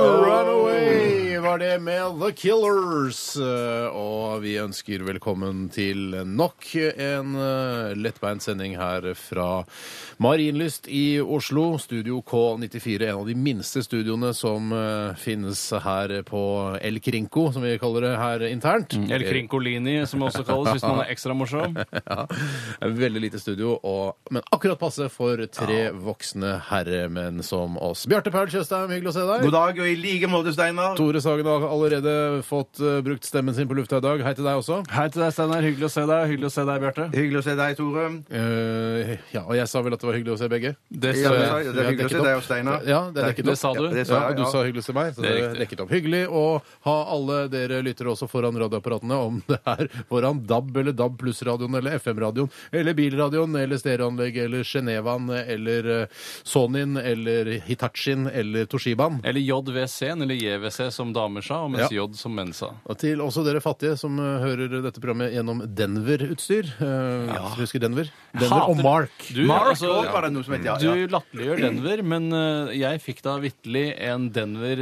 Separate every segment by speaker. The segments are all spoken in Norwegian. Speaker 1: Runaway var det med The Killers. eh, Og vi ønsker velkommen til nok en eh, lettbeint sending her fra Marienlyst i Oslo. Studio K94, en av de minste studioene som eh, finnes her på El Krinko, som vi kaller det her internt.
Speaker 2: Eller Krinkolini, som det også kalles, hvis man er ekstra morsom.
Speaker 1: Ja, en Veldig lite studio, og, men akkurat passe for tre voksne herremenn som oss. Bjarte Paul Tjøstheim, hyggelig å se deg.
Speaker 3: God dag, og i like måte, Steinar.
Speaker 1: Tore Sagen har allerede fått eh, brukt stemmen sin på lufta i dag. Hei til deg også.
Speaker 2: Hei til deg, Steinar. Hyggelig å se deg. Hyggelig å se deg, Bjarte.
Speaker 3: Hyggelig å se deg, Tore.
Speaker 1: Eh, ja, og jeg sa vel at det var hyggelig å se begge?
Speaker 2: Det
Speaker 3: Ja, det,
Speaker 1: vi
Speaker 3: det
Speaker 1: har
Speaker 3: er hyggelig å
Speaker 1: dekket
Speaker 3: se
Speaker 1: opp.
Speaker 3: deg og Steinar.
Speaker 1: Ja, det er dekket
Speaker 2: Det
Speaker 1: opp.
Speaker 2: sa du.
Speaker 3: det
Speaker 1: Ja,
Speaker 3: sa jeg,
Speaker 1: du
Speaker 3: ja.
Speaker 1: sa hyggelig til meg, så det
Speaker 2: Det er
Speaker 1: er dekket opp. Hyggelig å ha alle dere lyttere også foran radioapparatene, om det er foran DAB eller DAB pluss-radioen eller FM-radioen eller bilradioen eller stereoanlegget eller Genevaen eller eh, Sonyen eller Hitachien eller Toshibaen.
Speaker 2: eh, Eller JVC-en, eller JVC som damer sa, og mens
Speaker 1: Ja.
Speaker 2: J som menn sa.
Speaker 1: Og til også dere fattige som eh, hører dette programmet gjennom Denver-utstyr. Eh, Husker Denver? Denver og
Speaker 2: Hater-
Speaker 1: Mark.
Speaker 2: Du,
Speaker 3: Mark
Speaker 2: altså,
Speaker 3: Wahlberg er det noe som heter, ja.
Speaker 2: du latterliggjør Denver, men eh, jeg fikk da vitterlig en Denver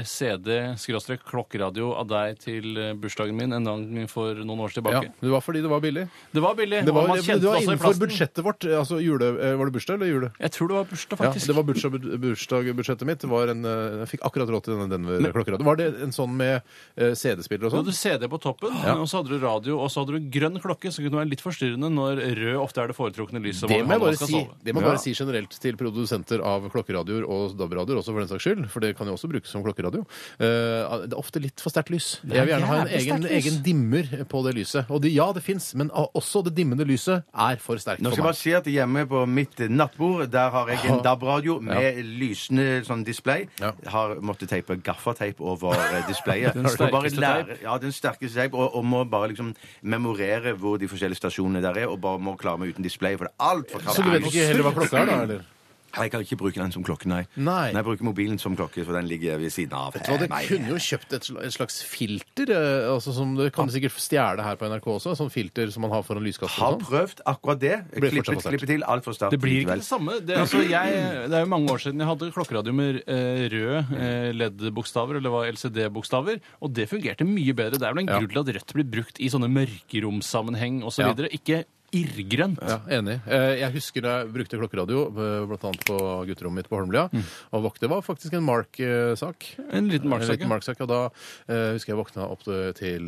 Speaker 2: CD-klokkeradio av deg til eh, bursdagen min en gang for noen år
Speaker 1: Ja,
Speaker 2: tilbake.
Speaker 1: det var fordi det var billig.
Speaker 2: Det var billig.
Speaker 1: Det var,
Speaker 2: og man
Speaker 1: det,
Speaker 2: kjente
Speaker 1: var
Speaker 2: også i
Speaker 1: innenfor
Speaker 2: plasten.
Speaker 1: budsjettet vårt. Altså jule, eh, var det bursdag eller jule?
Speaker 2: Jeg tror det var bursdag,
Speaker 1: Ja,
Speaker 2: faktisk.
Speaker 1: det var bursdag, bursdagbudsjettet mitt. Det Var en, eh, jeg fikk akkurat råd til denne Denver-klokkeradioen. Var det en sånn med eh, CD-spiller og
Speaker 2: Du hadde
Speaker 1: sånn?
Speaker 2: CD på toppen, og så hadde du radio, og så hadde du grønn klokke, som kunne være litt forstyrrende når rød ofte er det foretrukne lyset.
Speaker 1: Det
Speaker 2: hvor
Speaker 1: må jeg
Speaker 2: man
Speaker 1: bare
Speaker 2: skal
Speaker 1: si,
Speaker 2: sove.
Speaker 1: det må jeg bare
Speaker 2: Ja.
Speaker 1: si generelt til produsenter av klokkeradioer og DAB-radioer, også for den saks skyld, for det kan jo også brukes som klokkeradio. Eh, det er ofte litt for sterkt lys. Jeg vil gjerne ha en
Speaker 2: jævlig
Speaker 1: egen,
Speaker 2: sterkt lys.
Speaker 1: egen dimmer på det lyset. Og det, ja, det fins, men a- også det dimmende lyset er for sterkt
Speaker 3: Nå skal jeg
Speaker 1: for
Speaker 3: bare
Speaker 1: meg.
Speaker 3: si at hjemme på mitt nattbord, der har jeg en DAB-radio med lysende sånn display.
Speaker 1: Ja.
Speaker 3: Har måttet teipe gaffateip over eh, displayet.
Speaker 2: Den
Speaker 3: Og bare
Speaker 2: sterkeste
Speaker 3: lære-
Speaker 2: teip.
Speaker 3: Ja, den sterkeste teip. Og, og må bare liksom memorere hvor de forskjellige stasjonene der er, og bare må klare meg uten display, for det er altfor
Speaker 1: Så du vet
Speaker 3: kraftig.
Speaker 1: ikke heller hva klokka er, da? eller?
Speaker 3: Jeg kan ikke bruke den som klokke, nei.
Speaker 1: Nei.
Speaker 3: Jeg bruker mobilen som klokke, for den ligger ved siden av.
Speaker 1: Så
Speaker 3: Eh,
Speaker 1: dere
Speaker 3: nei.
Speaker 1: kunne jo kjøpt et sla- et slags filter, eh, altså som det kan du sikkert stjele her på NRK også. Sånn filter som man har foran lyskassen.
Speaker 3: Har
Speaker 1: og sånn.
Speaker 3: prøvd akkurat det.
Speaker 1: Blir fortsatt
Speaker 3: Klippet,
Speaker 1: for sterkt.
Speaker 3: klippet til altfor sterkt.
Speaker 2: Det blir ikke
Speaker 3: likevel.
Speaker 2: det samme. Det, er altså, jeg, det er jo mange år siden jeg hadde klokkeradio med eh, røde eh, LED-bokstaver, eller var LCD-bokstaver, og det fungerte mye bedre. Det er vel en
Speaker 1: Ja.
Speaker 2: grunn til at rødt blir brukt i sånne mørkeromsammenheng osv.,
Speaker 1: Ja.
Speaker 2: videre ikke irrgrønt.
Speaker 1: Ja, enig. Eh, Jeg husker da jeg brukte klokkeradio, eh, blant annet på gutterommet mitt på Holmlia, og våkte var faktisk en Mark-sak.
Speaker 2: En liten
Speaker 1: En
Speaker 2: marksak.
Speaker 1: liten
Speaker 2: ja.
Speaker 1: Mark-sak, og da eh, husker jeg våkna opp til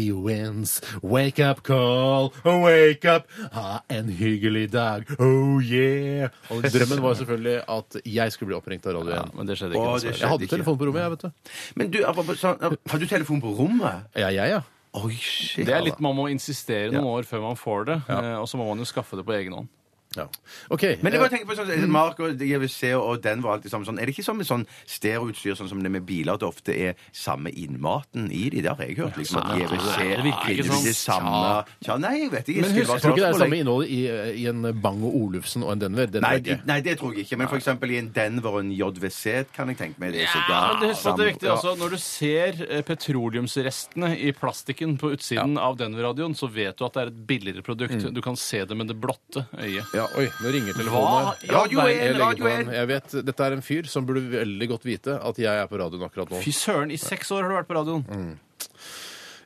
Speaker 1: Radioens Wake up call, Oh, wake up, ha en hyggelig dag, oh yeah. Og drømmen var selvfølgelig at jeg skulle bli oppringt av Radio
Speaker 2: Ja,
Speaker 1: 1.
Speaker 2: men det skjedde
Speaker 3: Å,
Speaker 2: ikke.
Speaker 3: det
Speaker 2: dessverre.
Speaker 3: skjedde
Speaker 1: Jeg hadde
Speaker 3: ikke.
Speaker 1: telefon på rommet, jeg, vet du.
Speaker 3: Men du, apropos sånn, har du telefon på rommet?
Speaker 1: Ja, jeg, ja.
Speaker 3: Oi, shit.
Speaker 2: Det er litt man må insistere noen
Speaker 1: Ja.
Speaker 2: år før man får det, eh, og så må man jo skaffe det på egen hånd.
Speaker 1: ja. OK.
Speaker 3: Men jeg
Speaker 1: eh,
Speaker 3: bare tenker på sånn, Mark og JVC og den var alltid sammen sånn. Er det ikke som med sånn stereoutstyr, sånn som det med biler, at det ofte er samme innmaten i de? Det har jeg hørt, liksom. At JVC
Speaker 2: det virker ikke sånn.
Speaker 3: det samme Tja, nei, jeg vet ikke.
Speaker 1: Men
Speaker 3: skulle
Speaker 1: husk, jeg
Speaker 3: bare
Speaker 1: tror ikke det er
Speaker 3: spørsmål,
Speaker 1: samme
Speaker 3: jeg.
Speaker 1: innholdet i, eh, i en Bang og Olufsen og en Denver. Det
Speaker 3: Nei,
Speaker 1: tror jeg
Speaker 3: de-
Speaker 1: ikke.
Speaker 3: nei, det tror jeg ikke. Men for eksempel i en Denver og en JVC kan jeg tenke meg det. er
Speaker 2: Ja,
Speaker 3: sikkert
Speaker 2: men det, husk at det er
Speaker 3: samme-
Speaker 2: viktig, altså, Når du ser eh, petroleumsrestene i plastikken på utsiden av Denver-radioen, så vet du at det er et billigere produkt.
Speaker 1: Mm.
Speaker 2: Du kan se det med det blotte øyet.
Speaker 1: Ja, oi, nå ringer telefonen. her.
Speaker 2: Hva?
Speaker 3: Radio
Speaker 2: Ja, nei,
Speaker 3: 1,
Speaker 1: Jeg, legger
Speaker 3: Radio
Speaker 1: på den.
Speaker 3: 1!
Speaker 1: jeg vet, Dette er en fyr som burde veldig godt vite at jeg er på radioen akkurat nå.
Speaker 2: Fy søren, i seks år har du vært på radioen.
Speaker 1: Mm,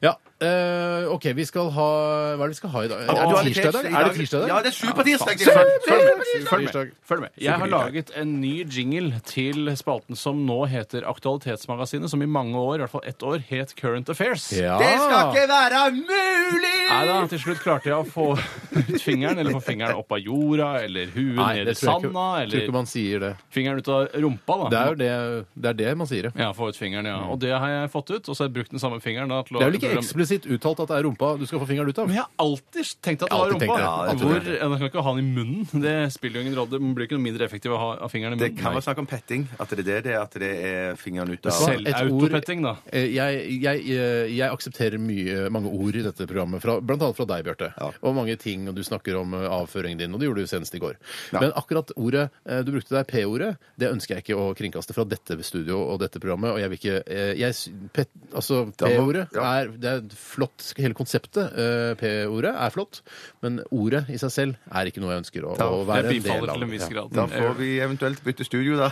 Speaker 1: Ja, eh, OK, vi skal ha Hva er det vi skal ha i dag? Er
Speaker 3: Du har
Speaker 1: det
Speaker 3: litt
Speaker 1: tirsdag i dag?
Speaker 3: tekst
Speaker 1: Er det tirsdag i
Speaker 3: Ja,
Speaker 1: dag?
Speaker 3: det er supertirsdag.
Speaker 2: Ja, faen.
Speaker 3: det er
Speaker 2: Følg
Speaker 3: supertirsdag.
Speaker 2: med, følg med. Følg med. Jeg har
Speaker 3: Supertirsdag.
Speaker 2: laget en ny jingle til spalten som nå heter Aktualitetsmagasinet, som i mange år, i hvert fall ett år, het Current Affairs.
Speaker 1: Ja.
Speaker 3: Det skal ikke være mulig!
Speaker 2: Nei da, til slutt klarte jeg å få ut fingeren, eller få fingeren opp av jorda, eller huet
Speaker 1: Nei,
Speaker 2: ned
Speaker 1: det tror jeg
Speaker 2: i
Speaker 1: ikke,
Speaker 2: sanda,
Speaker 1: tror
Speaker 2: eller
Speaker 1: ikke man sier det.
Speaker 2: fingeren ut av rumpa, da.
Speaker 1: Det er jo det, det, er det man sier, ja.
Speaker 2: Ja, få ut fingeren, ja. Og det har jeg fått ut, og så har jeg brukt den samme fingeren da til å
Speaker 1: Mm. Det er vel ikke
Speaker 2: program-
Speaker 1: eksplisitt uttalt at det er rumpa du skal få fingeren ut av.
Speaker 2: Men jeg har alltid tenkt at det
Speaker 1: Jeg har
Speaker 2: var
Speaker 1: alltid
Speaker 2: rumpa.
Speaker 1: tenkt det.
Speaker 2: Ja,
Speaker 1: Alltid
Speaker 2: Hvor,
Speaker 1: tenkt det.
Speaker 2: ja, da kan ikke ha den i munnen. Det spiller jo ingen rolle. Den blir ikke noe mindre effektiv å ha av fingeren i
Speaker 3: Det
Speaker 2: munnen.
Speaker 3: kan
Speaker 2: Nei.
Speaker 3: være snakk om petting. At det er det, det er at det er fingeren ut av
Speaker 1: Hva?
Speaker 2: Selv-
Speaker 1: Et ord-
Speaker 2: autopetting, da.
Speaker 1: Eh, Jeg, jeg, eh, jeg aksepterer mye, mange ord i dette programmet, fra, blant annet fra deg, Bjarte.
Speaker 3: Ja.
Speaker 1: Og mange ting, og du snakker om eh, avføringen din, og det gjorde du senest i går. Men akkurat ordet eh, du brukte der, P-ordet, det ønsker jeg ikke å kringkaste fra dette studio og dette programmet, og jeg vil ikke eh, jeg, s- pet, Altså, P-ordet
Speaker 3: ja.
Speaker 1: er, det er flott, hele konseptet eh, P-ordet er flott, men ordet i seg selv er ikke noe jeg ønsker å, å
Speaker 2: Jeg
Speaker 1: være en del
Speaker 2: bifaller
Speaker 1: av.
Speaker 2: til en viss grad.
Speaker 3: Da får vi eventuelt bytte studio, da.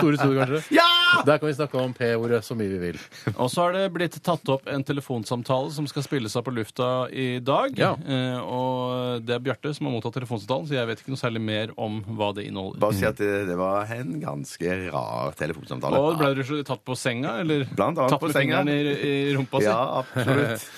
Speaker 1: Store, store, kanskje.
Speaker 3: Ja!
Speaker 1: Der kan vi snakke om P-ordet så mye vi vil.
Speaker 2: Og så er det blitt tatt opp en telefonsamtale som skal spilles av på lufta i dag.
Speaker 1: Ja.
Speaker 2: Eh, og det er Bjarte som har mottatt telefonsamtalen, så jeg vet ikke noe særlig mer om hva det inneholder.
Speaker 3: Bare si at det, det var en ganske rar telefonsamtale.
Speaker 2: Og ble du tatt på senga, eller
Speaker 3: Blant annet
Speaker 2: tatt
Speaker 3: på
Speaker 2: med
Speaker 3: senga.
Speaker 2: fingeren i, i rumpa
Speaker 3: Ja,
Speaker 2: si?
Speaker 3: absolutt.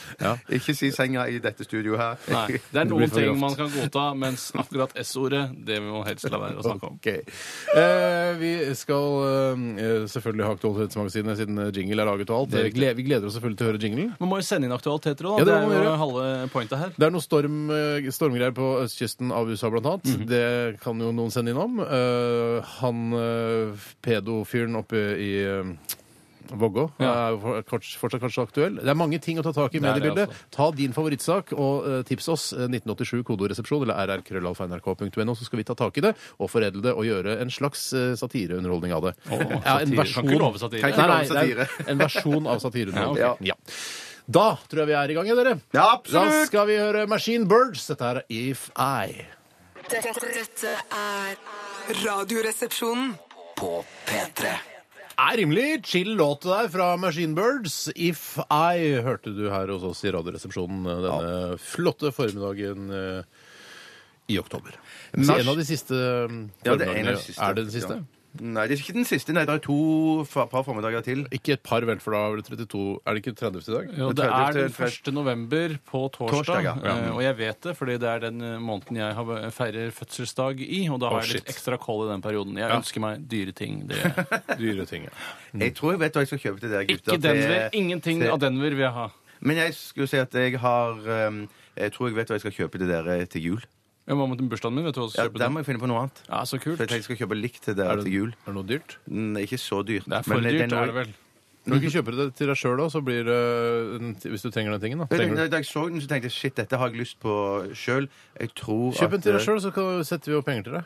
Speaker 3: Ikke si senga i dette studioet her.
Speaker 2: Nei, Det er
Speaker 1: Det blir
Speaker 2: noen
Speaker 1: for
Speaker 2: ting
Speaker 1: grovt.
Speaker 2: man kan godta, mens akkurat S-ordet, det vil man helst la være å snakke om.
Speaker 1: Ok. Eh, vi skal eh, selvfølgelig ha Aktualitetsmagasinet siden jingle er laget og alt.
Speaker 2: Det er riktig.
Speaker 1: Gle- vi gleder oss selvfølgelig til å høre jinglen.
Speaker 2: Man må jo sende inn aktualiteter òg,
Speaker 1: Ja,
Speaker 2: da.
Speaker 1: det
Speaker 2: det,
Speaker 1: må man
Speaker 2: er jo
Speaker 1: gjøre.
Speaker 2: halve pointet her.
Speaker 1: Det er noen storm, eh, stormgreier på østkysten av USA, blant annet.
Speaker 2: Mhm.
Speaker 1: Det kan jo noen sende innom. Eh, han eh, pedofyren oppe i eh, Vågå
Speaker 2: Ja.
Speaker 1: er jo for- kort- fortsatt kanskje aktuell. Det er mange ting å ta tak i i
Speaker 2: Det er det,
Speaker 1: mediebildet.
Speaker 2: altså.
Speaker 1: Ta din favorittsak og eh, tips oss. eh, 1987 kodoresepsjon eller rrkrøllalfa.nrk.no, så skal vi ta tak i det og foredle det og gjøre en slags eh, satireunderholdning av det. ja, en
Speaker 2: satire.
Speaker 1: versjon.
Speaker 2: Kan ikke love satire.
Speaker 3: Kan ikke
Speaker 1: Nei,
Speaker 3: love
Speaker 1: nei, det er En versjon av
Speaker 3: Ja,
Speaker 1: satireunderholdning.
Speaker 3: ok.
Speaker 1: Ja. Da tror jeg vi er i gang, ja, dere.
Speaker 3: Ja,
Speaker 1: Da
Speaker 3: absolutt!
Speaker 1: skal vi høre Machine Birds. Dette er If I.
Speaker 4: Dette, dette er Radioresepsjonen.
Speaker 5: På P3.
Speaker 1: er rimelig chill låt det der fra Machine Birds. If I hørte du her hos oss i Radioresepsjonen eh, denne flotte formiddagen eh, i oktober. Så
Speaker 3: Mars-
Speaker 1: en av de siste mm,
Speaker 3: Ja, det er en
Speaker 1: formiddagene
Speaker 3: av de siste.
Speaker 1: er det den siste?
Speaker 3: Ja. Nei, det er ikke den siste. Nei, det er to fa- par formiddager til.
Speaker 1: Ikke et par, vel, for da er det 32 Er det ikke 30 i dag?
Speaker 2: Jo, det er den 1. november på torsdag,
Speaker 3: Torsdag, ja.
Speaker 2: eh, og jeg vet det fordi det er den eh, måneden jeg har, feirer fødselsdag i, og da har
Speaker 1: Oh,
Speaker 2: jeg litt
Speaker 1: shit.
Speaker 2: ekstra koll i den perioden. Jeg ønsker meg dyre ting. Dere.
Speaker 1: Dyre ting. ja.
Speaker 3: Jeg tror jeg vet hva jeg skal kjøpe til dere, gutter.
Speaker 2: Mm. Ikke Denver.
Speaker 3: til-
Speaker 2: Ingenting
Speaker 3: til-
Speaker 2: av Denver vil jeg ha.
Speaker 3: Men jeg skulle si at jeg har ehm, Jeg tror jeg vet hva jeg skal kjøpe til dere til jul.
Speaker 2: Jeg må med bursdagen min, vet du hva jeg
Speaker 3: Ja,
Speaker 2: skal kjøpe?
Speaker 3: Der
Speaker 2: til?
Speaker 3: må jeg finne på noe annet.
Speaker 2: Ja, så
Speaker 3: For jeg
Speaker 2: kult.
Speaker 3: tenkte jeg skal kjøpe likt til dere
Speaker 1: Er det,
Speaker 3: til jul.
Speaker 1: er det noe dyrt?
Speaker 3: Mm, Ikke så dyrt.
Speaker 2: Det er for
Speaker 3: men eh,
Speaker 2: dyrt,
Speaker 3: noe-
Speaker 2: er det vel.
Speaker 1: Når du ikke kjøper det til deg sjøl, da, så blir det en t- Hvis du trenger den tingen, da.
Speaker 3: Da jeg-
Speaker 1: Trenger du.
Speaker 3: Da jeg så den, så tenkte jeg shit, dette har jeg lyst på sjøl. Jeg tror
Speaker 1: Kjøp en til deg
Speaker 3: at-
Speaker 1: sjøl, så kan- setter vi opp penger til deg.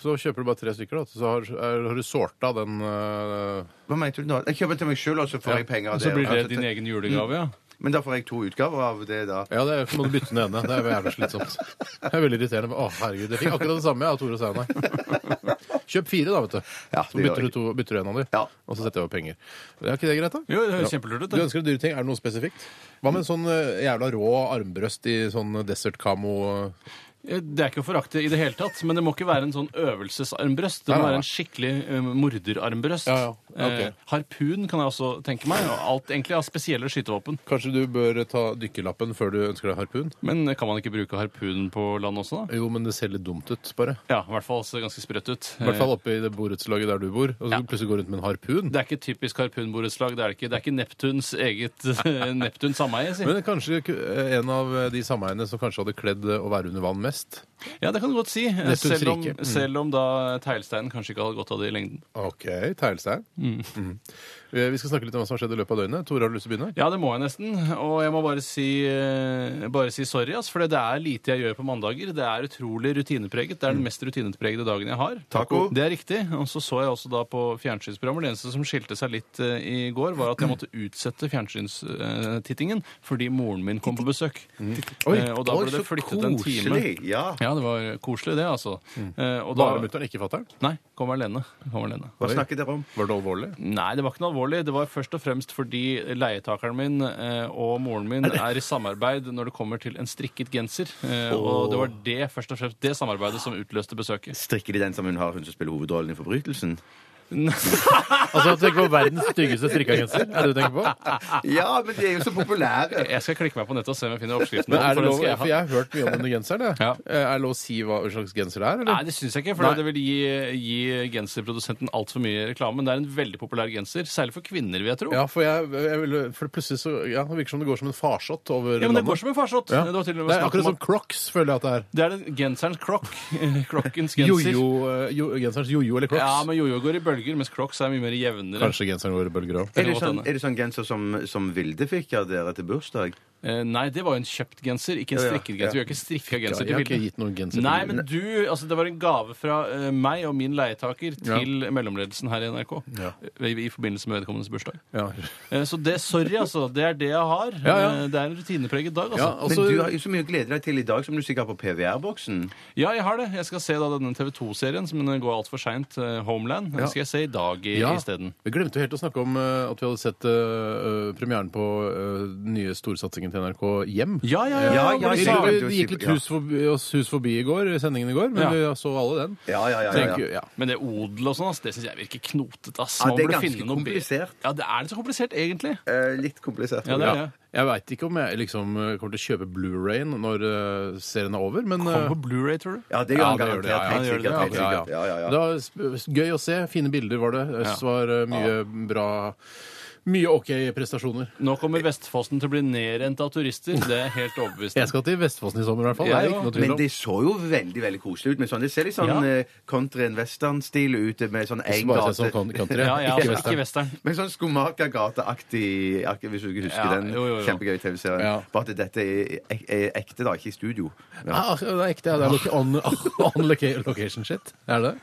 Speaker 1: Så kjøper du bare tre stykker, da. Så har, er, har du sorta den eh,
Speaker 3: Hva mente du nå? Jeg kjøper den til meg sjøl, og så får jeg penger av
Speaker 2: Og så blir det
Speaker 3: Altså,
Speaker 2: din egen julegave, ja.
Speaker 3: Men da får jeg to utgaver av det, da.
Speaker 1: Ja, det er, så må du bytte den ene. Det er jævlig slitsomt. Det er veldig irriterende. Å, herregud, jeg fikk akkurat det samme jeg, av Tore og Steinar. Kjøp fire, da, vet du.
Speaker 3: Ja,
Speaker 1: så
Speaker 3: det gjør
Speaker 1: bytter du, to, bytter du en av dem,
Speaker 3: Ja.
Speaker 1: og så setter jeg over penger. Er ikke det greit, da?
Speaker 2: Jo, det høres kjempelurt ut.
Speaker 1: Du
Speaker 2: det.
Speaker 1: ønsker deg dyre ting. Er det noe spesifikt? Hva med en sånn eh, jævla rå armbrøst i sånn desert camo eh,
Speaker 2: Det er ikke å forakte i det hele tatt, men det må ikke være en sånn øvelsesarmbrøst. Det
Speaker 1: Nei,
Speaker 2: må
Speaker 1: nei,
Speaker 2: være
Speaker 1: nei.
Speaker 2: en skikkelig eh, morderarmbrøst.
Speaker 1: Ja, ja. Ok.
Speaker 2: Eh, harpun kan jeg også tenke meg, og alt egentlig av spesielle skytevåpen.
Speaker 1: Kanskje du bør ta dykkerlappen før du ønsker deg harpun?
Speaker 2: Men eh, kan man ikke bruke harpunen på land også, da?
Speaker 1: Jo, men det ser litt dumt ut, bare.
Speaker 2: Ja, i hvert fall ser det ganske sprøtt ut.
Speaker 1: I hvert fall oppe i det borettslaget der du bor, og så
Speaker 2: Eh. Ja.
Speaker 1: plutselig går rundt med en harpun.
Speaker 2: Det er ikke typisk harpunborettslag. Det er det ikke. Det er ikke Neptuns eget Neptuns sameie, si.
Speaker 1: Men kanskje ku- en av de sameiene som kanskje hadde kledd eh, å være under vann mest?
Speaker 2: Ja, det kan du godt si. Eh,
Speaker 1: Neptuns
Speaker 2: Selv om,
Speaker 1: rike. Mm.
Speaker 2: selv om da teglsteinen kanskje ikke hadde godt av det i lengden.
Speaker 1: Ok, teglstein.
Speaker 2: Mm.
Speaker 1: Mhm. Eh, Vi skal snakke litt om hva som har skjedd i løpet av døgnet. Tore, har du lyst til å begynne?
Speaker 2: Ja, det må jeg nesten. Og jeg må bare si, eh, bare si sorry, ass, for det er lite jeg gjør på mandager. Det er utrolig rutinepreget. Det er den mest rutinepregede dagen jeg har.
Speaker 3: Taco.
Speaker 2: Det er riktig. Og så så jeg også da på fjernsynsprogrammer. Det eneste som skilte seg litt eh, i går, var at jeg måtte utsette fjernsynstittingen fordi moren min kom på besøk.
Speaker 1: Mm. Oi,
Speaker 2: Eh, og da
Speaker 1: oi,
Speaker 2: ble det
Speaker 1: så
Speaker 2: flyttet en time.
Speaker 3: Koselig. Ja.
Speaker 2: Ja, det var koselig, det, altså. Eh, og da,
Speaker 1: Mm. Bare mutter'n, ikke fatter'n?
Speaker 2: Nei, kom alene. Kom alene.
Speaker 3: Hva
Speaker 1: Oi.
Speaker 3: snakker dere om?
Speaker 1: Var det alvorlig?
Speaker 2: Nei, det var ikke noe alvorlig. Det var først og fremst fordi leietakeren min eh, og moren min er i samarbeid når det kommer til en strikket genser. Eh, Og det var det først og fremst det samarbeidet som utløste besøket.
Speaker 3: Strikker de den som hun har, hun som spiller hovedrollen i Forbrytelsen?
Speaker 1: Altså, tenk på verdens styggeste strikkegenser. Er det du tenker på?
Speaker 2: Ah.
Speaker 3: Ja, men de er jo så populære.
Speaker 2: Jeg skal klikke meg på nettet og se om jeg finner oppskriften.
Speaker 1: Men er det
Speaker 2: for den
Speaker 1: lov,
Speaker 2: skal jeg ha.
Speaker 1: for jeg har hørt mye om denne genseren. jeg.
Speaker 2: Ja.
Speaker 1: Eh, Er det lov å si hva slags genser det er?
Speaker 2: Nei,
Speaker 1: Eller?
Speaker 2: det syns jeg ikke, for
Speaker 1: Nei.
Speaker 2: det vil gi, gi genserprodusenten altfor mye reklame. Men det er en veldig populær genser, særlig for kvinner, vil jeg tro.
Speaker 1: Ja, for, jeg, jeg ville, for plutselig så ja, det virker som det går som en farsott over
Speaker 2: Ja, men
Speaker 1: landet.
Speaker 2: det går som en farsott.
Speaker 1: Ja.
Speaker 2: Det, var til og
Speaker 1: det
Speaker 2: med
Speaker 1: er
Speaker 2: snakk om
Speaker 1: akkurat som
Speaker 2: at-
Speaker 1: Crocs, føler jeg at det er.
Speaker 2: det er den genserens krokk. Krokkens genser.
Speaker 1: Jojo, eh, jo, genserens jojo eller Crocs.
Speaker 2: Ja, men jojo går i bølger, mens crocs er mye mer jevnere.
Speaker 1: Kanskje genseren går i bølger òg.
Speaker 3: Er det sånn, er det sånn genser som, som Vilde fikk av dere til bursdag?
Speaker 2: Eh, nei, det var jo en kjøpt genser, ikke en
Speaker 3: Ja, ja,
Speaker 2: strikket genser. Vi har ikke strikka genser
Speaker 1: jeg har
Speaker 2: til
Speaker 1: ikke
Speaker 2: bildet.
Speaker 1: gitt noen genser
Speaker 2: Nei,
Speaker 1: til
Speaker 2: men du, altså Det var en gave fra eh, meg og min leietaker til mellomledelsen her i NRK.
Speaker 1: Ja.
Speaker 2: eh, I, I forbindelse med vedkommendes bursdag.
Speaker 1: Ja.
Speaker 2: Eh, så det, sorry, altså. Det er det jeg har.
Speaker 1: Ja, ja.
Speaker 2: Eh, det er en rutinepreget dag,
Speaker 1: Ja,
Speaker 2: altså.
Speaker 1: altså,
Speaker 3: men du har jo så mye å glede deg til i dag som du sikkert har på PVR-boksen.
Speaker 2: Ja, jeg har det. Jeg skal se da denne TV 2-serien, som går altfor seint. Eh, Homeland.
Speaker 1: Ja.
Speaker 2: Den skal jeg se i dag i-
Speaker 1: ja.
Speaker 2: isteden.
Speaker 1: Vi glemte jo helt å snakke om eh, at vi hadde sett eh, eh, premieren på eh, den nye storsatsingen til NRK Hjem.
Speaker 2: Ja, ja, ja.
Speaker 3: Ja,
Speaker 2: ja,
Speaker 3: ja,
Speaker 1: Vi,
Speaker 3: ja.
Speaker 1: vi, vi gikk litt hus forbi, oss hus forbi i går, i sendingen i går, men
Speaker 2: Ja.
Speaker 1: vi så alle den.
Speaker 3: Ja, ja, ja. ja,
Speaker 1: Tenker,
Speaker 3: ja.
Speaker 1: ja.
Speaker 2: Men det odel og sånn, ass, det syns jeg virker knotete. ass.
Speaker 3: Ja,
Speaker 2: Man
Speaker 3: det er
Speaker 2: burde
Speaker 3: ganske
Speaker 2: finne noe bedre.
Speaker 3: komplisert.
Speaker 2: Ja, det er det så komplisert, egentlig.
Speaker 3: Eh, litt komplisert.
Speaker 2: Ja, det
Speaker 1: Ja.
Speaker 2: er det.
Speaker 1: Jeg veit ikke om jeg liksom eh, kommer til å kjøpe Blu-rayen når eh, serien er over, men
Speaker 2: Kommer
Speaker 1: eh,
Speaker 2: på Blu-ray, tror du?
Speaker 3: Ja, det gjør han
Speaker 1: det gjør
Speaker 3: garantert.
Speaker 1: det, ja, ja,
Speaker 3: helt
Speaker 2: det gjør det,
Speaker 3: sikkert, helt
Speaker 1: ja, ja.
Speaker 3: sikkert. Ja, ja, ja.
Speaker 1: Det var sp- gøy å se. Fine bilder var det. Øss var eh, mye bra Mye OK prestasjoner.
Speaker 2: Nå kommer Vestfossen til å bli nedrent av turister. Det er jeg helt overbevist
Speaker 1: Jeg skal til Vestfossen i sommer, i hvert fall. Det er
Speaker 2: Jeg
Speaker 1: ikke
Speaker 2: òg.
Speaker 1: noe tvil
Speaker 3: Men
Speaker 1: om.
Speaker 3: det så jo veldig veldig koselig ut. med sånn, Det ser litt sånn
Speaker 2: Ja.
Speaker 3: eh, country and western-stil ut, med sånn
Speaker 1: Ikke
Speaker 3: én
Speaker 1: bare se som
Speaker 3: gate
Speaker 1: kon- country.
Speaker 2: Ja, ja,
Speaker 1: Ikke
Speaker 2: altså,
Speaker 1: western.
Speaker 2: ikke western.
Speaker 3: Men sånn Skomakergate-aktig, ak- hvis du ikke husker
Speaker 2: Ja,
Speaker 3: den
Speaker 2: jo, jo, jo.
Speaker 3: kjempegøy TV-serien.
Speaker 1: Ja.
Speaker 3: Bare at dette er, ek- er ekte, da, ikke i studio. Ja.
Speaker 1: Ah, det er ekte. ja. Det er loca- on, on loca- location shit. Er det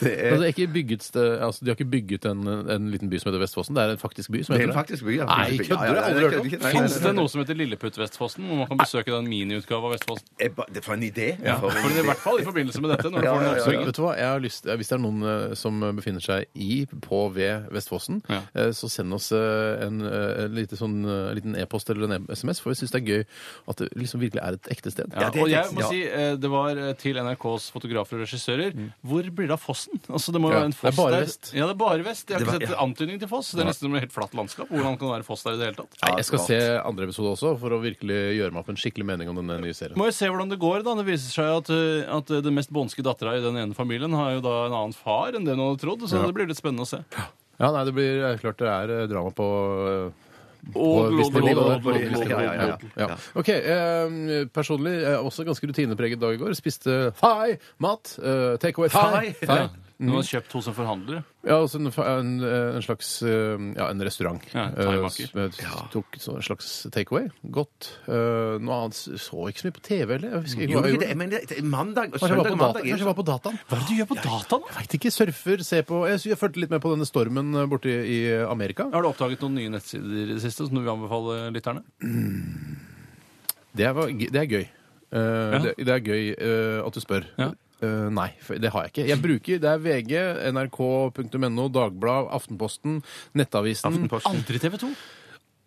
Speaker 1: det?
Speaker 3: Det er,
Speaker 1: Altså, ikke bygget, st- altså, de har ikke bygget en, en liten by som heter Vestfossen. Det er en faktisk by som
Speaker 3: det er
Speaker 1: heter
Speaker 3: en
Speaker 1: det.
Speaker 3: faktisk by. ja.
Speaker 1: Nei,
Speaker 3: Faktisk by.
Speaker 1: kødder du?
Speaker 3: Ja, ja,
Speaker 1: Aldri hørt
Speaker 3: kødder
Speaker 1: om.
Speaker 3: ikke. Nei, nei,
Speaker 2: Fins
Speaker 3: nei,
Speaker 2: det
Speaker 3: nei.
Speaker 2: noe som heter Lilleputt-Vestfossen, hvor man kan besøke den miniutgave av Vestfossen?
Speaker 3: Eh, ba- Det er for en idé.
Speaker 2: Ja, for I hvert fall i forbindelse med dette. når du
Speaker 3: Ja,
Speaker 2: får
Speaker 3: ja,
Speaker 2: den
Speaker 3: ja,
Speaker 2: oppsvingen.
Speaker 1: Vet du hva? Jeg har lyst, hvis det er noen eh, som befinner seg i, på, ved Vestfossen,
Speaker 2: Ja.
Speaker 1: eh, så send oss eh, en, eh, en lite sånn, eh, liten e-post eller en SMS, for vi syns det er gøy at det liksom virkelig er et ekte sted.
Speaker 2: Ja,
Speaker 3: det er
Speaker 2: og jeg
Speaker 3: teksten,
Speaker 2: må
Speaker 3: ja.
Speaker 2: si, eh, Det var eh, til NRKs fotografer og regissører. Hvor blir det av fossen? Altså, Mm. Det må jo
Speaker 1: Ja,
Speaker 2: være en
Speaker 1: det er
Speaker 2: foss
Speaker 1: bare
Speaker 2: der.
Speaker 1: vest.
Speaker 2: Ja, det er bare vest. Jeg har
Speaker 3: Det var-
Speaker 2: ikke sett
Speaker 3: ja.
Speaker 2: antydning til foss. Det er nesten som et helt flatt landskap. Hvordan kan det være foss der i det hele tatt?
Speaker 1: Nei, jeg skal
Speaker 3: rart.
Speaker 1: se andre episode også, for å virkelig gjøre meg opp en skikkelig mening om denne nye serien.
Speaker 2: Må jo se hvordan det går, da. Det viser seg at, eh, at den mest bånske dattera i den ene familien har jo da en annen far enn det hun hadde trodd, så
Speaker 1: Ja.
Speaker 2: det blir litt spennende å se.
Speaker 1: Ja, nei, det blir eh, klart det er eh, drama på eh, på
Speaker 2: Odel,
Speaker 1: et visst
Speaker 2: odel,
Speaker 1: nivå,
Speaker 2: odel,
Speaker 1: da.
Speaker 2: odel,
Speaker 1: På et
Speaker 2: odel,
Speaker 1: visst nivå,
Speaker 3: ja,
Speaker 2: odel,
Speaker 3: ja,
Speaker 1: ja,
Speaker 2: odel.
Speaker 1: ja. OK. eh, Personlig eh, også ganske rutinepreget dag i går. Spiste thai-mat. eh, Take away thai.
Speaker 3: Thai,
Speaker 1: thai.
Speaker 2: Ja. Mm. Hun har kjøpt hos en forhandler.
Speaker 1: Ja, altså en, fa- en, en slags eh, ja, en restaurant.
Speaker 2: Ja, en thaimaker.
Speaker 1: Eh, s- Tok så- en slags takeaway. Godt. Eh, noe annet s- så ikke så mye på TV, eller? Jeg husker ikke
Speaker 3: Jo,
Speaker 1: hva jeg
Speaker 3: men det,
Speaker 1: gjorde.
Speaker 3: men det, det- mandag og
Speaker 1: Kanskje jeg var
Speaker 3: søndag og
Speaker 1: på
Speaker 3: mandag
Speaker 1: data-
Speaker 3: er jo
Speaker 1: kanskje jeg var på dataen?
Speaker 2: Hva er det du gjør på dataen, da?
Speaker 1: Veit ikke. Surfer, ser på Jeg, sy- jeg fulgte litt med på denne stormen eh, borte i i Amerika.
Speaker 2: Har du oppdaget noen nye nettsider i det siste som du vil anbefale lytterne?
Speaker 1: Det, var, g- det er gøy. Eh, det, det er gøy eh, at du spør.
Speaker 2: Ja.
Speaker 1: Eh, nei, for det har jeg ikke. Jeg bruker, Det er VG, nrk.no, Dagbladet, Aftenposten, Nettavisen.
Speaker 3: Aftenposten.
Speaker 2: Aldri TV 2.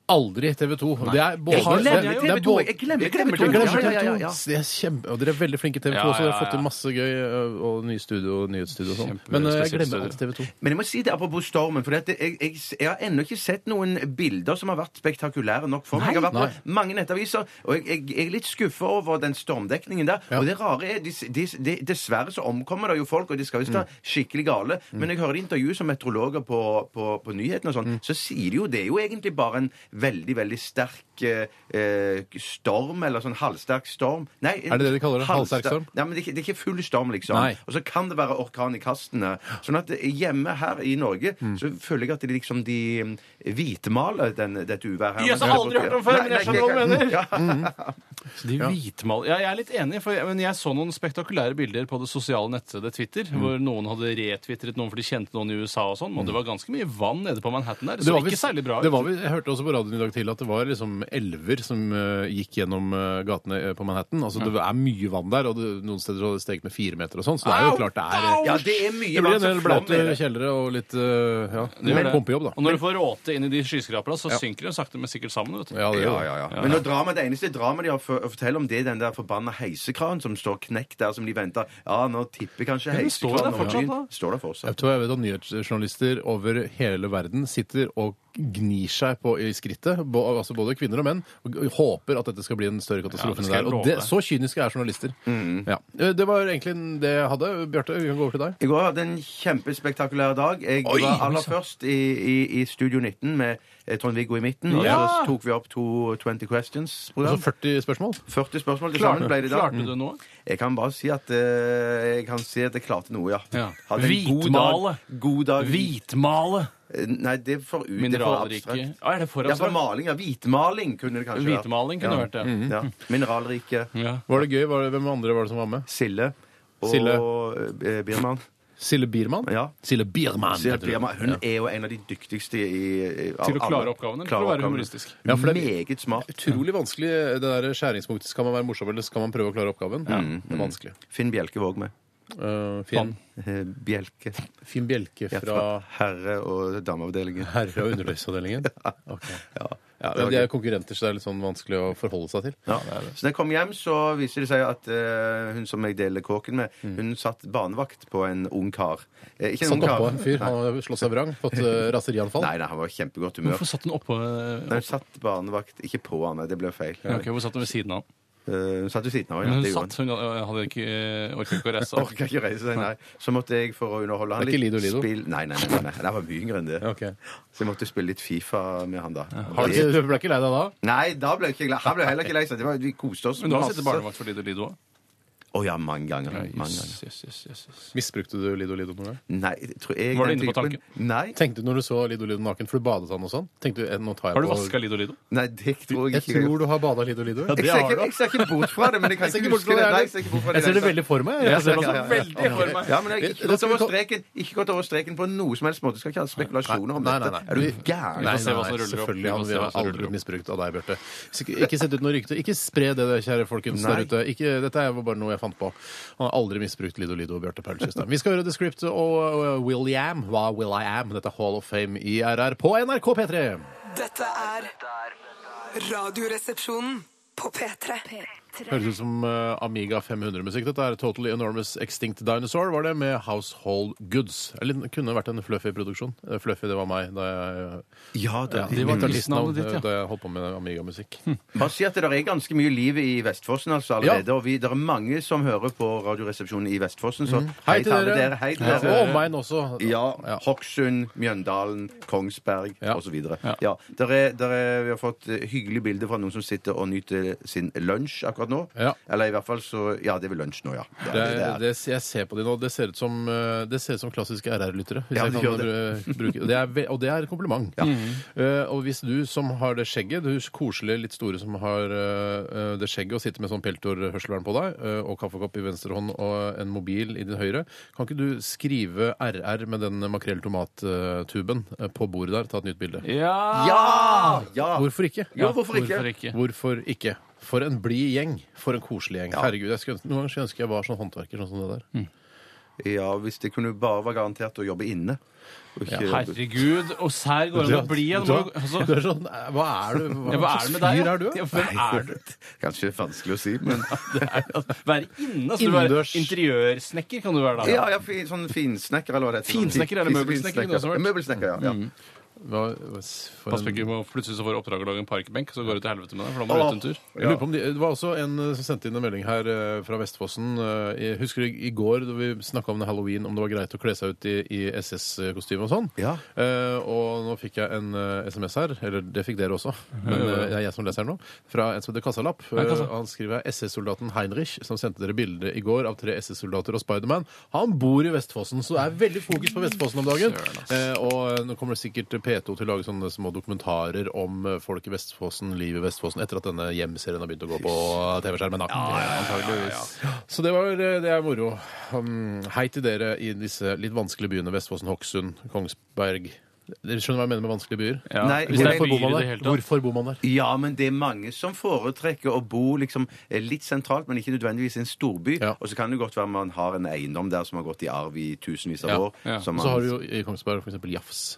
Speaker 1: Aldri TV 2. Det er både,
Speaker 2: Jeg glemmer
Speaker 1: det er-
Speaker 2: TV2,
Speaker 1: det er både-
Speaker 3: Jeg glemmer
Speaker 2: glemmer
Speaker 3: TV2.
Speaker 1: Jeg glemmer
Speaker 3: Ja, ja, ja,
Speaker 1: TV2.
Speaker 3: ja.
Speaker 1: Det er kjempe... Og dere er veldig flinke i TV2
Speaker 2: Ja,
Speaker 1: også. Dere har
Speaker 2: ja,
Speaker 1: fått til
Speaker 2: ja.
Speaker 1: masse gøy ø, og nye studio og nyhetsstudio og sånn.
Speaker 2: Kjempe-
Speaker 1: Men ø, jeg
Speaker 2: spesielt
Speaker 1: glemmer alltid TV2.
Speaker 3: Men jeg må si det apropos stormen, for det, at jeg, jeg, jeg har ennå ikke sett noen bilder som har vært spektakulære nok for meg. Jeg har vært på mange nettaviser, og jeg, jeg, jeg er litt skuffa over den stormdekningen der.
Speaker 1: Ja.
Speaker 3: Og det rare er de, de, de, Dessverre så omkommer det jo folk, og de skal
Speaker 1: Mm.
Speaker 3: visst være skikkelig gale. Men når jeg hører intervju som meteorologer på, på, på nyhetene og sånn,
Speaker 1: Mm.
Speaker 3: så sier de jo det er jo egentlig bare en veldig, veldig sterk eh, eh, storm, eller sånn halvsterk storm. Nei,
Speaker 1: Er det det de kaller det?
Speaker 3: halvster-
Speaker 1: Halvsterk storm?
Speaker 3: Nei, men det er, ikke, det er ikke full storm, liksom.
Speaker 1: Nei.
Speaker 3: Og så kan det være orkan i kastene. Sånn at hjemme her i Norge så føler jeg at de liksom de mm, hvitmaler den, dette uværet her.
Speaker 2: Jøss, jeg har aldri hørt om før, men jeg skjønner hva du mener.
Speaker 3: Ja.
Speaker 2: Så de hvitmal... Ja, jeg er litt enig, for jeg, men jeg så noen spektakulære bilder på det sosiale nettstedet Twitter, hvor noen hadde retwittret noen for de kjente noen i USA og sånn, og det var ganske mye vann nede på Manhattan der. Så det
Speaker 1: var
Speaker 2: var ikke
Speaker 1: visst-
Speaker 2: særlig bra ut.
Speaker 1: det var, vel- jeg hørte også på radioen i dag til at det var liksom elver som ø, gikk gjennom ø, gatene ø, på Manhattan. Altså Det
Speaker 2: Mm.
Speaker 1: er mye vann der, og det, noen steder så har det steget med fire meter og sånn, så det er jo klart det er
Speaker 3: Ja, det er
Speaker 1: Det
Speaker 3: mye
Speaker 1: blir
Speaker 3: vann
Speaker 1: en
Speaker 3: som
Speaker 1: del
Speaker 3: flom i
Speaker 1: blaute
Speaker 3: det.
Speaker 1: kjellere og litt ø, ja,
Speaker 2: gjør
Speaker 1: det er pumpejobb,
Speaker 2: Og
Speaker 1: da.
Speaker 2: når du får råte inn i de skyskraperne, så synker de sakte, men sikkert sammen. vet du.
Speaker 1: Ja, det
Speaker 3: Ja,
Speaker 1: gjør det.
Speaker 3: ja, ja. Men når drama, det eneste dramaet de har før for, å fortelle om, det er den der forbanna heisekranen som står knekt der, som de venter Ja, nå tipper kanskje
Speaker 2: den står
Speaker 3: heisekranen
Speaker 2: der
Speaker 3: over
Speaker 2: fortsatt,
Speaker 3: byen.
Speaker 2: da.
Speaker 3: Står der
Speaker 1: Jeg
Speaker 3: fortsatt.
Speaker 1: tror jeg vet at nyhetsjournalister over hele verden sitter og gnir seg på i skrittet, bo, altså både kvinner og menn, og g- håper at dette skal bli en større katastrofe
Speaker 2: Ja, det
Speaker 1: enn
Speaker 2: skal
Speaker 1: det
Speaker 2: jeg
Speaker 1: er. Og
Speaker 2: love
Speaker 1: det,
Speaker 2: deg.
Speaker 1: så kyniske er journalister. Ja. Eh, Det var egentlig det jeg hadde. Bjarte, vi kan gå over til deg.
Speaker 3: I går hadde jeg en kjempespektakulær dag. Jeg
Speaker 1: Oi,
Speaker 3: var
Speaker 1: oi,
Speaker 3: aller
Speaker 1: sant.
Speaker 3: først i, i, i Studio 19 med eh, Trond-Viggo i midten. Og
Speaker 2: Ja!
Speaker 3: så tok vi opp to 20
Speaker 1: Altså
Speaker 3: Questions-program.
Speaker 1: 40 spørsmål.
Speaker 3: 40 spørsmål til sammen
Speaker 2: Klarte,
Speaker 3: ble det i dag. Mm.
Speaker 2: klarte du det nå?
Speaker 3: Jeg kan bare si at, eh, jeg, kan si at jeg klarte noe, ja.
Speaker 2: Ja.
Speaker 3: Hadde en god
Speaker 2: Hvitmale.
Speaker 3: dag- God dag.
Speaker 2: Hvitmale!
Speaker 3: Eh, Nei, det er for, ut- det er for
Speaker 2: Mineralrike.
Speaker 3: abstrakt.
Speaker 2: Ah, er det for
Speaker 3: Ja, for
Speaker 2: abstrakt?
Speaker 3: maling. Ja. Hvitmaling kunne det kanskje
Speaker 2: Hvitmaling kunne vært det. Mhm.
Speaker 3: Ja. Mhm. Mineralrike.
Speaker 2: Ja.
Speaker 1: Var det gøy? Var det, hvem andre var det som var med?
Speaker 3: Sille. Og
Speaker 1: Sille.
Speaker 3: eh, Birman.
Speaker 1: Sille Biermann?
Speaker 3: Ja.
Speaker 1: Sille Biermann.
Speaker 3: Sille
Speaker 1: heter hun.
Speaker 3: Birman. Hun
Speaker 1: Ja.
Speaker 3: er jo en av de dyktigste i, i av
Speaker 2: Til å
Speaker 3: alle.
Speaker 2: klare oppgavene, til å være humoristisk.
Speaker 1: Ja, for det-
Speaker 3: Meget smart.
Speaker 1: Utrolig vanskelig det der skjæringspunktet. Skal man være morsom, eller skal man prøve å klare oppgaven? Mm. Det er vanskelig.
Speaker 3: Finn Bjelke våg med.
Speaker 1: Eh, Finn,
Speaker 3: Eh, Bjelke.
Speaker 1: Finn Bjelke
Speaker 3: Ja,
Speaker 1: fra
Speaker 3: fra herre- og dameavdelingen.
Speaker 1: Herre- og underløysavdelingen. Ok.
Speaker 3: Ja.
Speaker 1: Ja,
Speaker 3: Det var
Speaker 1: de
Speaker 3: gøy.
Speaker 1: er jo konkurrenter, så det er litt sånn vanskelig å forholde seg til.
Speaker 3: Ja. Så da jeg kom hjem, så viser det seg at eh, hun som jeg deler kåken med, hun satt barnevakt på en ung kar. Eh, ikke en
Speaker 1: Mm. Satt
Speaker 3: ung kar.
Speaker 1: oppå en fyr, han har slått seg vrang, fått eh, raserianfall.
Speaker 3: Nei, nei, han var i kjempegodt humør.
Speaker 2: Hvorfor satt hun oppå eh,
Speaker 3: Nei, hun satt barnevakt Ikke på han, nei, det ble feil.
Speaker 2: Ja, ok, Hvor satt hun ved siden av han?
Speaker 3: Eh, hun satt ved siden av
Speaker 2: Men
Speaker 3: ja,
Speaker 2: hun
Speaker 3: det gjorde
Speaker 2: satt, hun hadde ikke, eh, orket ikke å reise opp.
Speaker 3: Orka ikke reise seg, nei. Så måtte jeg for å underholde han
Speaker 1: Det er ikke Lido Lido?
Speaker 3: Spill... Nei, nei, nei, nei, nei. Det var mye yngre enn det.
Speaker 1: Ok.
Speaker 3: Så jeg måtte spille litt Fifa med han da.
Speaker 1: Har du, du ble ikke lei deg da?
Speaker 3: Nei, da ble jeg ikke glad. Han ble heller ikke lei seg. Det var- Vi koste oss
Speaker 2: Men du har
Speaker 3: masse.
Speaker 2: sittet barnevakt for Lido Lido òg?
Speaker 3: Å ja, mange ganger. Mange ganger.
Speaker 2: Yes, yes, yes, yes, yes.
Speaker 1: Misbrukte du Lido Lido noen gang?
Speaker 3: Nei, jeg tror jeg
Speaker 2: Var du
Speaker 3: den
Speaker 2: inne på
Speaker 3: typen- Nei,
Speaker 1: Tenkte du når du så Lido Lido naken, for du badet han og sånn? Tenkte du, eh, nå tar jeg
Speaker 2: Har du
Speaker 1: på-
Speaker 2: vaska Lido Lido?
Speaker 3: nei, det tror jeg
Speaker 1: Jeg
Speaker 3: ikke.
Speaker 1: tror du har bada Lido Lido.
Speaker 3: Jeg ser, ikke, jeg ser ikke bort fra det, men jeg kan
Speaker 1: Jeg ser
Speaker 3: ikke
Speaker 1: ikke bort
Speaker 3: huske
Speaker 1: fra
Speaker 3: det.
Speaker 1: det
Speaker 3: Nei,
Speaker 1: heller.
Speaker 3: jeg ser ikke bort fra det
Speaker 1: Jeg ser det
Speaker 3: heller.
Speaker 1: veldig for meg.
Speaker 2: Jeg ser
Speaker 1: Altså,
Speaker 2: det
Speaker 3: ja,
Speaker 2: også veldig for meg.
Speaker 3: Ja, men jeg har ikke
Speaker 1: Det-
Speaker 3: gått
Speaker 1: det-
Speaker 3: over streken Ikke gått over streken på noe som helst måte. Skal ikke ha spekulasjoner om
Speaker 1: Nei, nei,
Speaker 3: dette.
Speaker 1: nei.
Speaker 3: Er du
Speaker 1: Vi-
Speaker 3: gæren?
Speaker 1: Nei,
Speaker 2: Vi får se
Speaker 1: nei,
Speaker 2: hva
Speaker 1: nei,
Speaker 2: som ruller opp.
Speaker 1: selvfølgelig.
Speaker 2: Vi får
Speaker 1: Han
Speaker 2: se
Speaker 1: vi
Speaker 2: hva
Speaker 1: har
Speaker 2: som ruller
Speaker 1: aldri blitt
Speaker 2: opp.
Speaker 1: misbrukt av deg, Bjarte. Så Ikke ikke sett ut noe rykte. Ikke spre det, der, kjære folkens der
Speaker 3: Nei.
Speaker 1: ute. Ikke, dette er jo bare noe jeg fant på. Han har aldri misbrukt Lido Lido og Bjarte Paulskistad. Vi skal høre The Script og, og William. Hva Will I Am? Dette er Hall of Fame i RR på NRK P3.
Speaker 4: Dette er Radioresepsjonen på P3.
Speaker 1: Høres ut som eh, Amiga 500-musikk. Dette er Totally Enormous Extinct Dinosaur, var det, med Household Goods. Eller det kunne vært en fluffy produksjon. Eh, Fluffy, det var meg da jeg,
Speaker 3: Ja, det,
Speaker 2: det var
Speaker 1: artistnavn,
Speaker 2: artistnavnet ditt, ja.
Speaker 1: eh, da jeg holdt på med Amiga-musikk.
Speaker 3: Bare si at det er ganske mye liv i Vestfossen altså allerede. Og vi, det er mange som hører på Radioresepsjonen i Vestfossen, så
Speaker 1: Mm. Hei til
Speaker 3: alle
Speaker 1: dere.
Speaker 3: dere. Hei til
Speaker 1: Ja,
Speaker 3: dere.
Speaker 1: Og meg også.
Speaker 3: Ja. Hokksund, Mjøndalen, Kongsberg
Speaker 1: Ja.
Speaker 3: osv.
Speaker 2: Ja.
Speaker 3: Ja. Der er- der er- Vi har fått eh, hyggelige bilder fra noen som sitter og nyter eh, sin lunsj akkurat nå.
Speaker 1: Ja.
Speaker 3: Eller i hvert fall så Ja, det er vel lunsj nå, ja. Det er
Speaker 1: Det,
Speaker 3: det det er.
Speaker 1: det, jeg ser på de nå. Det ser ut som, eh, det ser ut som klassiske RR-lyttere. hvis
Speaker 3: Ja,
Speaker 1: jeg
Speaker 3: det
Speaker 1: kan,
Speaker 3: gjør det.
Speaker 1: eh, bruke- det er ve- Og det er et kompliment. Eh, og hvis du som har det skjegget, du koselige, litt store som har eh, det skjegget og sitter med sånn peltorhørselvern på deg, eh, og kaffekopp i venstre hånd og en mobil i din høyre, kan ikke du skrive RR med den makrell-tomat-tuben eh, på bordet der? Ta et nytt bilde.
Speaker 3: Ja! ja!
Speaker 1: Ah! Hvorfor ikke?
Speaker 3: Jo, hvorfor ikke?
Speaker 2: Hvorfor ikke?
Speaker 1: Hvorfor ikke? For en blid gjeng. For en koselig gjeng. Herregud, jeg skulle, ønske- Noen ganger skulle jeg ønske jeg var sånn håndverker sånn som det der.
Speaker 3: Ja, hvis det kunne bare være garantert å jobbe inne. og ikke-
Speaker 2: Herregud, og sær går det an å bli igjen.
Speaker 1: Du er-
Speaker 2: Altså,
Speaker 1: du er sånn, eh, hva er du? Hva
Speaker 2: ja, hva er det med deg?
Speaker 1: fyr
Speaker 2: ja?
Speaker 1: er du?
Speaker 2: Ja,
Speaker 1: da?
Speaker 2: hvem er du?
Speaker 3: Kanskje vanskelig å si, men
Speaker 2: Det er, altså, være inne. Altså, du er
Speaker 1: Innendørs.
Speaker 2: interiørsnekker kan du være da.
Speaker 3: Ja, ja, fi- sånn finsnekker eller hva det heter.
Speaker 2: Finsnekker eller møbelsnekker, kunne det også vært.
Speaker 3: Møbelsnekker, ja. ja.
Speaker 1: Mm. Hva- hva s- for
Speaker 2: Pass på
Speaker 1: en-
Speaker 2: ikke på plutselig så får du oppdrag å lage en parkbenk, så går det til helvete med deg. For da må
Speaker 3: Åh.
Speaker 2: du ut en tur.
Speaker 1: Jeg lurer på om de, det var også en eh, som sendte inn en melding her eh, fra Vestfossen. eh, Jeg husker i i går da vi snakka om det halloween, om det var greit å kle seg ut i, i SS-kostyme og sånn.
Speaker 3: Ja.
Speaker 1: Eh, og nå fikk jeg en eh, SMS her, eller det fikk dere også, men eh, det er jeg som leser den nå, fra en som heter Kassalapp. Eh,
Speaker 2: Kassa.
Speaker 1: han skriver her, SS-soldaten Heinrich, som sendte dere bilde i går av tre SS-soldater og Spiderman. Han bor i Vestfossen, så det er veldig fokus på Vestfossen om dagen. Eh, og nå kommer det sikkert P2 til å lage sånne små dokumentarer om eh, folk i Vestfossen, livet i Vestfossen, etter at denne hjemserien har begynt å gå på TV-skjermen. da. Så det, var, eh, det er moro. Um, hei til dere i disse litt vanskelige byene. Vestfossen, Hokksund, Kongsberg. Dere skjønner hva jeg mener med vanskelige byer?
Speaker 2: Ja.
Speaker 3: Nei,
Speaker 2: Hvis det er
Speaker 3: hvorfor
Speaker 1: Hvorfor bor
Speaker 2: byer i
Speaker 1: man
Speaker 2: det
Speaker 1: der?
Speaker 2: hele tatt.
Speaker 1: Hvorfor bor man der?
Speaker 3: Ja, men det er mange som foretrekker å bo liksom eh, litt sentralt, men ikke nødvendigvis i en storby.
Speaker 1: Ja.
Speaker 3: Og så kan det godt være man har en eiendom der som har gått i arv i tusenvis av
Speaker 1: Ja,
Speaker 3: år.
Speaker 2: ja.
Speaker 3: som
Speaker 1: Og så
Speaker 3: man-
Speaker 1: har du jo i Kongsberg for eksempel Jafs.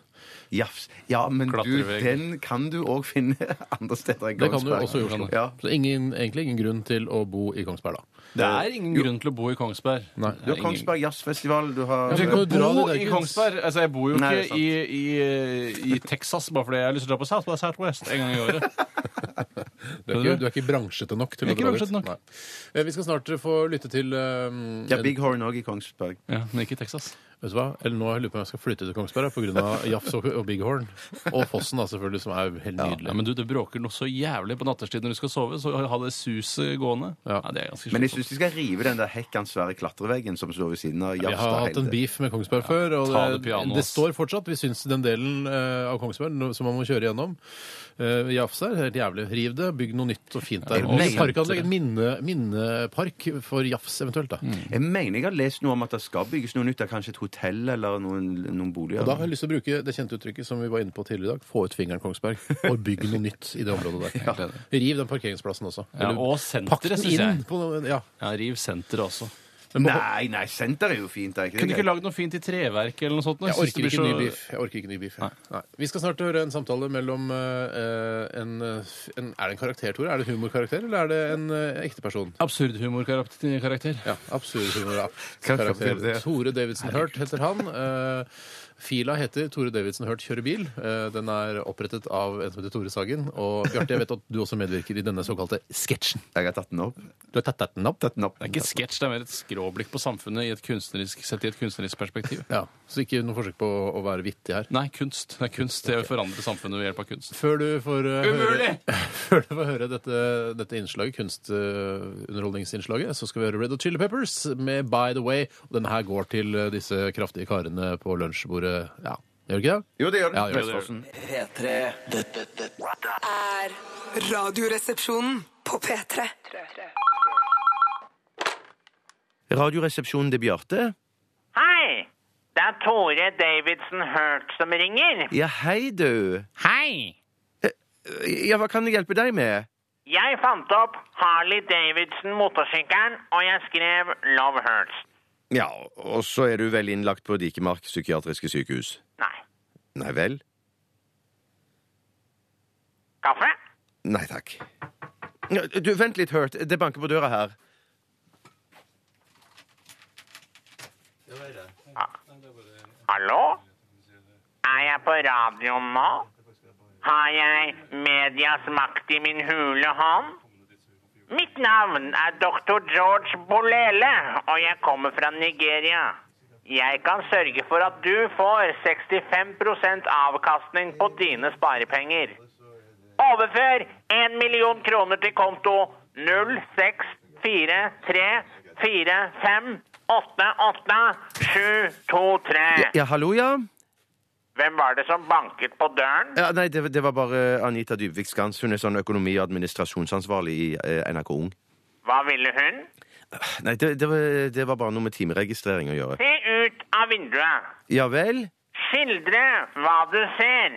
Speaker 3: Jafs. Ja, men du,
Speaker 2: Klatrevegg.
Speaker 3: den kan du òg finne andre steder enn
Speaker 1: Det kan du også i
Speaker 3: Kongsberg.
Speaker 1: Oslo.
Speaker 3: Ja.
Speaker 1: Så ingen, egentlig ingen grunn til å bo i Kongsberg, da.
Speaker 2: Det er ingen grunn til å bo i Kongsberg.
Speaker 1: Eh, Nei.
Speaker 2: Det
Speaker 3: Du har
Speaker 2: er ingen-
Speaker 3: Kongsberg Jazzfestival, du har
Speaker 1: Jeg tenker å dra det
Speaker 2: Bo
Speaker 1: der,
Speaker 2: i
Speaker 1: Guds.
Speaker 2: Kongsberg. Altså, jeg bor jo
Speaker 3: Nei, det er
Speaker 2: ikke i, i, i Texas bare fordi jeg har lyst til å dra på South by Southwest en gang i året.
Speaker 1: Du er ikke, du er ikke bransjete nok til å
Speaker 2: Ikke
Speaker 1: dra dit.
Speaker 2: bransjete nok.
Speaker 1: Nei. Eh, Vi skal snart få lytte til um,
Speaker 3: ja, Big Horn òg i Kongsberg.
Speaker 2: Ja, men ikke i Texas.
Speaker 1: Vet du hva? Eller nå har jeg lurer på om jeg skal flytte til Kongsberg pga. Jafs og, og Big Horn. Og Fossen, da, selvfølgelig, som er helt
Speaker 2: Ja,
Speaker 1: nydelig.
Speaker 2: men du, det bråker noe så jævlig på nattestid når du skal sove, så ha det suset gående.
Speaker 1: Ja.
Speaker 2: det er ganske
Speaker 3: Men jeg
Speaker 2: slitsomt.
Speaker 3: syns de skal rive den der hekkans svære klatreveggen som står ved siden av
Speaker 1: Vi har hatt en
Speaker 3: Jafstad.
Speaker 1: beef med Kongsberg før, og
Speaker 2: ta
Speaker 1: det,
Speaker 2: det piano,
Speaker 1: det
Speaker 2: ass.
Speaker 1: står fortsatt. Vi syns den delen eh, av Kongsberg no- som man må kjøre gjennom eh, Jafs er helt jævlig. Riv det, bygg noe nytt og fint der.
Speaker 3: Jeg
Speaker 1: Og
Speaker 3: mener-
Speaker 1: parkanlegg, en minne, minnepark for Jafs eventuelt, da.
Speaker 2: Mm.
Speaker 3: Jeg mener jeg har lest noe om at det skal bygges noe nytt. det er Kanskje et hotell eller noen, noen boliger.
Speaker 1: Og da har jeg lyst til å bruke det kjente uttrykket som vi var inne på tidligere i dag. Få ut fingeren, Kongsberg, og bygg noe nytt i det området der.
Speaker 2: Helt enig.
Speaker 1: Riv den parkeringsplassen også.
Speaker 2: Ja,
Speaker 1: Eller
Speaker 2: og
Speaker 1: pakk
Speaker 2: senteret,
Speaker 1: den
Speaker 2: syns jeg.
Speaker 1: inn på noe Ja.
Speaker 2: Ja, riv senteret også.
Speaker 3: Nei, nei, senter er jo fint. Er ikke
Speaker 2: Kunne du
Speaker 3: det?
Speaker 2: ikke lagd noe fint i treverk eller noe sånt? nå?
Speaker 1: Jeg
Speaker 2: Synes
Speaker 1: orker
Speaker 2: det blir
Speaker 1: ikke
Speaker 2: så-
Speaker 1: ny beef. Jeg orker ikke ny beef. jeg. Nei. Vi skal snart høre en samtale mellom eh, en, en Er det en karakter, Tore? Er det en humorkarakter, eller er det en eh, ekte person?
Speaker 2: Absurd humorkarakter.
Speaker 1: Ja, absolutt humor.
Speaker 3: Kan jeg karakter
Speaker 1: Karakter.
Speaker 3: det?
Speaker 1: Tore Davidsen Hurt heter han. Eh, fila heter Tore Davidsen Hurt kjører bil. Eh, den er opprettet av en som heter Tore Sagen. Og Bjarte, jeg vet at du også medvirker i denne såkalte sketsjen.
Speaker 3: Jeg har tatt den opp.
Speaker 1: Du har tatt den opp?
Speaker 3: Den opp.
Speaker 2: Det er ikke sketsj, det er mer et skråblikk på samfunnet i et kunstnerisk, sett i et kunstnerisk perspektiv.
Speaker 1: Ja, Så ikke noe forsøk på å være vittig her.
Speaker 2: Nei, kunst. Det er kunst. Det er å forandre samfunnet ved hjelp av kunst.
Speaker 1: Før du får eh, høre,
Speaker 2: Umulig!
Speaker 1: før du får høre dette, dette innslaget, kunstunderholdningsinnslaget, så skal vi høre Red Hot Chili Peppers med By The Way. Og denne her går til eh, disse kraftige karene på lunsjbordet. Ja, gjør det ikke det?
Speaker 3: Jo, det gjør den.
Speaker 1: Ja, det gjør det.
Speaker 3: Vestfossen.
Speaker 5: P3. Dette, dette
Speaker 4: Er radioresepsjonen på P3.
Speaker 3: Radioresepsjonen til Bjarte.
Speaker 6: Hei! Det er Tore Davidson Hurt som ringer.
Speaker 3: Ja, hei, du.
Speaker 6: Hei!
Speaker 3: Ja, hva kan jeg hjelpe deg med?
Speaker 6: Jeg fant opp Harley Davidson-motorsykkelen, og jeg skrev Love Hurts.
Speaker 3: Ja, og så er du vel innlagt på Dikemark psykiatriske sykehus.
Speaker 6: Nei.
Speaker 3: Nei vel?
Speaker 6: Kaffe?
Speaker 3: Nei takk. Ja, Du, vent litt, Hurt. Det banker på døra her.
Speaker 6: Hallo? Er jeg på radioen nå? Har jeg medias makt i min hule hånd? Mitt navn er Dr. George Bolele, og jeg kommer fra Nigeria. Jeg kan sørge for at du får 65 avkastning på dine sparepenger. Overfør 1 million kroner til konto 06434588723723.
Speaker 3: Ja, hallo, ja?
Speaker 6: Hvem var det som banket på døren?
Speaker 3: ja nei, det, det var bare Anita Dybvik Skans. Hun er sånn økonomi- og administrasjonsansvarlig i eh, NRK Ung.
Speaker 6: Hva ville hun?
Speaker 3: Nei, det, det, var- det var bare noe med timeregistrering å gjøre.
Speaker 6: Se ut av vinduet.
Speaker 3: Ja vel?
Speaker 6: Skildre hva du ser.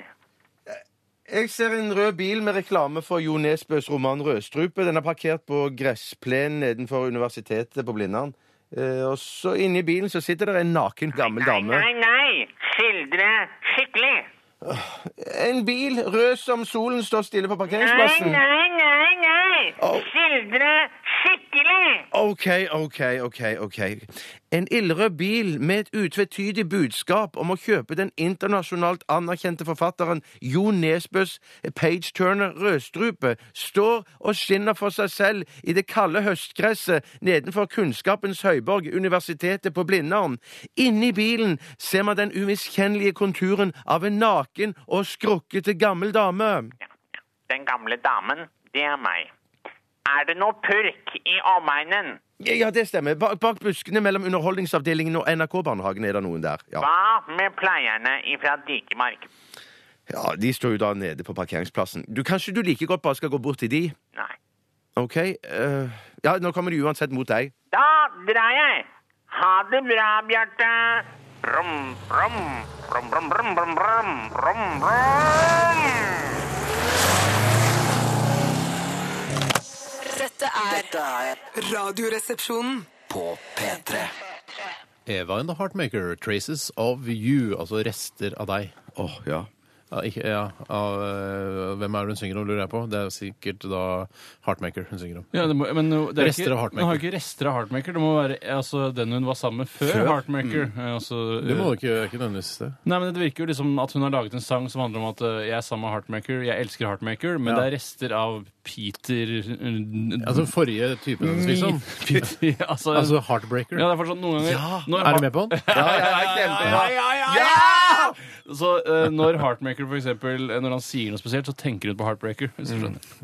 Speaker 3: Jeg ser en rød bil med reklame for Jo Nesbøs roman 'Rødstrupe'. Den er parkert på gressplenen nedenfor universitetet på Blindern. Eh, og så inni bilen så sitter det en naken gammel
Speaker 6: Nei,
Speaker 3: dame.
Speaker 6: nei, nei. Skildre skikkelig.
Speaker 3: En bil, rød som solen, står stille på
Speaker 6: Nei,
Speaker 3: parkeringsplassen.
Speaker 6: nei, nei, nei.
Speaker 3: Au.
Speaker 6: Skildre skikkelig.
Speaker 3: OK, OK, OK. ok. En ildrød bil med et utvetydig budskap om å kjøpe den internasjonalt anerkjente forfatteren Jo Nesbøs Page Turner Rødstrupe står og skinner for seg selv i det kalde høstgresset nedenfor kunnskapens høyborg, universitetet på Blindern. Inni bilen ser man den umiskjennelige konturen av en naken og skrukkete gammel dame.
Speaker 6: Ja, ja. Den gamle damen, det er meg. Er det noe purk i omegnen?
Speaker 3: Ja, det stemmer. Bak, bak buskene mellom Underholdningsavdelingen og NRK-barnehagen er det noen der. Ja.
Speaker 6: Hva med pleierne ifra Dikemark?
Speaker 3: ja, De står jo da nede på parkeringsplassen. Du, Kanskje du like godt bare skal gå bort til de?
Speaker 6: Nei.
Speaker 3: OK? eh, ja, nå kommer de uansett mot deg.
Speaker 6: Da drar jeg. Ha det bra, Bjarte. Brum, brum, brum, brum, brum, brum, brum, brum, brum.
Speaker 4: Dette er radioresepsjonen.
Speaker 5: på P3.
Speaker 1: Eva and the Heartmaker, Traces of You, altså rester av deg.
Speaker 3: Å, Åh, ja.
Speaker 1: Ja, ikke, ja, av, eh, hvem er det hun synger om, lurer jeg på. Det er sikkert da Heartmaker hun synger om.
Speaker 2: Ja, det må, men det er
Speaker 1: Rester
Speaker 2: ikke,
Speaker 1: av Heartmaker.
Speaker 2: Hun har jo ikke rester av Heartmaker. Det må være altså, den hun var sammen med før,
Speaker 3: Før?
Speaker 2: Heartmaker. Eh, Altså,
Speaker 1: Mm. Det må
Speaker 2: eh,
Speaker 1: jo ikke, ikke nødvendigvis det.
Speaker 2: Nei, men Det virker jo liksom at hun har laget en sang som handler om at eh, jeg er sammen med Heartmaker, jeg elsker Heartmaker, men
Speaker 1: Ja.
Speaker 2: det er rester av Peter eh,
Speaker 1: Altså forrige typen hennes, liksom.
Speaker 2: Peter, altså,
Speaker 1: Altså Heartbreaker.
Speaker 2: Ja, det er fortsatt noen ganger
Speaker 1: Ja.
Speaker 2: når
Speaker 1: Er
Speaker 2: Heart-
Speaker 1: du med på den?
Speaker 3: Ja, ja, ja, kjempebra.
Speaker 2: Ja, ja, ja,
Speaker 3: Ja!
Speaker 2: Så eh, når Heartmaker, for eksempel, eh, når han sier noe spesielt, så tenker hun på Heartbreaker. Hvis du
Speaker 1: Mm.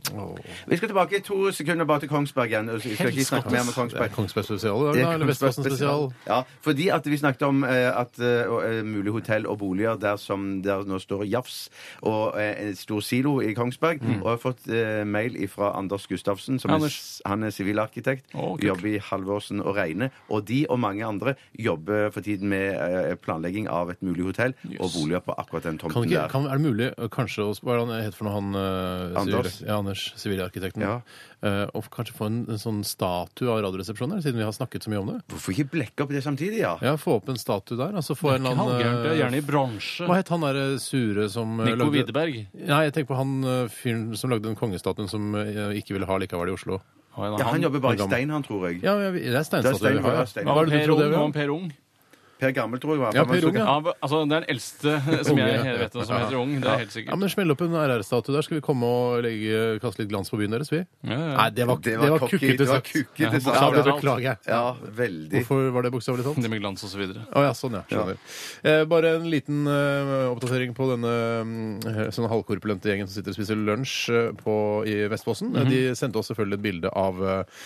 Speaker 2: skjønner.
Speaker 3: Vi skal tilbake i to sekunder bare til Kongsberg igjen. og Vi skal ikke snakke mer om
Speaker 1: Det er
Speaker 3: Kongsberg.
Speaker 1: Kongsberg spesial i dag,
Speaker 3: Det
Speaker 1: da?
Speaker 3: er
Speaker 1: Eller Vestfossen spesial?
Speaker 3: Ja, fordi at vi snakket om eh, at eh, og, eh, mulig hotell og boliger der som der nå står Jafs og eh, en stor silo i Kongsberg.
Speaker 1: Mm.
Speaker 3: Og jeg har fått eh, mail fra Anders Gustavsen, som er,
Speaker 2: Anders.
Speaker 3: han er sivilarkitekt.
Speaker 2: Å, kult.
Speaker 3: jobber i Halvorsen og Reine. Og de og mange andre jobber for tiden med eh, planlegging av et mulig hotell og boliger på akkurat den
Speaker 1: Kan
Speaker 3: tomten
Speaker 1: ikke,
Speaker 3: der.
Speaker 1: kan, er det mulig eh, kanskje å Hva er det han heter for noe, han eh, sivil-
Speaker 3: Anders.
Speaker 1: Ja, Anders, sivilarkitekten.
Speaker 3: Ja.
Speaker 1: Eh, og kanskje få en, en sånn statue av Radioresepsjonen her, siden vi har snakket så mye om det.
Speaker 3: Hvorfor ikke blekke opp det samtidig, ja?
Speaker 1: Ja, Få opp en statue der. altså få en eller
Speaker 2: Halvgærent, ja,
Speaker 1: annen...
Speaker 2: gjerne i bransje.
Speaker 1: Hva het han derre sure som eh,
Speaker 2: Nico
Speaker 1: lagde-
Speaker 2: Widerberg.
Speaker 1: Nei, jeg tenker på han eh, fyren som lagde den kongestatuen som eh, ikke ville ha likevel i Oslo.
Speaker 3: Ja, han jobber bare i
Speaker 1: han-
Speaker 3: stein, han, tror jeg.
Speaker 1: Ja, men jeg- det er
Speaker 3: Det er
Speaker 1: steinstatue
Speaker 3: stein,
Speaker 1: vi har.
Speaker 3: ja,
Speaker 1: ja.
Speaker 3: stein.
Speaker 1: Hva er det du
Speaker 2: Per
Speaker 1: tror det
Speaker 2: Ung,
Speaker 1: vi
Speaker 2: og
Speaker 1: har?
Speaker 2: Per Ung.
Speaker 3: Per Gammel, tror jeg. var.
Speaker 1: Ja, Per Unge, ja.
Speaker 2: Ja, altså, det er den eldste som
Speaker 1: Unge,
Speaker 2: jeg
Speaker 1: ja.
Speaker 2: vet om, som heter Ung. Det er helt
Speaker 1: Ja,
Speaker 2: sikkert.
Speaker 1: men Smell opp en RR-statue der. Skal vi komme og legge, kaste litt glans på byen deres, vi?
Speaker 2: Ja, ja.
Speaker 1: Nei, det var, det var,
Speaker 3: cocky,
Speaker 1: kukkete
Speaker 3: det var
Speaker 1: sagt.
Speaker 3: kukkete sagt.
Speaker 1: Ja, det
Speaker 3: Ja,
Speaker 1: beklager jeg.
Speaker 3: Ja, veldig.
Speaker 1: Hvorfor var det bokstavelig talt?
Speaker 2: Det med glans og så videre.
Speaker 1: Å ja, sånn ja. Skjønner. Eh, bare en liten eh, oppdatering på denne eh, sånne halvkorpulente gjengen som sitter og spiser lunsj eh, på, i Vestfossen. Eh, De sendte oss selvfølgelig et bilde av eh,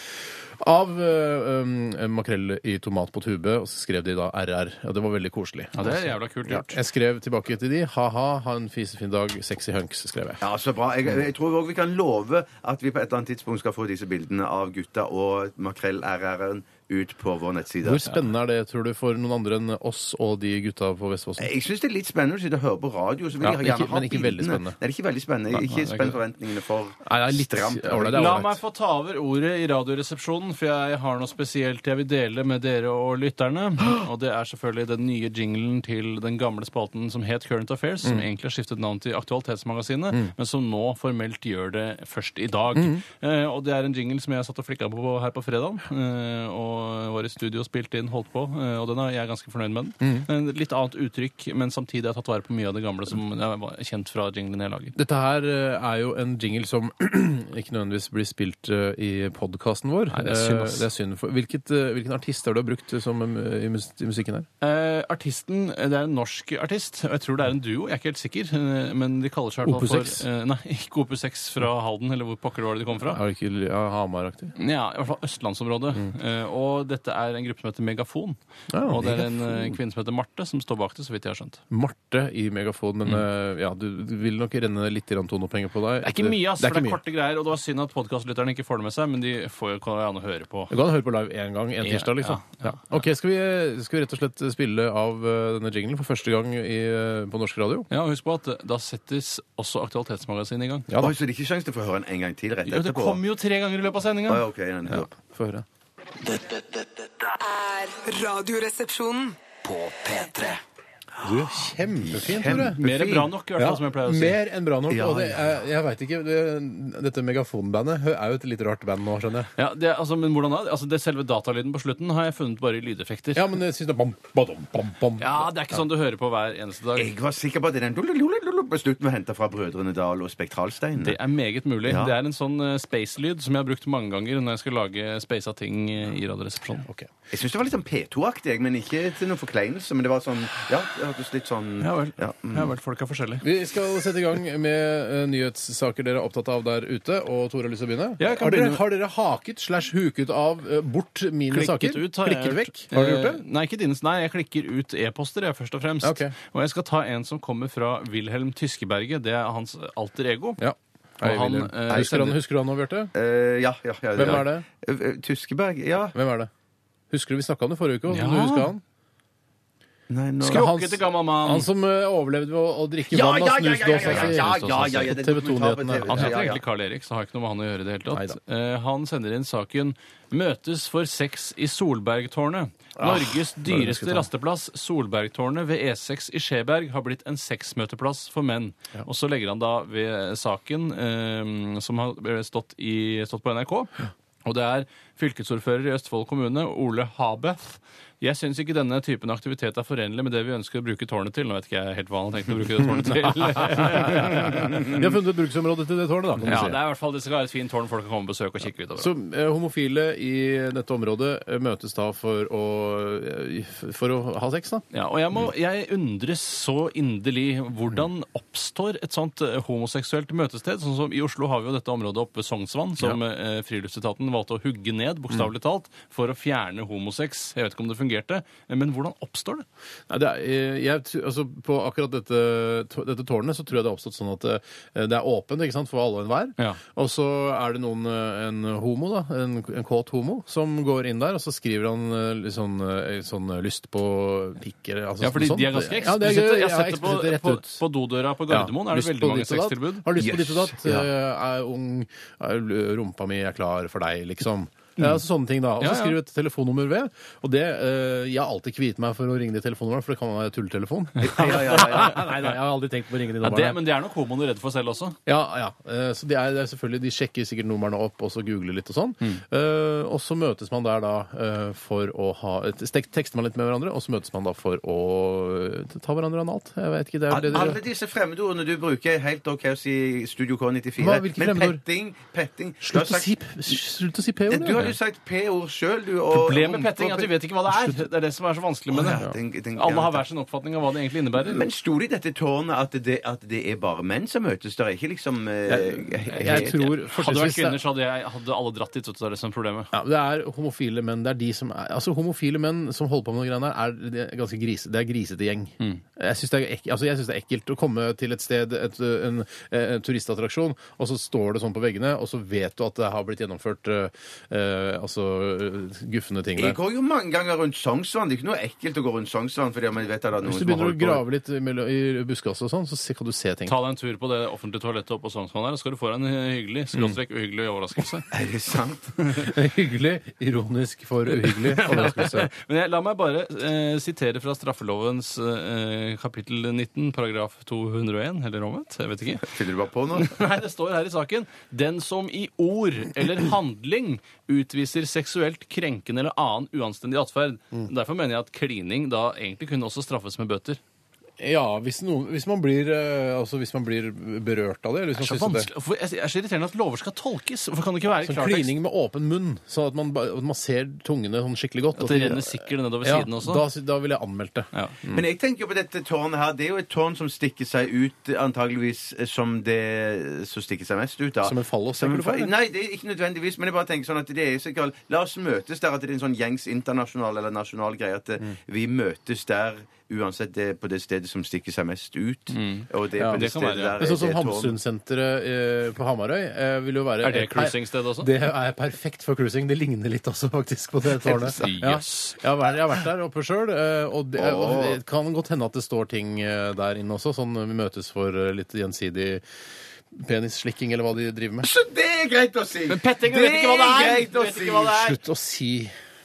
Speaker 1: av eh, um, makrell i tomat på tube, og så skrev de da RR. Og det var veldig koselig.
Speaker 2: Ja, det er jævla kult
Speaker 1: Ja,
Speaker 2: gjort.
Speaker 1: jeg skrev tilbake til de. Ha-ha, ha en fisefin dag, sexy hunks, skrev jeg.
Speaker 3: Ja, så bra. Jeg, jeg tror også vi kan love at vi på et eller annet tidspunkt skal få disse bildene av gutta og makrell-RR-en ut på vår nettside.
Speaker 1: Hvor spennende er det, tror du, for noen andre enn oss og de gutta på Vestfossen?
Speaker 3: Jeg syns det er litt spennende å sitte og høre på radio. Så vil
Speaker 1: Ja,
Speaker 3: jeg gjerne
Speaker 1: ikke-
Speaker 3: ha
Speaker 1: men ikke veldig
Speaker 3: bildene.
Speaker 1: spennende.
Speaker 3: Nei, det er ikke veldig spennende. Jeg er
Speaker 2: Nei,
Speaker 3: ikke
Speaker 2: det er
Speaker 3: spenn
Speaker 2: ikke-
Speaker 3: forventningene for
Speaker 1: Nei, det er litt
Speaker 3: stramt.
Speaker 1: ålreit, det er
Speaker 2: La
Speaker 1: ålreit.
Speaker 2: meg få ta over ordet i Radioresepsjonen, for jeg har noe spesielt jeg vil dele med dere og lytterne. Og det er selvfølgelig den nye jinglen til den gamle spalten som het Current Affairs,
Speaker 1: Mm.
Speaker 2: som egentlig har skiftet navn til Aktualitetsmagasinet, men som nå formelt gjør det først i dag.
Speaker 1: Mm.
Speaker 2: Eh, og det er en jingle som jeg satt og flikka på her på fredag, eh, og var i studio og spilte inn, holdt på, eh, og den er jeg er ganske fornøyd med. den.
Speaker 1: Mm.
Speaker 2: En litt annet uttrykk, men samtidig har jeg tatt vare på mye av det gamle som jeg var kjent fra jinglen jeg lager.
Speaker 1: Dette her eh, er jo en jingle som ikke nødvendigvis blir spilt eh, i podkasten vår.
Speaker 2: Nei, det er synd,
Speaker 1: Eh,
Speaker 2: ass.
Speaker 1: det er synd for, hvilket, eh, hvilken artist har du brukt som, eh, i mus- i musikken her?
Speaker 2: Eh, artisten eh, det er en norsk artist, og jeg tror det er en duo. Jeg er ikke helt sikker. eh, Men de kaller seg i hvert fall
Speaker 1: Opus X?
Speaker 2: for eh, Nei, ikke Opus 6 fra Halden, eller hvor pokker var det de kom fra.
Speaker 1: Er det ikke ja, Hamar-aktig?
Speaker 2: Ja, I hvert fall østlandsområdet. Eh, og dette er en gruppe som heter Megafon.
Speaker 1: Ja,
Speaker 2: og det er en eh, kvinne som heter Marte, som står bak det, så vidt jeg har skjønt.
Speaker 1: Marte i Megafon, men eh, ja, du, du vil nok renne litt grann tonopenger på deg.
Speaker 2: Mm. Det er ikke mye, ass,
Speaker 1: Det er
Speaker 2: for det er
Speaker 1: ikke mye.
Speaker 2: korte greier, og det var synd at podkastlytterne ikke får det med seg, men de får jo kan jo gjerne høre på.
Speaker 1: Du kan høre på live én gang en
Speaker 2: Ja,
Speaker 1: tirsdag, liksom.
Speaker 2: ja, ja.
Speaker 1: Ok, skal vi, skal vi rett og slett spille av eh, denne jinglen for første gang i, eh, på norsk radio?
Speaker 2: Ja, og Husk på at eh, da settes også Aktualitetsmagasinet i gang.
Speaker 1: Ja da.
Speaker 3: Oi, så det er ikke sjans til å få høre den en gang til rett
Speaker 2: Jo, det
Speaker 3: etterpå?
Speaker 2: kommer jo tre ganger i løpet av sendinga.
Speaker 3: Oi, ok, ja, nettopp.
Speaker 1: Få høre.
Speaker 5: Dette, dette, dette
Speaker 7: er Radioresepsjonen.
Speaker 5: på P3.
Speaker 1: Du, kjempefint, Tore.
Speaker 2: Mer er bra nok, i hvert fall, som jeg pleier å si.
Speaker 1: Mer enn bra nok.
Speaker 3: Ja,
Speaker 1: og det er, jeg vet ikke, det, Dette megafonbandet hø- er jo et litt rart band nå, skjønner jeg.
Speaker 2: Ja, det, er- altså, men hvordan er det? Altså, det selve datalyden på slutten har jeg funnet bare i lydeffekter.
Speaker 1: Ja, men jeg synes det bam, badam, bam, bam.
Speaker 2: Ja, det er ikke sånn du hører på hver eneste dag.
Speaker 3: Jeg var sikker på at det er den lululululu på slutten var henta fra Brødrene Dal og Spektralstein.
Speaker 2: Det er meget mulig.
Speaker 3: Ja.
Speaker 2: Det er en sånn eh, space-lyd som jeg har brukt mange ganger når jeg skal lage spasa ting eh, i Radioresepsjonen.
Speaker 1: Ok.
Speaker 3: Jeg syns det var litt sånn P2-aktig, jeg, men ikke til noen forkleinelse. Men det var sånn Ja, det hørtes litt sånn
Speaker 2: Ja vel.
Speaker 3: Ja, mm.
Speaker 2: Ja vel, folk er forskjellige.
Speaker 1: Vi skal sette i gang med eh, nyhetssaker dere er opptatt av der ute. Og Tore har lyst til å begynne.
Speaker 2: Ja, jeg kan
Speaker 1: har, dere,
Speaker 2: begynne.
Speaker 1: har dere haket slash huket av eh, bort mine
Speaker 2: Klikket
Speaker 1: saker?
Speaker 2: ut har jeg
Speaker 1: Klikket
Speaker 2: hørt.
Speaker 1: vekk? Har dere gjort
Speaker 2: Eh,
Speaker 1: det?
Speaker 2: Nei, ikke dine. Nei, jeg klikker ut e-poster, jeg, først og fremst.
Speaker 1: Ok.
Speaker 2: Og jeg skal ta en som kommer fra Wilhelm Tyskeberget. Det er hans alter ego.
Speaker 1: Ja.
Speaker 2: Og han,
Speaker 1: Wilhelm.
Speaker 2: eh,
Speaker 1: husker, han, husker du han nå, Bjarte?
Speaker 3: Eh, ja, ja, ja,
Speaker 1: Hvem
Speaker 3: ja.
Speaker 1: er det?
Speaker 3: Eh, eh, Tyskeberg, ja.
Speaker 1: Hvem er det? Husker du Vi snakka om det forrige uke. og
Speaker 2: Ja.
Speaker 1: Du husker han?
Speaker 3: Nei, nå...
Speaker 1: Skru-
Speaker 2: Skrukkete gammel mann.
Speaker 1: Han som eh, overlevde ved å, å drikke
Speaker 3: Ja,
Speaker 1: vann
Speaker 3: ja,
Speaker 1: av
Speaker 3: ja, ja,
Speaker 1: snusdåsa
Speaker 3: ja,
Speaker 1: si.
Speaker 3: ja, ja, ja, ja, ja, det er
Speaker 1: TV 2-nyhetene.
Speaker 3: dokumentar på
Speaker 2: Han
Speaker 3: TV.
Speaker 2: heter
Speaker 3: Ja, ja, ja.
Speaker 2: egentlig Carl Erik, så har ikke noe med han å gjøre i det hele tatt.
Speaker 1: Neida.
Speaker 2: Eh, han sender inn saken 'Møtes for sex i Solbergtårnet'. Norges dyreste
Speaker 1: tårn.
Speaker 2: rasteplass, Solbergtårnet ved E6 i Skjeberg, har blitt en sexmøteplass for menn. Og så legger han da ved saken eh, som har stått, i, stått på NRK. Og det er fylkesordfører i Østfold kommune, Ole Habeth. Jeg syns ikke denne typen aktivitet er forenlig med det vi ønsker å bruke tårnet til. Nå vet ikke jeg helt hva han har tenkt å bruke det tårnet til.
Speaker 1: De har funnet et bruksområde til det tårnet, da. kan du
Speaker 2: Ja,
Speaker 1: si.
Speaker 2: det er i hvert fall det skal være et fint tårn folk kan komme og besøke og kikke ut over.
Speaker 1: Så eh, homofile i dette området eh, møtes da for å, eh, for å ha sex, da?
Speaker 2: Ja, og jeg, må, jeg undres så inderlig hvordan oppstår et sånt eh, homoseksuelt møtested. Sånn som I Oslo har vi jo dette området oppe ved Sognsvann, som eh, friluftsetaten valgte å hugge ned, bokstavelig talt, for å fjerne homosex. Jeg vet ikke om det fungerte, eh, men hvordan oppstår det?
Speaker 1: Nei, det er, eh, jeg, tr- altså, på akkurat dette, tå- dette tårnet så tror jeg det har oppstått sånn at eh, det er åpent ikke sant, for alle og enhver.
Speaker 2: Ja.
Speaker 1: Og så er det noen, eh, en homo, da, en, en kåt homo, som går inn der, og så skriver han eh, litt sånn, eh, sånn eh, lyst på pikker altså,
Speaker 2: Ja, fordi
Speaker 1: sånn.
Speaker 2: de er ganske
Speaker 1: Ja, det er
Speaker 2: eksplisitte.
Speaker 1: gøy.
Speaker 2: Jeg
Speaker 1: Ja,
Speaker 2: har sett det på,
Speaker 1: eksplisitte rett
Speaker 2: på,
Speaker 1: ut.
Speaker 2: på dodøra på Gardermoen. er det
Speaker 1: Lyst på
Speaker 2: veldig mange
Speaker 1: ditt og datt?
Speaker 2: sextilbud.
Speaker 1: Har lyst på ditt og
Speaker 3: Yes.
Speaker 1: datt.
Speaker 3: Ja.
Speaker 1: eh, Er ung, er rumpa mi er klar for deg, liksom. Ja, altså sånne ting da. Og
Speaker 2: Ja,
Speaker 1: så
Speaker 2: ja.
Speaker 1: skriver du et telefonnummer ved. Og det, eh, Jeg har alltid kviet meg for å ringe de telefonnummeret, for det kan være tulletelefon.
Speaker 3: Ja, ja, ja, ja.
Speaker 1: nei, nei, jeg har aldri tenkt på å ringe de
Speaker 2: Ja, det,
Speaker 1: numrene.
Speaker 2: men det er nok homoene redd for selv også.
Speaker 1: Ja, ja. Eh, Så det er, det er selvfølgelig, De sjekker sikkert numrene opp og så googler litt og sånn. Eh, og så møtes man der da eh, for å ha tek- Tekster man litt med hverandre, og så møtes man da for å eh, ta hverandre analt. Jeg vet ikke, det er det de
Speaker 3: Alle disse fremmedordene du bruker, er helt OK å si i Studio K94.
Speaker 1: Hva, hvilke
Speaker 3: Men
Speaker 1: fremmedord?
Speaker 3: petting, petting du har
Speaker 1: Slutt å
Speaker 3: sagt-
Speaker 1: si, slutt å si
Speaker 3: Ja,
Speaker 1: p-ordet.
Speaker 3: Du har jo sagt P-ord sjøl, du.
Speaker 2: Problemet med petting er at vi vet ikke hva det er. Det er det som er så vanskelig med det.
Speaker 3: Å, ja, tenk- tenk-
Speaker 2: Alle har sånn.
Speaker 3: ja.
Speaker 2: hver sin oppfatning av hva det egentlig innebærer.
Speaker 3: Men sto det i dette tårnet at det, at det er bare menn som møtes? Det er ikke liksom eh, he-
Speaker 1: Jeg
Speaker 3: he-
Speaker 1: tror
Speaker 2: Hadde det vært
Speaker 1: fortrinnsvis det-
Speaker 2: kvinner, så hadde, jeg, hadde alle dratt dit. vet du, Det er det som er problemet.
Speaker 1: Ja, det er homofile menn. Det er de som er, altså homofile menn som holder på med noe greiene her, er det er ganske grise, det er grisete gjeng.
Speaker 2: Mm.
Speaker 1: Jeg syns det, er ek- altså jeg synes det er ekkelt å komme til et sted, et, en, en turistattraksjon, og så står det sånn på veggene, og så vet du at det har blitt gjennomført eh, eh, altså eh, gufne ting
Speaker 3: Jeg
Speaker 1: der.
Speaker 3: går jo mange ganger rundt Sognsvann. Det er ikke noe ekkelt å gå rundt Sognsvann. fordi man vet at det er noen
Speaker 1: Hvis
Speaker 3: som
Speaker 1: du
Speaker 3: har
Speaker 1: begynner å
Speaker 3: holdt på-
Speaker 1: grave litt mellom- i buskaset og sånn, så se- kan du se ting.
Speaker 2: Ta deg en tur på det offentlige toalettet oppe på Sognsvann her, så skal du få deg en
Speaker 3: Mm.
Speaker 2: hyggelig skråstrek uhyggelig overraskelse.
Speaker 3: Er det sant?
Speaker 1: Hyggelig, ironisk for uhyggelig overraskelse.
Speaker 2: Men jeg, la meg bare eh, sitere fra straffelovens eh, kapittel 19, paragraf 201, eller omvendt. Jeg vet ikke.
Speaker 3: Fyller du bare på nå?
Speaker 2: Nei, det står her i saken Den som i ord eller handling utviser seksuelt krenkende eller annen uanstendig atferd.
Speaker 3: Mm.
Speaker 2: Derfor mener jeg at klining da egentlig kunne også straffes med bøter.
Speaker 1: Ja, hvis, noen, hvis, man blir, eh, altså hvis man blir berørt av det. Eller hvis man
Speaker 2: Det er så
Speaker 1: synes det
Speaker 2: vanskelig. Hvorfor- Jeg jeg er så irriterende at lover skal tolkes. Hvorfor kan det ikke være i
Speaker 1: Sånn
Speaker 2: klartekst?
Speaker 1: klining med åpen munn, sånn at man, ba- at man ser tungene sånn skikkelig godt.
Speaker 2: At det renner sikkert nedover
Speaker 1: ja,
Speaker 2: siden også?
Speaker 1: Da, sy- da ville jeg anmeldt det.
Speaker 2: Ja.
Speaker 3: Men jeg tenker jo på dette tårnet her. Det er jo et tårn som stikker seg ut, antageligvis eh, som det som stikker seg mest ut. da.
Speaker 1: Som en fallos,
Speaker 3: Som en
Speaker 1: tenker du
Speaker 3: fa-
Speaker 1: på, eller?
Speaker 3: Nei, det er ikke nødvendigvis. Men jeg bare tenker sånn at det er så galt. La oss møtes der. At det er en sånn gjengs internasjonal eller nasjonal greie. At eh,
Speaker 2: Mm.
Speaker 3: vi møtes der uansett det er på det stedet som stikker seg mest ut. Og det er
Speaker 1: Ja,
Speaker 3: på det,
Speaker 2: det kan
Speaker 3: stedet
Speaker 2: være, Mm. ja.
Speaker 3: der
Speaker 1: Men sånn som
Speaker 3: er det tårn.
Speaker 1: Hamsunsenteret eh, på Hamarøy eh, vil jo være
Speaker 2: Er det cruisingsted også?
Speaker 1: Det er perfekt for cruising. Det ligner litt også, faktisk, på det tårnet. Ja.
Speaker 2: Yes.
Speaker 1: Jeg, har vært, jeg har vært der oppe sjøl, og det og
Speaker 3: Åh.
Speaker 1: det kan godt hende at det står ting eh, der inne også. Sånn vi møtes for eh, litt gjensidig penisslikking, eller hva de driver med.
Speaker 3: Så det er greit å si!
Speaker 2: Men petting, du vet ikke hva det er!
Speaker 3: greit
Speaker 2: Du
Speaker 3: å
Speaker 2: vet
Speaker 3: si!
Speaker 2: ikke hva det er.
Speaker 1: Slutt å si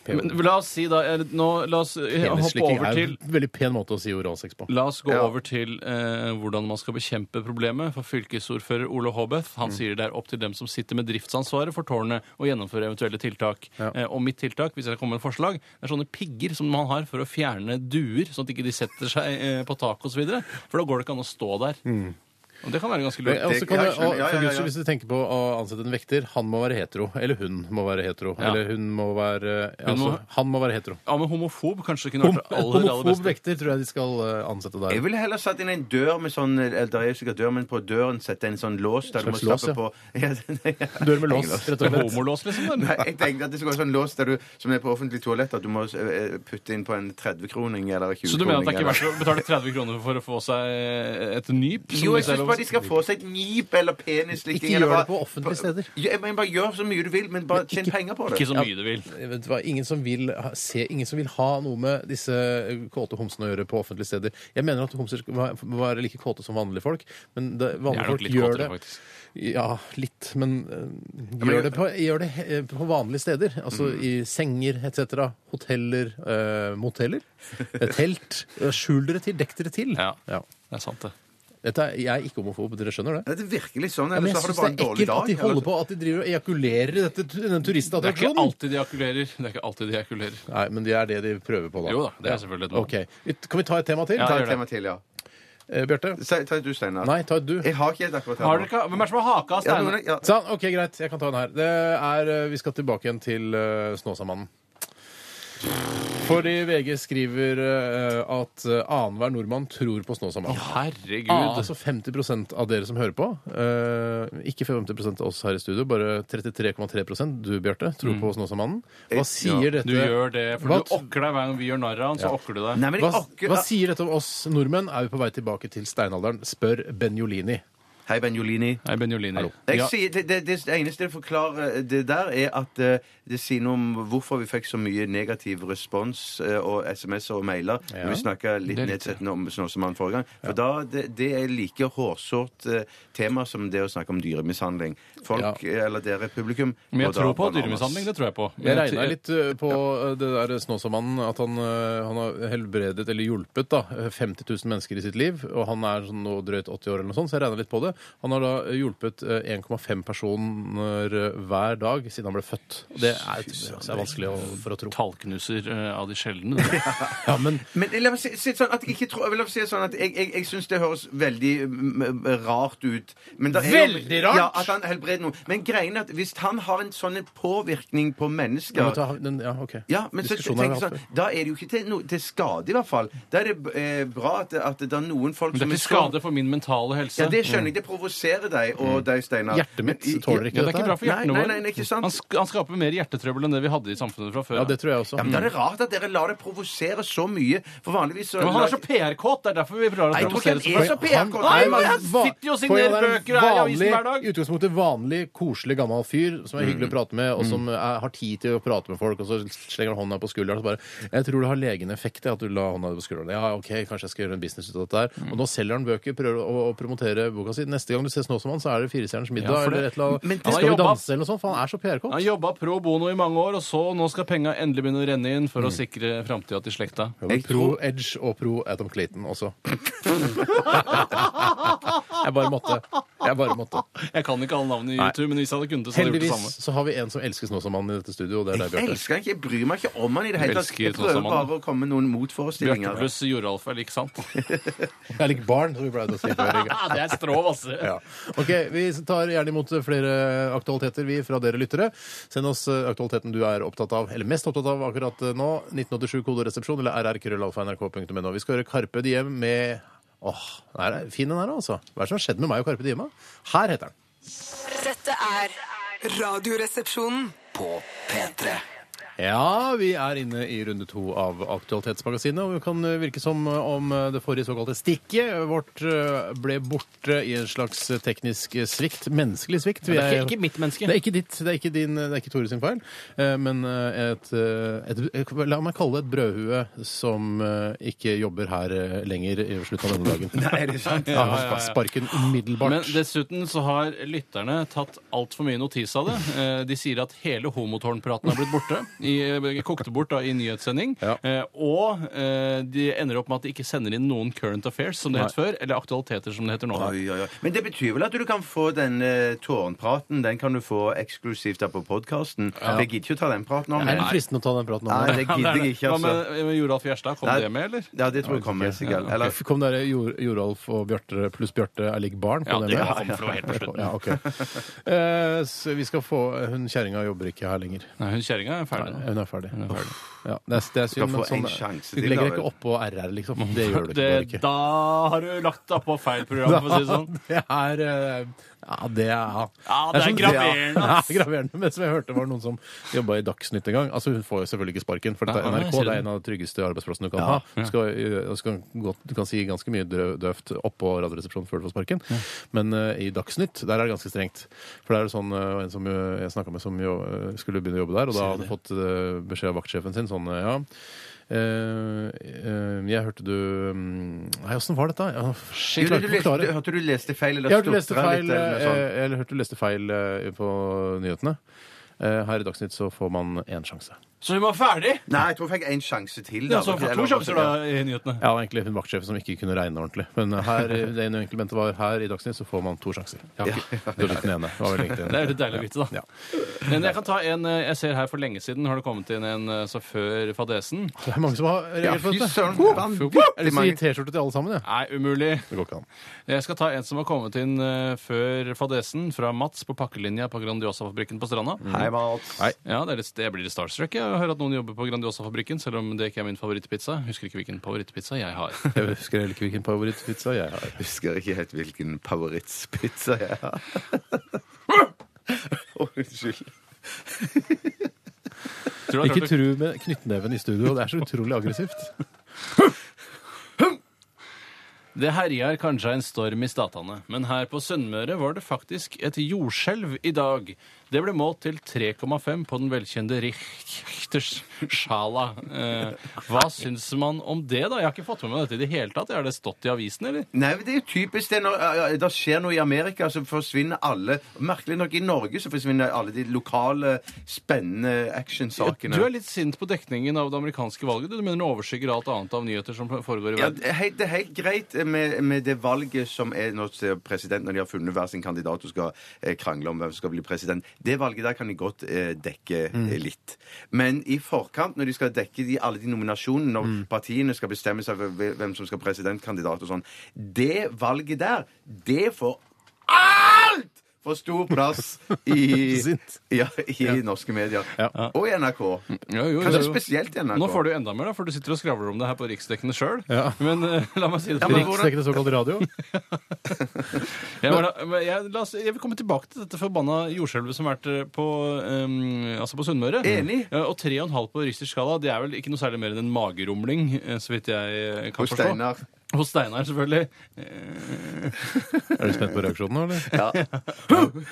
Speaker 2: Men la oss si da eh, nå, La oss eh, hoppe
Speaker 1: penisslikking.
Speaker 2: over
Speaker 1: er
Speaker 2: til
Speaker 1: en veldig pen måte å si oralsex på.
Speaker 2: La oss gå
Speaker 3: Ja.
Speaker 2: over til eh, hvordan man skal bekjempe problemet. For fylkesordfører Ole Håbeth
Speaker 1: Mm.
Speaker 2: han sier det er opp til dem som sitter med driftsansvaret for tårnet, å gjennomføre eventuelle tiltak. Eh, og mitt tiltak, hvis jeg kan komme med et forslag, er sånne pigger som man har for å fjerne duer, sånn at ikke de setter seg eh, på taket osv. For da går det ikke an å stå der.
Speaker 1: Mm.
Speaker 2: Og det kan være ganske lurt.
Speaker 1: Og så altså, kan
Speaker 3: ja,
Speaker 1: det,
Speaker 3: jeg skjønner. Ja,
Speaker 1: og,
Speaker 3: ja, ja,
Speaker 1: forgudsel,
Speaker 3: ja.
Speaker 1: Hvis du tenker på å ansette en vekter, han må være hetero. Eller hun må være hetero.
Speaker 2: Ja.
Speaker 1: Eller hun må være altså,
Speaker 2: må-
Speaker 1: Han må være hetero.
Speaker 2: Ja, men homofob kanskje kunne vært det aller, aller
Speaker 1: Homofob
Speaker 2: beste.
Speaker 1: vekter tror jeg de skal eh, ansette der.
Speaker 3: Jeg ville heller satt inn en dør med sånn Eller det er jo sikkert dør, men på døren sette en sånn lås der du må
Speaker 1: Slags lås,
Speaker 3: slappe på. Ja, ja.
Speaker 1: Dør med lås, rett og slett.
Speaker 2: Homolås, liksom? eller?
Speaker 3: Nei, jeg tenkte at det skal være sånn lås der du, som er på offentlig toalett, at du må eh, putte inn på en 30-kroning eller 20-kroning.
Speaker 2: Så du mener at det er ikke
Speaker 3: eller-
Speaker 2: verdt å betale 30 kroner for å få seg eh, et nyp? som
Speaker 3: Jo, jeg
Speaker 2: de selv
Speaker 3: synes
Speaker 2: har
Speaker 3: bare hva de skal få seg. et Nyp eller penisslikking.
Speaker 1: Ikke gjør
Speaker 3: eller hva-
Speaker 1: det på offentlige steder.
Speaker 3: Ja, men bare gjør så mye du vil, men bare tjen penger på det.
Speaker 2: Ikke så mye du vil.
Speaker 1: Vet du hva, ingen som, vil ha, se, ingen som vil ha noe med disse eh, kåte homsene å gjøre på offentlige steder. Jeg mener at homser skal være- må være like kåte som vanlige folk, men det,
Speaker 2: Jeg
Speaker 1: vanlige
Speaker 2: er nok
Speaker 1: folk
Speaker 2: litt
Speaker 1: gjør
Speaker 2: kåtere,
Speaker 1: det
Speaker 2: faktisk.
Speaker 1: Ja, litt, men eh, gjør det, på, gjør det he- eh, på vanlige steder. Altså
Speaker 3: Mm.
Speaker 1: i senger etc. Hoteller, eh, moteller, eh, telt. Eh, Skjul dere til, dekk dere til.
Speaker 2: Ja. Det er sant, det.
Speaker 1: Dette er, jeg er ikke homofob, dere skjønner det?
Speaker 3: Er det virkelig sånn?
Speaker 1: Ja, men
Speaker 3: Eller
Speaker 1: jeg
Speaker 3: så har du
Speaker 1: syns
Speaker 3: bare en
Speaker 1: det er
Speaker 3: dårlig
Speaker 1: ekkelt
Speaker 3: dag.
Speaker 1: at de holder
Speaker 3: eller-
Speaker 1: på at de driver og ejakulerer i dette, denne
Speaker 2: Det er ikke
Speaker 1: turistattraksjonen.
Speaker 2: alltid de akkulerer. Det er ikke alltid de akkulerer.
Speaker 1: Nei, men det er det de prøver på, da.
Speaker 2: Jo da, det er selvfølgelig et mål.
Speaker 1: Ok. Ut- Kan vi ta et tema til?
Speaker 2: Ja,
Speaker 3: Ta et
Speaker 2: gjør det.
Speaker 3: tema til, ja.
Speaker 1: Eh, Bjarte?
Speaker 3: Si- Ta et du, Steinar.
Speaker 1: Nei, ta et du.
Speaker 3: Jeg har ikke et akkurat
Speaker 2: Har dere ikke, hvem er det som har haka av
Speaker 3: Ja, noen
Speaker 2: Steinar?
Speaker 3: er- ja.
Speaker 1: Sånn, ok, greit. Jeg kan ta den her. Det er, eh, vi skal tilbake igjen til eh, Snåsamannen. Fordi VG skriver eh, at eh, annenhver nordmann tror på Snåsamannen.
Speaker 2: Herregud.
Speaker 1: Ah, altså 50 av dere som hører på, eh, ikke 50 av oss her i studio, bare 33,3 du, Bjarte, tror på Snåsamannen.
Speaker 3: Eh,
Speaker 1: Hva sier
Speaker 3: ja.
Speaker 1: dette
Speaker 2: Mm. Du gjør det, for
Speaker 1: Hva-
Speaker 2: du okker deg hver gang vi gjør narr av han, så okker du deg.
Speaker 3: Nei, men jeg
Speaker 1: hva,
Speaker 3: orker-
Speaker 1: hva sier dette om oss nordmenn? Er vi på vei tilbake til steinalderen? Spør Benjolini.
Speaker 3: Hei, Benjolini.
Speaker 2: Nei, Benjolini.
Speaker 1: Hallo.
Speaker 3: Jeg
Speaker 2: Ja.
Speaker 3: sier, det, det, det eneste jeg forklarer det der, er at eh, det sier noe om hvorfor vi fikk så mye negativ respons eh, og SMS-er og mailer når vi snakka litt
Speaker 2: Det er riktig.
Speaker 3: nedsettende om Snåsamannen forrige gang. For da, det, det er like hårsårt eh, tema som det å snakke om dyremishandling. Folk, eh, eller dere, publikum og
Speaker 2: Men jeg
Speaker 3: da
Speaker 2: tror på
Speaker 3: bananas.
Speaker 2: dyremishandling, det tror jeg på. Men
Speaker 1: Jeg
Speaker 2: jeg
Speaker 1: regna
Speaker 2: tror-
Speaker 1: litt eh, på eh, det der Snåsamannen, at han, eh, han har helbredet eller hjulpet da, 50 000 mennesker i sitt liv, og han er sånn nå drøyt 80 år eller noe sånt, så jeg regna litt på det. Han har da hjulpet eh, 1,5 personer eh, hver dag siden han ble født. Og det er, det er vanskelig å, for å tro.
Speaker 2: Tallknuser eh, av de sjeldne. det.
Speaker 1: Ja, men
Speaker 3: Men la meg si, si det sånn at jeg ikke tror La meg si det sånn at jeg, jeg, jeg syns det høres veldig mm, mm, rart ut. Men da er jo-
Speaker 1: Veldig rart?
Speaker 3: Ja, at han helbreder noen. Men greien er at hvis han har en sånn en påvirkning på mennesker
Speaker 1: ja, den, ja, ok.
Speaker 3: ja, men så
Speaker 1: Diskusjonen har
Speaker 3: tenker
Speaker 1: vi
Speaker 3: jeg sånn,
Speaker 1: hatt før.
Speaker 3: Da er det jo ikke til, no, til skade, i hvert fall. Da er det eh, bra at, det- at det er noen folk
Speaker 2: Men det
Speaker 3: som
Speaker 2: er til skade for min mentale helse.
Speaker 3: Ja, det skjønner jeg. Det provoserer deg og deg, Steinar.
Speaker 1: Mm. Hjertet mitt
Speaker 3: Men i-
Speaker 1: tåler ikke
Speaker 2: Ja, det er ikke bra for
Speaker 3: Nei,
Speaker 2: hjertene
Speaker 3: nei,
Speaker 2: våre.
Speaker 3: nei, nei, ikke sant.
Speaker 2: Han, sk han skaper mer hjertetrøbbel enn det vi hadde i samfunnet fra før.
Speaker 1: Ja, det tror jeg også.
Speaker 3: Ja, men da er det rart at dere lar det provosere så mye, for vanligvis så
Speaker 2: Men han er så PR-kåt! Det er derfor vi prøver å
Speaker 3: Nei, jeg tror ikke
Speaker 2: provosere så
Speaker 3: han er
Speaker 2: mye.
Speaker 3: så PR-kåt.
Speaker 2: Nei,
Speaker 3: Nei,
Speaker 2: men
Speaker 3: men
Speaker 2: han
Speaker 1: va-
Speaker 2: sitter jo og
Speaker 1: Poenget
Speaker 2: signerer
Speaker 1: er en
Speaker 2: bøker her i avisen hver
Speaker 1: vanlig-
Speaker 2: dag! Mm.
Speaker 1: utgangspunktet vanlig, koselig, gammel fyr som er hyggelig å prate med, og som er, har tid til å prate med folk, og så slenger han hånda på skulderen og så bare 'Jeg tror det har legende effekt, det, at du la hånda på skulderen.' Ja, OK, kanskje jeg skal gjøre en business ut av dette
Speaker 2: Mm.
Speaker 1: her. Og nå selger han bøker, prøver å, å promotere boka si. Neste gang du ses nå som han, så er det Firestjerners middag
Speaker 2: Ja, for det-
Speaker 1: eller et eller annet.
Speaker 3: Men det-
Speaker 1: skal vi
Speaker 2: jobba-
Speaker 1: danse eller noe sånt? For han er så PR-kåt.
Speaker 2: Han jobba pro bono i mange år, og så nå skal penga endelig begynne å renne inn for å sikre framtida til slekta.
Speaker 3: Jeg
Speaker 1: Pro Edge og pro Atom Clayton også. jeg bare måtte. Jeg bare måtte.
Speaker 2: Jeg kan ikke alle navnene i
Speaker 1: Nei.
Speaker 2: YouTube, men hvis jeg hadde kunnet det, så hadde jeg gjort det
Speaker 1: Heldigvis
Speaker 2: samme.
Speaker 1: så har vi en som elsker Snåsamannen i dette studio, og det er deg,
Speaker 3: Jeg
Speaker 1: Bjarte.
Speaker 3: elsker han ikke. Jeg bryr meg ikke om han i det hele tatt.
Speaker 2: Elsker
Speaker 3: Jeg prøver
Speaker 2: Snåsamannen.
Speaker 3: bare å komme med noen
Speaker 2: Bjarte
Speaker 3: motforestillinger.
Speaker 2: pluss Joralf er like sant.
Speaker 1: Jeg liker barn, som vi pleide å si før. ikke?
Speaker 2: Ja, det er stråv, altså.
Speaker 1: Ja. Ok, Vi tar gjerne imot flere aktualiteter vi fra dere lyttere. Send oss eh, aktualiteten du er opptatt av, eller mest opptatt av akkurat eh, nå. 1987koderesepsjon eller rrkrøllalfa.nrk.no. Vi skal høre Karpe Diem med Åh, den her er fin den her, altså. Hva er det som har skjedd med meg og Karpe Diem? da? Her heter den.
Speaker 7: Dette er Radioresepsjonen.
Speaker 5: På P3
Speaker 1: Ja, vi er inne i runde to av Aktualitetsmagasinet, og det kan virke som om det forrige såkalte stikket vårt eh, ble borte i en slags teknisk svikt. Menneskelig svikt.
Speaker 2: Det er
Speaker 1: Vi er-
Speaker 2: ikke, ikke mitt menneske.
Speaker 1: Det er ikke ditt, det er ikke din, det er ikke Tore sin feil, eh, men eh, et, eh, et La meg kalle det et brødhue som eh, ikke jobber her eh, lenger i slutten av denne dagen. Nei, er det sant? Ja, han spa- sparken umiddelbart.
Speaker 2: Men dessuten så har lytterne tatt altfor mye notis av det. Eh, De sier at hele homotårnpraten er blitt borte. I, eh, kokte bort da, i nyhetssending.
Speaker 1: Ja.
Speaker 2: Eh, Og eh, de ender opp med at de ikke sender inn noen current affairs, som det het før, eller aktualiteter, som det heter nå.
Speaker 3: Oi, oi, oi. Men det betyr vel at du kan få den eh, tårnpraten den kan du få eksklusivt da på podkasten. Jeg gidder ikke å ta den praten om.
Speaker 1: er det
Speaker 3: Nei,
Speaker 1: fristende å ta den praten om?
Speaker 3: Nei,
Speaker 1: det?
Speaker 3: det gidder jeg ikke,
Speaker 2: Hva
Speaker 3: altså.
Speaker 2: med eh, med Joralf Gjerstad? Kom
Speaker 3: Nei.
Speaker 2: det med, eller?
Speaker 3: Ja, det tror jeg kommer. sikkert. Eller,
Speaker 1: Eller, kom dere Jor- Joralf og Bjarte pluss Bjarte er lik barn?
Speaker 2: Ja,
Speaker 1: Kom
Speaker 2: det
Speaker 1: dere?
Speaker 2: kom fra helt på slutten.
Speaker 1: Ja, ok. Eh, så vi skal få Hun kjerringa jobber ikke her lenger.
Speaker 2: Nei, hun kjerringa er ferdig. nå.
Speaker 1: Hun er ferdig.
Speaker 2: Hun er ferdig.
Speaker 1: Ja, det, er, det er synd,
Speaker 3: skal
Speaker 1: men
Speaker 3: få en
Speaker 1: sånn,
Speaker 3: sjanse
Speaker 1: du
Speaker 3: til,
Speaker 1: legger
Speaker 3: da,
Speaker 1: deg ikke
Speaker 3: vel.
Speaker 1: oppå RR, liksom. Det gjør du ikke.
Speaker 2: Det,
Speaker 1: Det, gjør du ikke.
Speaker 2: da har du lagt deg på feil program, for å si det sånn.
Speaker 1: Det er eh, Ja, det er Ja,
Speaker 2: Ja, det er
Speaker 1: sånn-
Speaker 2: graverende,
Speaker 1: Ja,
Speaker 2: ass.
Speaker 1: det er graverende. Men som jeg hørte, var det noen som jobba i Dagsnytt en gang. Altså, hun får jo selvfølgelig ikke sparken, for dette er
Speaker 2: Nei, nei,
Speaker 1: NRK.
Speaker 2: sier
Speaker 1: Det er
Speaker 2: du.
Speaker 1: en av de tryggeste arbeidsplassene du kan
Speaker 2: Ja,
Speaker 1: ha.
Speaker 2: ja.
Speaker 1: Du, skal, eh, du, skal godt, du kan si ganske mye drø- døvt oppå Radioresepsjonen før du får sparken, men eh, i Dagsnytt, der er det ganske strengt. For det er jo sånn eh, en som jo- jeg snakka med, som jo, eh, skulle begynne å jobbe der, og da hadde han fått eh, beskjed av vaktsjefen sin sånn, eh, ja eh, eh, jeg hørte du mm, Nei, åssen var dette? Ja,
Speaker 3: Du,
Speaker 1: shit,
Speaker 3: du,
Speaker 1: jeg klarer
Speaker 3: du, leste,
Speaker 1: ikke å forklare.
Speaker 3: hørte du leste feil? Eller
Speaker 1: Jeg hørte du leste
Speaker 3: stotra
Speaker 1: feil,
Speaker 3: litt, eller noe sånt?
Speaker 1: eh, eller hørte du leste feil eh, på nyhetene. Eh, Her i Dagsnytt så får man én sjanse.
Speaker 2: Så hun var ferdig!
Speaker 3: Nei, jeg tror jeg fikk én sjanse til.
Speaker 2: Ja, så hun får altså to
Speaker 3: Eller-
Speaker 2: sjanser da i nyhetene.
Speaker 1: Ja, egentlig hun vaktsjefen som ikke kunne regne ordentlig. Men her, eh, det ene egentlig mente var her i Dagsnytt så får man to sjanser. Ja, Det var litt den ene. Det var veldig riktig.
Speaker 2: Det er litt deilig å vite, da.
Speaker 1: Ja.
Speaker 2: Men jeg kan ta en eh, jeg ser her for lenge siden. Har det kommet inn en eh, så før fadesen?
Speaker 1: Det er mange som har
Speaker 3: Ja,
Speaker 1: reagert på
Speaker 3: fy
Speaker 1: dette.
Speaker 3: søren.
Speaker 1: Jeg
Speaker 3: Vanvittig
Speaker 1: vil si
Speaker 3: mange.
Speaker 1: T-skjorte til alle sammen, jeg.
Speaker 2: Nei, umulig.
Speaker 1: Det går ikke an.
Speaker 2: Jeg skal ta en som har kommet inn eh, før fadesen, fra Mats på pakkelinja på Grandiosa-fabrikken på Stranda.
Speaker 3: Hei, Mats.
Speaker 1: Hei.
Speaker 2: Ja, det er litt, Jeg blir litt starstruck jeg, å høre at noen jobber på Grandiosa-fabrikken, selv om det ikke er min favorittpizza. Husker ikke hvilken favorittpizza jeg har.
Speaker 1: Jeg husker heller ikke hvilken favorittpizza jeg har.
Speaker 3: Jeg husker ikke helt hvilken favorittspizza jeg har. Å, Unnskyld.
Speaker 2: Tror du jeg
Speaker 1: Ikke
Speaker 2: klarte å-
Speaker 1: tru med knyttneven i studio. Det er så utrolig aggressivt.
Speaker 2: Det herjer kanskje en storm i statene, men her på Sunnmøre var det faktisk et jordskjelv i dag. Det ble målt til 3,5 på den velkjente Richters skala. Eh, hva syns man om det, da? Jeg har ikke fått med meg dette i det hele tatt. Har det stått i avisen, eller?
Speaker 3: Nei, men Det er jo typisk det når ja, ja, det skjer noe i Amerika, så forsvinner alle Merkelig nok, i Norge så forsvinner alle de lokale, spennende actionsakene.
Speaker 2: Du er litt sint på dekningen av det amerikanske valget. Du Du mener den overskygger alt annet av nyheter som foregår i
Speaker 3: Ja,
Speaker 2: verden.
Speaker 3: det er helt, det er helt greit med, med det valget som er nå til president, når de har funnet hver sin kandidat og skal eh, krangle om hvem som skal bli president. Det valget der kan de godt eh, dekke eh, litt. Men i forkant, når de skal dekke de, alle de nominasjonene, når partiene skal bestemme seg for hve- hvem som skal presidentkandidat og sånn, det valget der, det får alt! For stor plass i,
Speaker 1: Sint.
Speaker 3: ja, i norske medier.
Speaker 1: Ja.
Speaker 3: Og i NRK.
Speaker 2: Jo, jo,
Speaker 3: Kanskje
Speaker 2: jo.
Speaker 3: spesielt i NRK.
Speaker 2: Nå får du jo enda mer, da, for du sitter og skravler om det her på riksdekkene sjøl.
Speaker 1: Ja.
Speaker 2: Men eh, la meg si det.
Speaker 3: Ja, men hvordan-
Speaker 1: Riksdekkende såkalt radio.
Speaker 2: Jeg, var, men jeg, la oss, jeg vil komme tilbake til dette forbanna jordskjelvet som har vært eh, på, eh, altså på Sunnmøre.
Speaker 3: Enig.
Speaker 2: Ja, og 3,5 på Richters skala det er vel ikke noe særlig mer enn en magerumling, eh, så vidt jeg eh, kan
Speaker 3: Hos
Speaker 2: forstå.
Speaker 3: Steinar.
Speaker 2: Hos Steinar, selvfølgelig. Eh,
Speaker 1: Er du spent på reaksjonen nå, eller?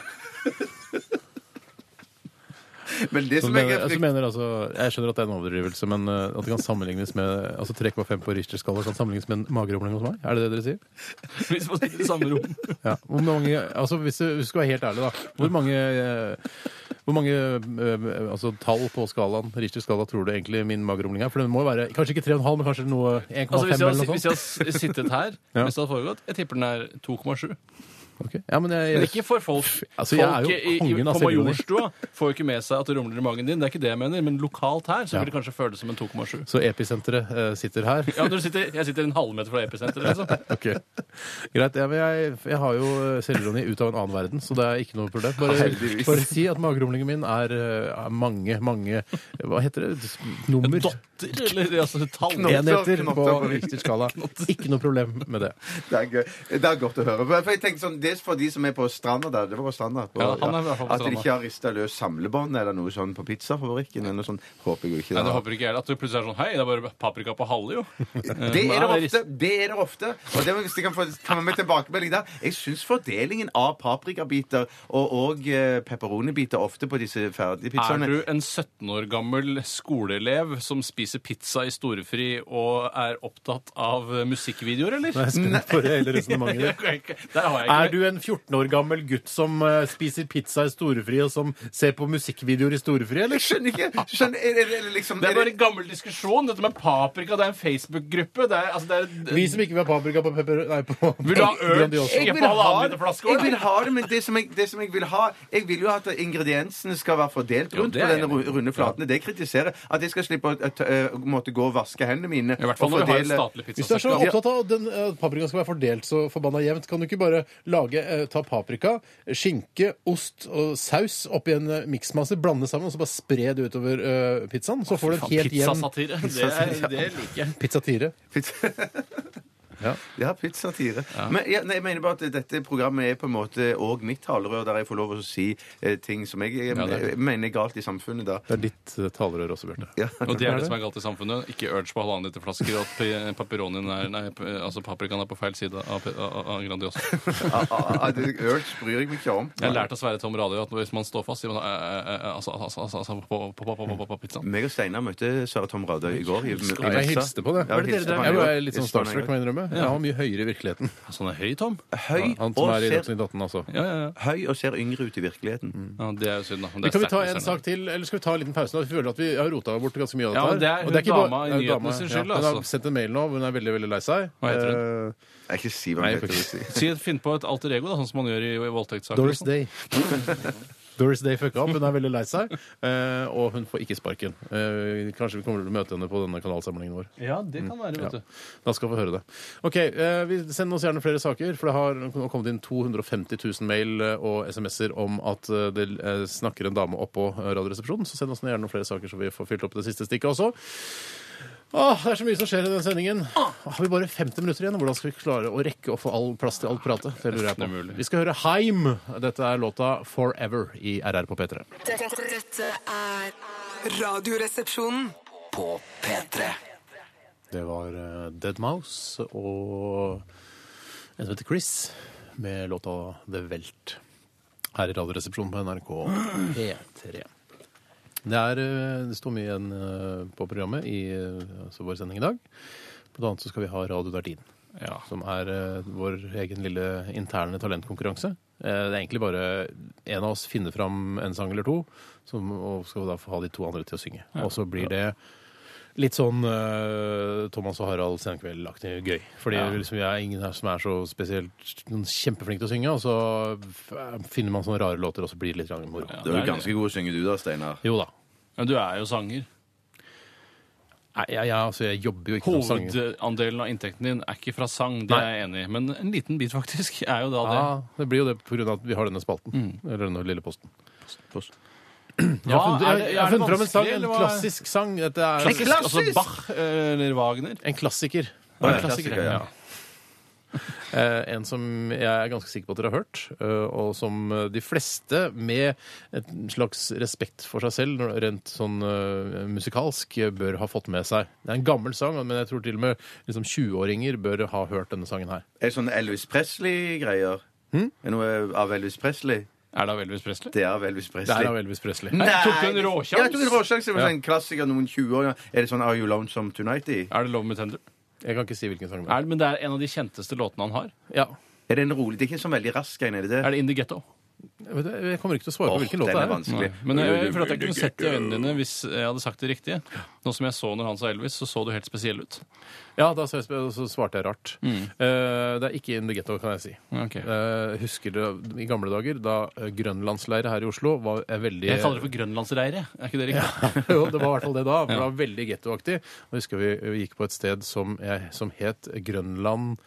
Speaker 3: Men det
Speaker 1: Så
Speaker 3: som jeg
Speaker 1: mener,
Speaker 3: reflekterer-
Speaker 1: altså mener altså, jeg skjønner at det er en overdrivelse, men eh, at det kan sammenlignes med altså 3,5 på Richter-skala kan sammenlignes med en mageromling hos meg? Er det det dere sier?
Speaker 2: Hvis man sitter i samme rom.
Speaker 1: Ja. Hvor mange, altså hvis du hvis du skal være helt ærlig, da. Hvor mange, eh, hvor mange eh, altså, tall på skalaen Richter-skala tror du egentlig min mageromling er? For den må jo være kanskje ikke 3,5, men kanskje noe 1,5
Speaker 2: Altså, hvis, jeg,
Speaker 1: eller
Speaker 2: hadde-
Speaker 1: noe
Speaker 2: hvis jeg
Speaker 1: sånt?
Speaker 2: hadde sittet her,
Speaker 1: Ja.
Speaker 2: hvis det hadde foregått, jeg tipper den er 2,7.
Speaker 1: Ok. Ja, men jeg,
Speaker 2: Men ikke for folk.
Speaker 1: Altså, jeg er jo
Speaker 2: folk i- i-
Speaker 1: kongen av
Speaker 2: på
Speaker 1: selvironi.
Speaker 2: Majorstua får jo ikke med seg at det rumler i magen din. Det er ikke det jeg mener, men lokalt her så vil det kanskje føles som en 2,7.
Speaker 1: Så episenteret eh, sitter her.
Speaker 2: Ja, når du sitter, Jeg sitter en halvmeter fra episenteret, liksom.
Speaker 1: Ok. Greit. Ja, men jeg, jeg har jo eh, selvironi ut av en annen verden, så det er ikke noe problem. Bare,
Speaker 3: Heldigvis.
Speaker 1: bare si at mageromlingen min er, eh, er mange, mange Hva heter det? Nummer?
Speaker 2: Dotter, eller altså tall.
Speaker 1: Enheter
Speaker 3: knotter
Speaker 1: på
Speaker 3: på
Speaker 1: riktig skala. Ikke noe problem med det.
Speaker 3: Det er, gøy. det er godt å høre. For jeg tenkte sånn, Det er for de som er på stranda der. Det var på stranda. På,
Speaker 2: Ja, han er i hvert fall på
Speaker 3: At de
Speaker 2: stranda.
Speaker 3: ikke har rista løs samlebånd eller noe sånn på pizzafabrikken. eller noe sånt. Håper jeg jo ikke
Speaker 2: Nei, det
Speaker 3: da.
Speaker 2: håper ikke jeg. At du plutselig er sånn Hei, det er bare paprika på halve, jo.
Speaker 3: det er det
Speaker 2: Nei,
Speaker 3: ofte. det er det ofte. Og det, må- hvis de kan få komme med tilbakemelding der Jeg syns fordelingen av paprikabiter og, og eh, pepperonibiter ofte på disse ferdige
Speaker 2: Er
Speaker 1: sånn,
Speaker 3: pizzaene
Speaker 2: du en 17 år gammel skoleelev som spiser pizza i storefri og er opptatt av eh, musikkvideoer, eller?
Speaker 1: Jeg er spent på det hele resonnementet
Speaker 2: Jeg
Speaker 1: ditt.
Speaker 2: kan ikke- Der har jeg ikke
Speaker 1: Er du en 14 år gammel gutt som eh, spiser pizza i storefri, og som ser på musikkvideoer i storefri, eller?
Speaker 3: Jeg skjønner ikke. Skjønner, er, det- er det liksom
Speaker 2: Det er
Speaker 3: er
Speaker 2: bare en gammel diskusjon. Dette med paprika, det er en Facebook-gruppe. Det er, altså, det er
Speaker 1: Vi som ikke vil ha paprika på pepper... Nei, på
Speaker 2: Vil du ha øl?
Speaker 1: Grandiosa.
Speaker 3: jeg
Speaker 2: Ikke
Speaker 3: vil,
Speaker 2: på alle
Speaker 3: ha,
Speaker 2: andre flasker,
Speaker 3: jeg vil
Speaker 2: eller?
Speaker 3: ha det, men det som jeg, det som jeg vil ha Jeg vil jo at ingrediensene skal være fordelt rundt
Speaker 2: det
Speaker 3: på
Speaker 2: er
Speaker 3: denne
Speaker 2: jeg
Speaker 3: ru- runde flatene. Det kritiserer jeg. At jeg skal slippe å t- eh, måtte gå og vaske hendene mine.
Speaker 2: I hvert fall
Speaker 3: og
Speaker 2: når vi har et
Speaker 3: fordele-
Speaker 1: Hvis
Speaker 2: statlig
Speaker 1: du er så
Speaker 2: pizzaselskap.
Speaker 1: eh, opptatt av at den, at paprikaen skal være fordelt så forbanna jevnt, kan du ikke bare lage lage, eh, ta paprika, skinke, ost og saus oppi en eh, miksmasse, blande sammen og så bare spre det utover eh, pizzaen. Så får du en helt jevn
Speaker 2: Pizzasatire. Det, er- det liker jeg.
Speaker 1: pizzatire.
Speaker 3: Pizza.
Speaker 1: Ja.
Speaker 3: Ja, pizzatire. Men ja, nei, jeg mener bare at dette programmet er på en måte òg mitt talerør, der jeg får lov å si eh, ting som jeg, jeg,
Speaker 2: Ja, det er det.
Speaker 3: mener er galt i samfunnet, da.
Speaker 1: Det er ditt eh, talerør også, Bjarte.
Speaker 3: Ja.
Speaker 2: Og det er det som er galt i samfunnet. Ikke urge på halvannen liter flasker, og at pe- pepperonien er Nei, pe- altså paprikaen er på feil side av, pe- av, av Grandiosa.
Speaker 3: Ah, ah, ah, det- Urge bryr jeg meg ikke om.
Speaker 2: Jeg har lært av Sverre Tom Radio at hvis man står fast, sier man eh, eh, eh, altså, altså, altså, altså på, på, på, på, på, på pizzaen.
Speaker 3: Meg og Steinar møtte Sara Tom Radøy i går. i- i
Speaker 1: Jeg bare
Speaker 3: Messa.
Speaker 1: hilste på det.
Speaker 3: Ja, hilste på han i
Speaker 1: jeg
Speaker 3: går.
Speaker 1: var litt sånn
Speaker 3: Hilste på han i
Speaker 1: starstruck,
Speaker 3: går.
Speaker 1: må jeg innrømme. Jeg var mye høyere i virkeligheten.
Speaker 2: Sånn er høy, Tom.
Speaker 3: Høy
Speaker 1: Han som
Speaker 3: og,
Speaker 1: er i
Speaker 3: ser,
Speaker 1: Dagsnytt 18, altså.
Speaker 2: Ja, ja, ja.
Speaker 3: høy og ser yngre ut i
Speaker 1: Mm.
Speaker 3: virkeligheten.
Speaker 2: ja det er jo synd, da. Det er
Speaker 1: Men Kan vi ta
Speaker 2: sterkt
Speaker 1: en
Speaker 2: misfornøyd.
Speaker 1: sak til, eller skal vi ta en liten pause nå? Vi føler at vi har rota bort ganske mye av
Speaker 2: Ja,
Speaker 1: dette.
Speaker 2: men det er
Speaker 1: her. Og bare-
Speaker 2: hun dama i
Speaker 1: det er
Speaker 2: nyhetene
Speaker 1: dama,
Speaker 2: sin skyld,
Speaker 1: Hun har
Speaker 2: altså.
Speaker 1: sendt en mail nå, hun er veldig, veldig lei seg. Eh,
Speaker 2: Hva heter
Speaker 1: hun?
Speaker 3: Jeg ikke si hva
Speaker 1: Nei,
Speaker 3: han
Speaker 1: jeg
Speaker 3: heter.
Speaker 1: får
Speaker 3: si.
Speaker 2: Si, finn på et alter ego, da, sånn som man gjør i, i voldtektssaker.
Speaker 1: Doris Day. Doris Day fucka opp, hun er veldig lei seg, eh, og hun får ikke sparken. Eh, Kanskje vi kommer til å møte henne på denne kanalsamlingen vår.
Speaker 2: Ja, det kan være, vet
Speaker 1: Ja.
Speaker 2: du.
Speaker 1: Da skal vi høre det. Ok, eh, vi Send oss gjerne flere saker, for det har nå kommet inn 250 000 mail eh, og SMS-er om at eh, det eh, snakker en dame oppå eh, Radioresepsjonen. Så send oss nå gjerne noen flere saker, så vi får fylt opp det siste stikket også. Åh, det er så mye som skjer i den sendingen. Har vi bare 50 minutter igjen? Hvordan skal vi klare å rekke å få all plass til alt pratet? Det lurer jeg
Speaker 2: Nesten
Speaker 1: på.
Speaker 2: umulig.
Speaker 1: Vi skal høre Heim. Dette er låta 'Forever' i RR på P3.
Speaker 7: Dette, dette er Radioresepsjonen.
Speaker 5: På P3
Speaker 1: Det var eh, Dead Mouse og en som heter Chris med låta The Welt. Her i Radioresepsjonen på NRK P3. Det, er, eh, det står mye igjen eh, på programmet i eh, altså vår sending i dag. Blant annet så skal vi ha Radio Dardin,
Speaker 2: Ja.
Speaker 1: som er eh, vår egen lille interne talentkonkurranse. Eh, Det er egentlig bare en av oss finner fram en sang eller to, som, og skal da få ha de to andre til å synge. Og så blir det Litt sånn eh, Thomas og Harald Senkveld-aktig gøy. Fordi
Speaker 2: Ja.
Speaker 1: liksom, jeg er ingen her som er så spesielt noen kjempeflink til å synge, og så f- finner man sånne rare låter, og så blir det litt grann moro.
Speaker 2: Ja,
Speaker 3: Du
Speaker 2: det
Speaker 3: er
Speaker 2: er
Speaker 3: jo ganske god å synge, du da, Steinar.
Speaker 1: Jo da.
Speaker 2: det. Men du er jo sanger.
Speaker 1: Nei, jeg, jeg, altså, jeg jobber jo ikke som sanger.
Speaker 2: Hovedandelen av inntekten din er ikke fra sang, det er jeg enig i. Men en liten bit, faktisk, er jo da det.
Speaker 1: Ja, det blir jo det pga. at vi har denne spalten. Eller denne lille posten. Jeg
Speaker 2: Hva
Speaker 1: har funnet,
Speaker 2: er
Speaker 1: jeg,
Speaker 2: det-
Speaker 1: jeg har
Speaker 2: er det
Speaker 1: funnet fram en sang,
Speaker 2: vanskelig,
Speaker 1: en
Speaker 2: eller hva?
Speaker 1: klassisk sang. Dette er
Speaker 2: Klassisk, altså Bach eller Wagner.
Speaker 1: En klassiker.
Speaker 3: Ja,
Speaker 1: En klassiker,
Speaker 3: klassiker, ja.
Speaker 1: ja. Eh, en som jeg er ganske sikker på at dere har hørt, eh, og som eh, de fleste med et slags respekt for seg selv, når- rent sånn eh, musikalsk, eh, bør ha fått med seg. Det er en gammel sang, men jeg tror til og med liksom, 20-åringer bør ha hørt denne sangen her.
Speaker 3: Er det sånn Elvis Presley-greier?
Speaker 1: Hm?
Speaker 3: Er det noe av Elvis Presley?
Speaker 2: Er det av Elvis Presley?
Speaker 3: Det er av Elvis
Speaker 1: Det
Speaker 3: Presley.
Speaker 1: er av Elvis Presley.
Speaker 2: Nei, tok du en
Speaker 3: det-
Speaker 2: råsjans?
Speaker 3: Ja, jeg tok en råsjans. Det var sånn klassiker noen 20 år. Er det sånn Are You Lonesome Tonight? i?
Speaker 2: Er det Love Me Tender?
Speaker 1: Jeg kan ikke si hvilken sang det er.
Speaker 2: Er det, men det er en av de kjenteste låtene han har.
Speaker 1: Ja.
Speaker 3: Er det en rolig? Det er ikke en sånn veldig rask en, er det det?
Speaker 2: Er det In The Ghetto?
Speaker 1: Jeg vet- jeg kommer ikke til å svare på
Speaker 3: Åh,
Speaker 1: hvilken
Speaker 3: den
Speaker 1: låt
Speaker 3: er
Speaker 1: det er.
Speaker 3: vanskelig.
Speaker 2: Men jeg, jeg føler at jeg kunne sett det i øynene dine hvis jeg hadde sagt det riktige. Nå som jeg så når han sa Elvis, så så du helt spesiell ut.
Speaker 1: Ja, da så, jeg, så svarte jeg rart.
Speaker 3: Mm.
Speaker 1: Eh, det er ikke In The Ghetto, kan jeg si.
Speaker 2: Ok.
Speaker 1: Eh, husker du i gamle dager da eh, grønlandsleire her i Oslo var eh, veldig
Speaker 2: Jeg kaller det for grønlandsreire. Er ikke det riktig?
Speaker 1: jo, det var i hvert fall det da. men Det var veldig gettoaktig. Og jeg husker vi, vi gikk på et sted som, jeg, som het Grønland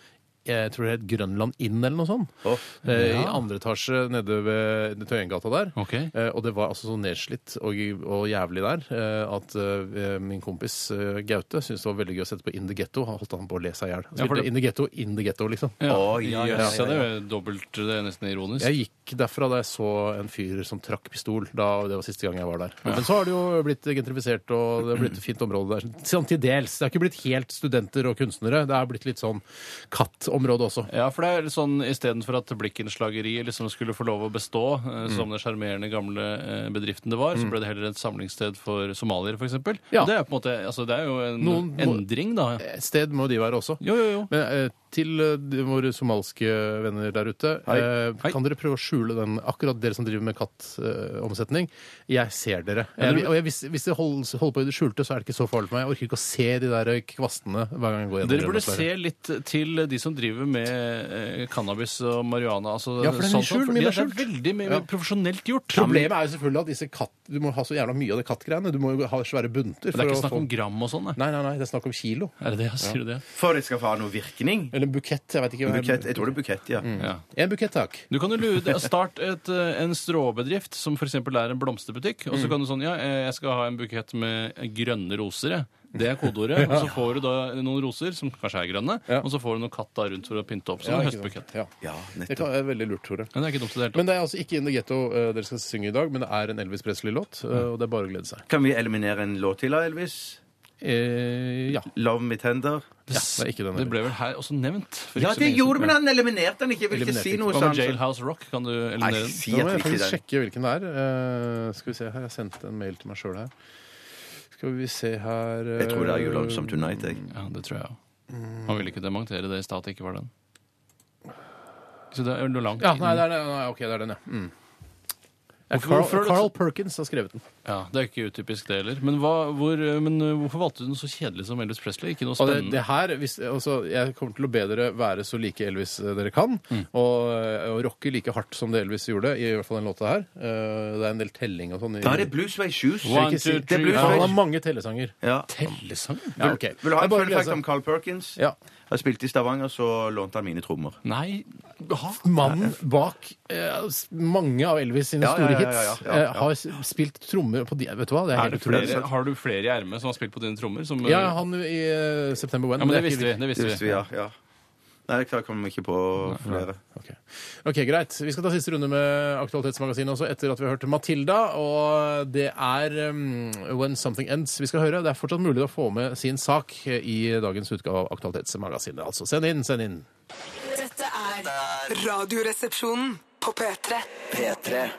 Speaker 1: jeg tror det het Grønland Inn eller noe sånt.
Speaker 3: Åh.
Speaker 1: Eh, I andre etasje nede ved Tøyengata der.
Speaker 2: Ok.
Speaker 1: Eh, og det var altså så nedslitt og, og jævlig der eh, at eh, min kompis eh, Gaute syntes det var veldig gøy å sette på In the Ghetto. Han holdt han på å le seg i hjel. Han
Speaker 2: Ja, for
Speaker 1: Spilte
Speaker 2: det-
Speaker 1: In the Ghetto, In the Ghetto, liksom.
Speaker 2: Ja,
Speaker 3: Oi,
Speaker 2: ja,
Speaker 3: ja,
Speaker 2: jøss, ja, det er jo dobbelt det er nesten ironisk.
Speaker 1: Jeg gikk derfra da jeg så en fyr som trakk pistol. Da, og det var siste gang jeg var der. Men så har det jo blitt gentrifisert, og det har blitt et fint område der. Sånn til dels. Det har ikke blitt helt studenter og kunstnere. Det har blitt litt sånn kattområde også.
Speaker 2: Ja, for det er litt sånn istedenfor at blikkenslageriet liksom skulle få lov å bestå eh,
Speaker 1: Mm.
Speaker 2: som den sjarmerende gamle eh, bedriften det var, så ble det heller et samlingssted for somaliere, f.eks.
Speaker 1: Ja.
Speaker 2: Det er jo på en måte, altså det er jo en
Speaker 1: Noen må-
Speaker 2: endring, da.
Speaker 1: Et sted må de være også.
Speaker 2: Jo, jo, jo.
Speaker 1: Men eh, til eh, de- våre somalske venner der ute,
Speaker 3: Hei.
Speaker 1: eh,
Speaker 2: Hei.
Speaker 1: kan dere prøve å skjule den, akkurat dere som driver med kattomsetning? jeg ser dere.
Speaker 2: Ja,
Speaker 1: Jeg,
Speaker 2: dere-
Speaker 1: og jeg, hvis, hvis dere holder, holder på i det skjulte, så er det ikke så farlig for meg. Jeg orker ikke å se de der eh, kvastene hver gang jeg går gjennom
Speaker 2: Dere burde
Speaker 1: Grønlandsleiren.
Speaker 2: se litt til de som driver med eh, cannabis og marihuana. Altså,
Speaker 1: Ja, for det er mye
Speaker 2: sånn som-
Speaker 1: skjult, mye
Speaker 2: ja,
Speaker 1: mer skjult.
Speaker 2: Det er veldig mye
Speaker 1: Ja.
Speaker 2: mer profesjonelt gjort.
Speaker 1: Problemet er jo selvfølgelig at disse katt, du må ha så jævla mye av det kattgreiene. Du må jo ha svære bunter.
Speaker 2: Men det er
Speaker 1: for
Speaker 2: ikke
Speaker 1: å
Speaker 2: snakk om
Speaker 1: få-
Speaker 2: gram og sånn, nei.
Speaker 1: Nei, nei, nei, det er snakk om kilo.
Speaker 2: Er det det? Sier du det?
Speaker 3: For det skal få ha noe virkning?
Speaker 1: Eller en bukett, jeg vet ikke. hva-
Speaker 3: Bukett, jeg tror det er bukett, ja.
Speaker 2: Ja.
Speaker 1: En bukett, takk.
Speaker 2: Du kan jo lure, det- start et, eh, en stråbedrift som f.eks. er en blomsterbutikk.
Speaker 1: Mm.
Speaker 2: Og så kan du sånn Ja, eh, jeg skal ha en bukett med grønne roser, jeg. Det er kodeordet. Og så får du da noen roser som kanskje er grønne,
Speaker 1: Ja.
Speaker 2: og så får du noe katt da rundt for å pynte opp. Sånn
Speaker 1: Ja,
Speaker 2: en
Speaker 1: ikke sant.
Speaker 2: høstbukett.
Speaker 1: Ja.
Speaker 3: Ja,
Speaker 1: Det
Speaker 3: nettopp.
Speaker 1: kan, er veldig lurt, Tore.
Speaker 2: Men det er ikke dumt i det hele tatt.
Speaker 1: Men det er altså ikke In the Ghetto eh, dere skal synge i dag, men det er en Elvis Presley-låt, eh, og det er bare å glede seg.
Speaker 3: Kan vi eliminere en låt til av Elvis?
Speaker 1: Eh, ja.
Speaker 3: 'Love Me Tender'?
Speaker 1: ja. Det er ikke den.
Speaker 2: Det ble vel her også nevnt. for
Speaker 3: Ja,
Speaker 2: ikke så
Speaker 3: det
Speaker 2: lenge
Speaker 3: gjorde
Speaker 2: siden.
Speaker 3: men han eliminerte den ikke. Jeg vil ikke
Speaker 1: Eliminerte
Speaker 3: si
Speaker 1: ikke.
Speaker 3: noe
Speaker 2: Hva med
Speaker 3: sånt.
Speaker 2: Jailhouse Rock? Kan du
Speaker 3: Nei,
Speaker 2: eliminere den?
Speaker 3: si
Speaker 1: Nå
Speaker 3: at
Speaker 1: må
Speaker 3: vi
Speaker 1: jeg
Speaker 3: ikke
Speaker 1: faktisk
Speaker 3: den.
Speaker 1: sjekke hvilken det er. Eh, skal vi se her, Jeg sendte en mail til meg sjøl her. Skal vi se her eh,
Speaker 3: Jeg tror det er You Love Some Tonight, jeg.
Speaker 2: Ja, det tror jeg òg. Han ville ikke dementere det i stad at det ikke var den. Så det er jo langt
Speaker 1: Ja, nei, det er, den. nei, ok, det er den, ja. Mm. Ja,
Speaker 2: Hvorfor-
Speaker 1: Carl,
Speaker 2: hvorfor er det
Speaker 1: Carl
Speaker 2: så-
Speaker 1: Perkins har skrevet den.
Speaker 2: Ja, det er ikke utypisk det heller. Men, hva, hvor, men uh, hvorfor valgte du noe så kjedelig som Elvis Presley? Ikke noe
Speaker 1: Og det,
Speaker 2: spennende?
Speaker 1: det her, hvis, altså, jeg kommer til å be dere være så like Elvis eh, dere kan,
Speaker 3: Mm.
Speaker 1: og, eh, og rocke like hardt som det Elvis gjorde, i hvert fall den låta her. Eh, det er en del telling og sånn. i-
Speaker 3: Da er det Bluesway Shoes.
Speaker 2: One,
Speaker 1: Ikke si-
Speaker 2: two,
Speaker 1: det
Speaker 2: three,
Speaker 1: blir-
Speaker 3: four.
Speaker 1: Han har mange tellesanger.
Speaker 3: Ja.
Speaker 2: Tellesang?
Speaker 1: Ja, ok.
Speaker 3: Vil du ha
Speaker 1: Det er
Speaker 3: en
Speaker 1: bare å
Speaker 3: fun fact
Speaker 1: glede
Speaker 3: om
Speaker 1: seg.
Speaker 3: Carl Perkins?
Speaker 1: Ja.
Speaker 3: Han spilte i Stavanger, så lånte han mine trommer.
Speaker 2: Nei. Ha.
Speaker 1: Mannen bak eh, s- mange av Elvis sine
Speaker 3: Ja, ja,
Speaker 1: store
Speaker 3: ja, ja, ja,
Speaker 1: hits
Speaker 3: ja,
Speaker 1: eh,
Speaker 3: ja.
Speaker 1: har s- spilt trommer på de, Vet du hva, det er
Speaker 2: Er
Speaker 1: helt
Speaker 2: det
Speaker 1: utrolig.
Speaker 2: flere, har du flere i ermet som har spilt på dine trommer? Som, uh,
Speaker 1: Ja, han i eh, September When.
Speaker 2: ja, men det
Speaker 1: er ikke
Speaker 2: visste vi. Det
Speaker 3: Det
Speaker 2: visste
Speaker 3: visste vi,
Speaker 2: vi.
Speaker 3: ja. ja. Nei, jeg kom ikke på flere.
Speaker 1: Ok. ok, greit. Vi skal ta siste runde med Aktualitetsmagasinet også, etter at vi har hørt Matilda. Og det er um, When Something Ends vi skal høre. Det er fortsatt mulig å få med sin sak i dagens utgave av Aktualitetsmagasinet. Altså, send inn, send inn.
Speaker 7: Dette er Radioresepsjonen på P3.
Speaker 5: P3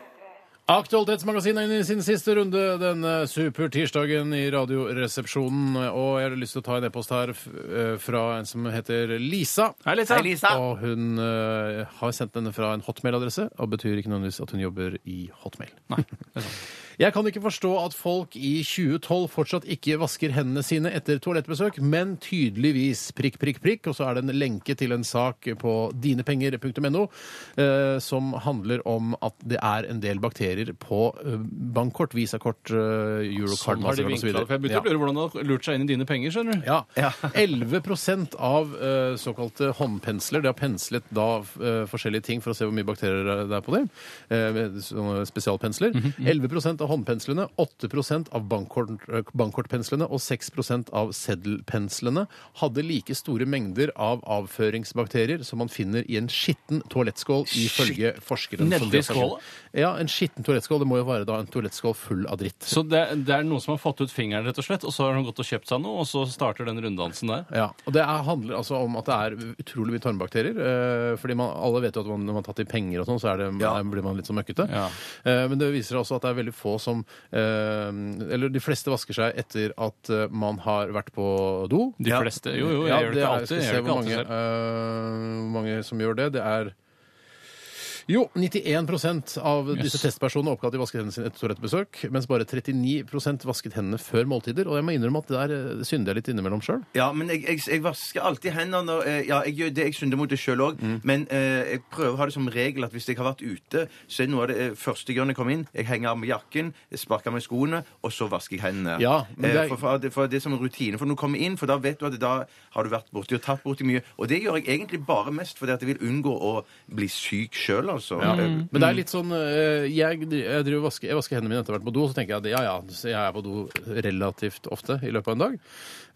Speaker 1: Aktualitetsmagasinet inn i sin siste runde denne supertirsdagen i Radioresepsjonen. Og jeg har lyst til å ta en e-post her f- eh, fra en som heter Lisa.
Speaker 2: Hei, Lisa.
Speaker 1: Og hun eh, har sendt denne fra en hotmail-adresse, og betyr ikke nødvendigvis at hun jobber i hotmail.
Speaker 2: Nei, det er sant.
Speaker 1: Jeg kan ikke forstå at folk i 2012 fortsatt ikke vasker hendene sine etter toalettbesøk, men tydeligvis prikk, prikk, prikk, og så er det en lenke til en sak på dinepenger.no eh, som handler om at det er en del bakterier på eh, bankkort, visakort, eh, eurocard,
Speaker 2: Sånn har de
Speaker 1: Mastercard og så
Speaker 2: vinklet det,
Speaker 1: videre.
Speaker 2: for Jeg begynte
Speaker 1: Ja.
Speaker 2: å lure hvordan det har lurt seg inn i dine penger, skjønner du.
Speaker 1: Ja. 11 av eh, såkalte håndpensler. De har penslet da eh, forskjellige ting for å se hvor mye bakterier det er på dem. eh, med sånne spesialpensler. 11 av håndpenslene, 8 av bankkort, eh, bankkortpenslene og 6 av seddelpenslene hadde like store mengder av avføringsbakterier som man finner i en skitten toalettskål, ifølge forskeren.
Speaker 2: Nedi
Speaker 1: som de har sett.
Speaker 2: skåla?
Speaker 1: Ja, en skitten toalettskål. Det må jo være da en toalettskål full av dritt.
Speaker 2: Så det, det er noen som har fått ut fingeren, rett og slett, og så har han gått og kjøpt seg noe, og så starter den runddansen der.
Speaker 1: Ja, og Det er, handler altså om at det er utrolig mye tarmbakterier. Eh, fordi man, Alle vet jo at man, når man har tatt i penger, og sånn, så er det,
Speaker 3: Ja.
Speaker 1: er- blir man litt sånn møkkete.
Speaker 2: Ja.
Speaker 1: Eh, men det viser også at det er veldig få som eh, Eller de fleste vasker seg etter at eh, man har vært på do.
Speaker 2: De
Speaker 3: Ja.
Speaker 2: fleste. Jo, jo, jeg gjør det ikke
Speaker 1: er-
Speaker 2: alltid.
Speaker 1: Skal vi
Speaker 2: Jeg
Speaker 1: se hvor
Speaker 2: gjør det ikke
Speaker 1: mange,
Speaker 2: alltid selv.
Speaker 1: eh, hvor mange som gjør det. Det er jo, 91 av disse
Speaker 2: Yes.
Speaker 1: testpersonene oppga at de vasket hendene sine etter toalettbesøk, mens bare 39 vasket hendene før måltider. Og jeg må innrømme at det der eh, synder jeg litt innimellom sjøl.
Speaker 3: Ja, men jeg, jeg, jeg vasker alltid hendene når eh, Ja, jeg gjør det, jeg synder mot det sjøl òg,
Speaker 1: Mm.
Speaker 3: men eh, jeg prøver å ha det som regel at hvis jeg har vært ute, så er noe av det eh, første jeg gjør når jeg kommer inn, jeg henger av meg jakken, jeg sparker av meg skoene, og så vasker jeg hendene.
Speaker 1: Ja, men det
Speaker 3: det
Speaker 1: er-
Speaker 3: er... for, for, det- for det er som en rutine for når du kommer inn, for da vet du at da har du vært borti og tatt borti mye. Og det gjør jeg egentlig bare mest fordi at jeg vil unngå å bli syk sjøl, altså. Eh,
Speaker 1: Men det er litt sånn eh, Jeg, jeg, driver og vasker, jeg vasker hendene mine etter hvert på do, så tenker jeg at ja, ja, så jeg er på do relativt ofte i løpet av en dag.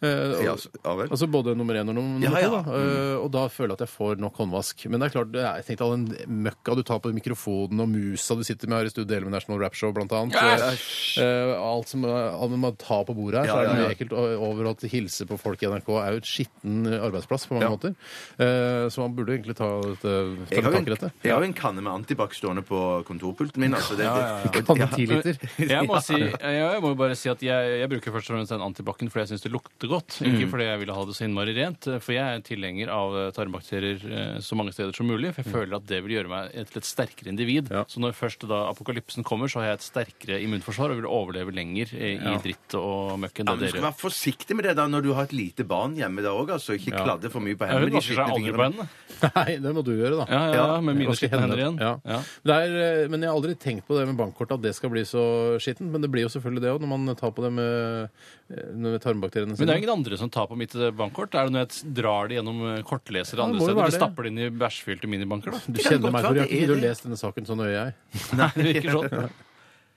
Speaker 1: Eh,
Speaker 3: Ja,
Speaker 1: og-
Speaker 3: så- ja vel.
Speaker 1: altså både nummer én og num- nummer
Speaker 3: Ja, Mm.
Speaker 1: to.
Speaker 3: ja.
Speaker 1: Da. Eh, og da føler jeg at jeg får nok håndvask. Men det er klart, det er, jeg tenkte all den møkka du tar på mikrofonen, og musa du sitter med her i studio, deler med National Rap Show, blant annet. Eh, alt som eh, alt man tar på bordet her, så
Speaker 3: Ja,
Speaker 1: er det
Speaker 3: ja,
Speaker 1: mye
Speaker 3: ja.
Speaker 1: ekkelt o- over at hilse på folk i NRK er jo et skitten arbeidsplass på
Speaker 3: Ja.
Speaker 1: mange måter. Eh, så man burde egentlig ta, et, eh, ta
Speaker 3: Jeg har,
Speaker 1: tak i
Speaker 3: jo en,
Speaker 1: dette.
Speaker 3: jeg har jo en kanne med antibac stående på kontorpulten min. Altså det, det,
Speaker 1: Kan du ti liter?
Speaker 2: Jeg må, si, ja, jeg må jo bare si at jeg, jeg bruker først og fremst den antibac-en fordi jeg syns det lukter godt. Ikke
Speaker 1: Mm.
Speaker 2: fordi jeg ville ha det så innmari rent. For jeg er tilhenger av eh, tarmbakterier eh, så mange steder som mulig. For jeg føler at det vil gjøre meg til et sterkere individ.
Speaker 1: Mm. Ja.
Speaker 2: Så når først da apokalypsen kommer, så har jeg et sterkere immunforsvar og vil overleve lenger eh, i dritt og møkk enn
Speaker 3: Ja, men
Speaker 2: det
Speaker 3: Du skal
Speaker 2: dere gjør.
Speaker 3: være forsiktig med det da når du har et lite barn hjemme da òg. Altså. Ikke kladde for mye på
Speaker 2: Ja,
Speaker 3: hendene.
Speaker 2: Hun
Speaker 3: de
Speaker 2: vasker
Speaker 3: skitne
Speaker 2: seg aldri
Speaker 3: fingrene.
Speaker 2: på hendene.
Speaker 1: Nei, det må du gjøre, da.
Speaker 2: Ja, ja, ja, med mine
Speaker 1: Vaske
Speaker 2: skitne hender der igjen.
Speaker 1: Ja.
Speaker 2: Ja.
Speaker 1: Det er, eh, men jeg har aldri tenkt på det med bankkort, at det skal bli så skittent. Men det blir jo selvfølgelig det òg, når man tar på det med, eh, med tarmbakteriene
Speaker 2: Men
Speaker 1: sine.
Speaker 2: det er ingen andre som tar på mitt eh, bankkort. Er det når jeg drar det gjennom eh, kortlesere
Speaker 1: Ja, det må
Speaker 2: andre
Speaker 1: jo være
Speaker 2: steder? Eller
Speaker 1: det.
Speaker 2: stapper det inn i bæsjfylte minibanker, da?
Speaker 1: du
Speaker 3: Det kan
Speaker 1: kjenner
Speaker 3: godt
Speaker 1: meg,
Speaker 3: være
Speaker 1: for jeg har
Speaker 3: det
Speaker 1: ikke
Speaker 3: er
Speaker 1: giddet å
Speaker 3: det.
Speaker 1: lese denne saken så nøye, jeg.
Speaker 2: Nei, det virker sånn.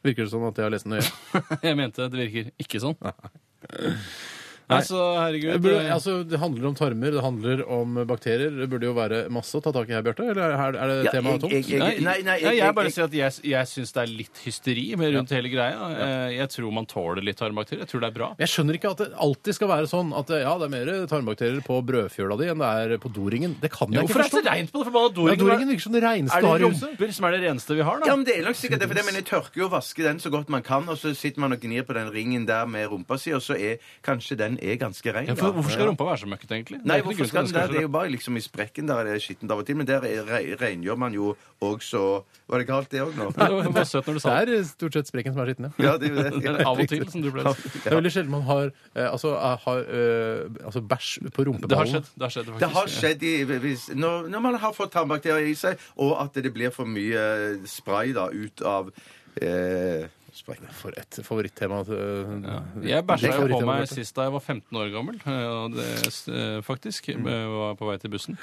Speaker 1: Virker det sånn at jeg har lest den nøye?
Speaker 2: Jeg mente det virker ikke sånn. Nei, så
Speaker 1: Det,
Speaker 2: herregud.
Speaker 1: burde,
Speaker 2: eh,
Speaker 1: altså, det handler om tarmer, det handler om bakterier. Det burde jo være masse å ta tak i her, Bjarte? Eller er, er det
Speaker 3: Ja,
Speaker 1: temaet
Speaker 3: jeg-
Speaker 1: tungt?
Speaker 3: jeg-
Speaker 2: Nei, nei,
Speaker 3: Nei, nei,
Speaker 2: jeg,
Speaker 3: jeg-
Speaker 2: bare
Speaker 3: jeg-
Speaker 2: sier at jeg, jeg syns det er litt hysteri med rundt hele greia. Eh, Jeg tror man tåler litt tarmbakterier. Jeg tror det er bra.
Speaker 1: Jeg skjønner ikke at det alltid skal være sånn at ja, det er mer tarmbakterier på brødfjøla di enn det er på doringen. Det kan jeg ikke
Speaker 2: Hvorfor er det
Speaker 1: forstå.
Speaker 2: så reint på det forbanna
Speaker 1: Ja,
Speaker 2: doringen?
Speaker 1: doringen virker som det reneste
Speaker 2: er
Speaker 1: du
Speaker 2: det
Speaker 1: har i huset.
Speaker 2: rumper som er det reneste vi har, da?
Speaker 3: Ja, men det er nok sikkert det, for det, men jeg tørker jo og vasker den så godt man kan, og så sitter man og gnir på den ringen der med rumpa si, og så er kanskje den er ganske rein.
Speaker 2: Ja,
Speaker 3: da.
Speaker 2: for, hvorfor skal
Speaker 3: Ja.
Speaker 2: rumpa være så møkkete, egentlig? Det er
Speaker 3: Nei,
Speaker 2: ikke noe
Speaker 3: hvorfor
Speaker 2: grunn til
Speaker 3: skal
Speaker 2: at
Speaker 3: den
Speaker 2: den
Speaker 3: der?
Speaker 2: skal
Speaker 3: Det er jo bare liksom i sprekken der er det skittent av og til, men der er- re- rengjør man jo også Var det galt det òg nå?
Speaker 2: være så- Det var søt når du sa
Speaker 1: Det
Speaker 2: det.
Speaker 1: er stort sett sprekken som er skitten, ja.
Speaker 3: Ja, det er jo det. Ja,
Speaker 2: Av og til, som du ble
Speaker 1: Det er veldig sjelden man har, eh, altså, eh, har eh, altså bæsj på rumpeballen.
Speaker 2: Det har skjedd. Det har skjedd, faktisk.
Speaker 3: Det har skjedd i, hvis, når, når man har fått tarmbakterier i seg, og at det blir for mye eh, spray da ut av eh, sprekken.
Speaker 1: For et favorittema. eh,
Speaker 2: Jeg bæsja
Speaker 1: det er
Speaker 2: jo på
Speaker 1: favorittema,
Speaker 2: meg
Speaker 1: Bjarte.
Speaker 2: sist da jeg var 15 år gammel, eh, og det, s- eh, faktisk.
Speaker 1: Mm.
Speaker 2: Jeg var på vei til bussen.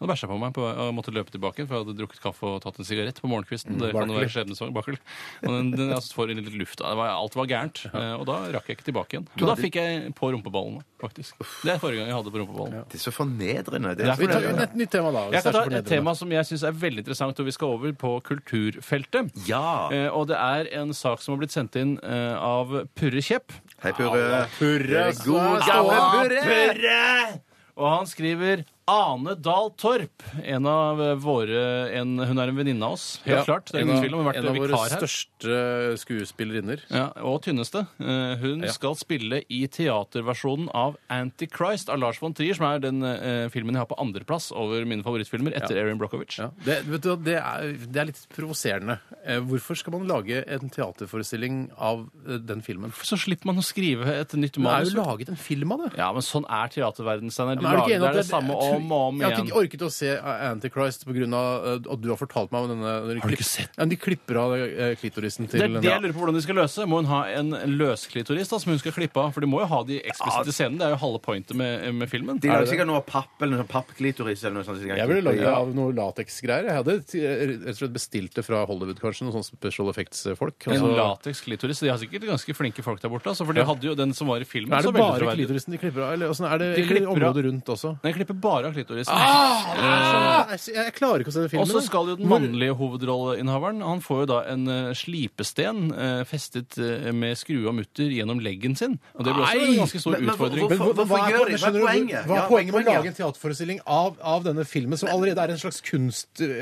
Speaker 2: Da bæsja jeg på meg på vei, og måtte løpe tilbake, for jeg hadde drukket kaffe og tatt en sigarett på
Speaker 1: Mm,
Speaker 2: morgenkvisten. Det kan jo være skjebnesvang. Bakkel. Og den, den altså, får en liten luft. av- det var- Alt var gærent. eh, Og da rakk jeg ikke tilbake igjen. Og da fikk jeg på rumpeballene, faktisk. Det er forrige gang jeg hadde på rumpeballene.
Speaker 3: Det er så fornedrende. Det
Speaker 2: Det er
Speaker 3: er
Speaker 1: Vi
Speaker 3: så
Speaker 1: tar
Speaker 3: fornedrende.
Speaker 1: et nytt tema, da. hvis
Speaker 2: Jeg kan
Speaker 1: det er
Speaker 2: ta
Speaker 1: så
Speaker 2: et
Speaker 1: fornedrende.
Speaker 2: tema som jeg syns er veldig interessant, og vi skal over på kulturfeltet.
Speaker 3: Ja.
Speaker 2: Eh, Og det er en sak som har blitt sendt inn eh, av Purre Kjepp.
Speaker 3: Hei, Purre.
Speaker 1: Purre,
Speaker 3: God
Speaker 1: så-
Speaker 3: gamle
Speaker 1: stå opp.
Speaker 3: Purre!
Speaker 2: Og han skriver Ane Dahl Torp. En av våre en, Hun er en venninne av oss, helt
Speaker 1: Ja,
Speaker 2: klart. Det er
Speaker 1: en
Speaker 2: ingen
Speaker 1: av-
Speaker 2: tvil om hun har
Speaker 1: En av
Speaker 2: vært
Speaker 1: våre
Speaker 2: vikar her.
Speaker 1: største eh, skuespillerinner.
Speaker 2: Ja, og tynneste. Eh, Hun skal spille i teaterversjonen av Antichrist av Lars von Trier, som er den eh, filmen jeg har på andreplass over mine favorittfilmer etter Erin Brockovich.
Speaker 1: Ja. Det, vet du, hva, det, er, det er litt provoserende. Eh, Hvorfor skal man lage en teaterforestilling av eh, den filmen?
Speaker 2: Så slipper man å skrive et nytt
Speaker 1: Man er
Speaker 2: manus.
Speaker 1: jo laget en film av det.
Speaker 2: Ja, men sånn er teaterverdenen, Steinar. Du
Speaker 1: Men er du
Speaker 2: lager
Speaker 1: ikke enig
Speaker 2: det,
Speaker 1: at
Speaker 2: er det samme
Speaker 1: jeg tror-
Speaker 2: om og om
Speaker 1: Jeg har
Speaker 2: igjen.
Speaker 1: ikke orket å se Antichrist pga. eh, at du har fortalt meg om denne når de
Speaker 2: Har du
Speaker 1: klipp-
Speaker 2: ikke sett?
Speaker 1: Ja, de klipper av eh, klitorisen til
Speaker 2: Det er det jeg lurer på hvordan de skal løse. Må hun ha en løsklitoris da, som hun skal klippe av? For de må jo ha de eksplisitte scenene. Det er jo halve pointet med, med filmen.
Speaker 3: De lager sikkert noe papp eller noe pappklitoris eller noe sånt. som de kan
Speaker 1: Jeg ville
Speaker 3: klippe i.
Speaker 1: laget det av noe lateksgreier. Jeg hadde t- rett og slett bestilt det fra Hollywood, kanskje. Noen sånne special effects-folk.
Speaker 2: En
Speaker 1: Altså,
Speaker 2: lateksklitoris. De har sikkert ganske flinke folk der borte. Altså, for de hadde jo den som var i filmen.
Speaker 1: er
Speaker 2: så
Speaker 1: det
Speaker 2: veldig
Speaker 1: bare
Speaker 2: troverdig.
Speaker 1: klitorisen de klipper av? Eller, åssen er det,
Speaker 2: De
Speaker 1: eller
Speaker 2: klipper av-
Speaker 1: området rundt også?
Speaker 2: Nei, jeg klipper bare av klitorisen.
Speaker 1: Ah, jeg, jeg klarer ikke å se den filmen. altså.
Speaker 2: Og så
Speaker 1: jeg.
Speaker 2: skal jo den
Speaker 1: Hvor-
Speaker 2: mannlige hovedrolleinnehaveren Han får jo da en eh, slipesten eh, festet eh, med skrue og mutter gjennom leggen sin. Og det blir også
Speaker 1: Nei!
Speaker 2: en ganske stor
Speaker 3: Men- men hvor- hvor-
Speaker 2: utfordring.
Speaker 1: Men hva, hva,
Speaker 3: Hvorfor
Speaker 1: er,
Speaker 3: gjør de- hva er
Speaker 1: skjønner du,
Speaker 3: poenget? Ja,
Speaker 1: Hva er
Speaker 3: hva er
Speaker 1: poenget med å
Speaker 3: poenget?
Speaker 1: lage en teaterforestilling av, av denne filmen, som allerede er en slags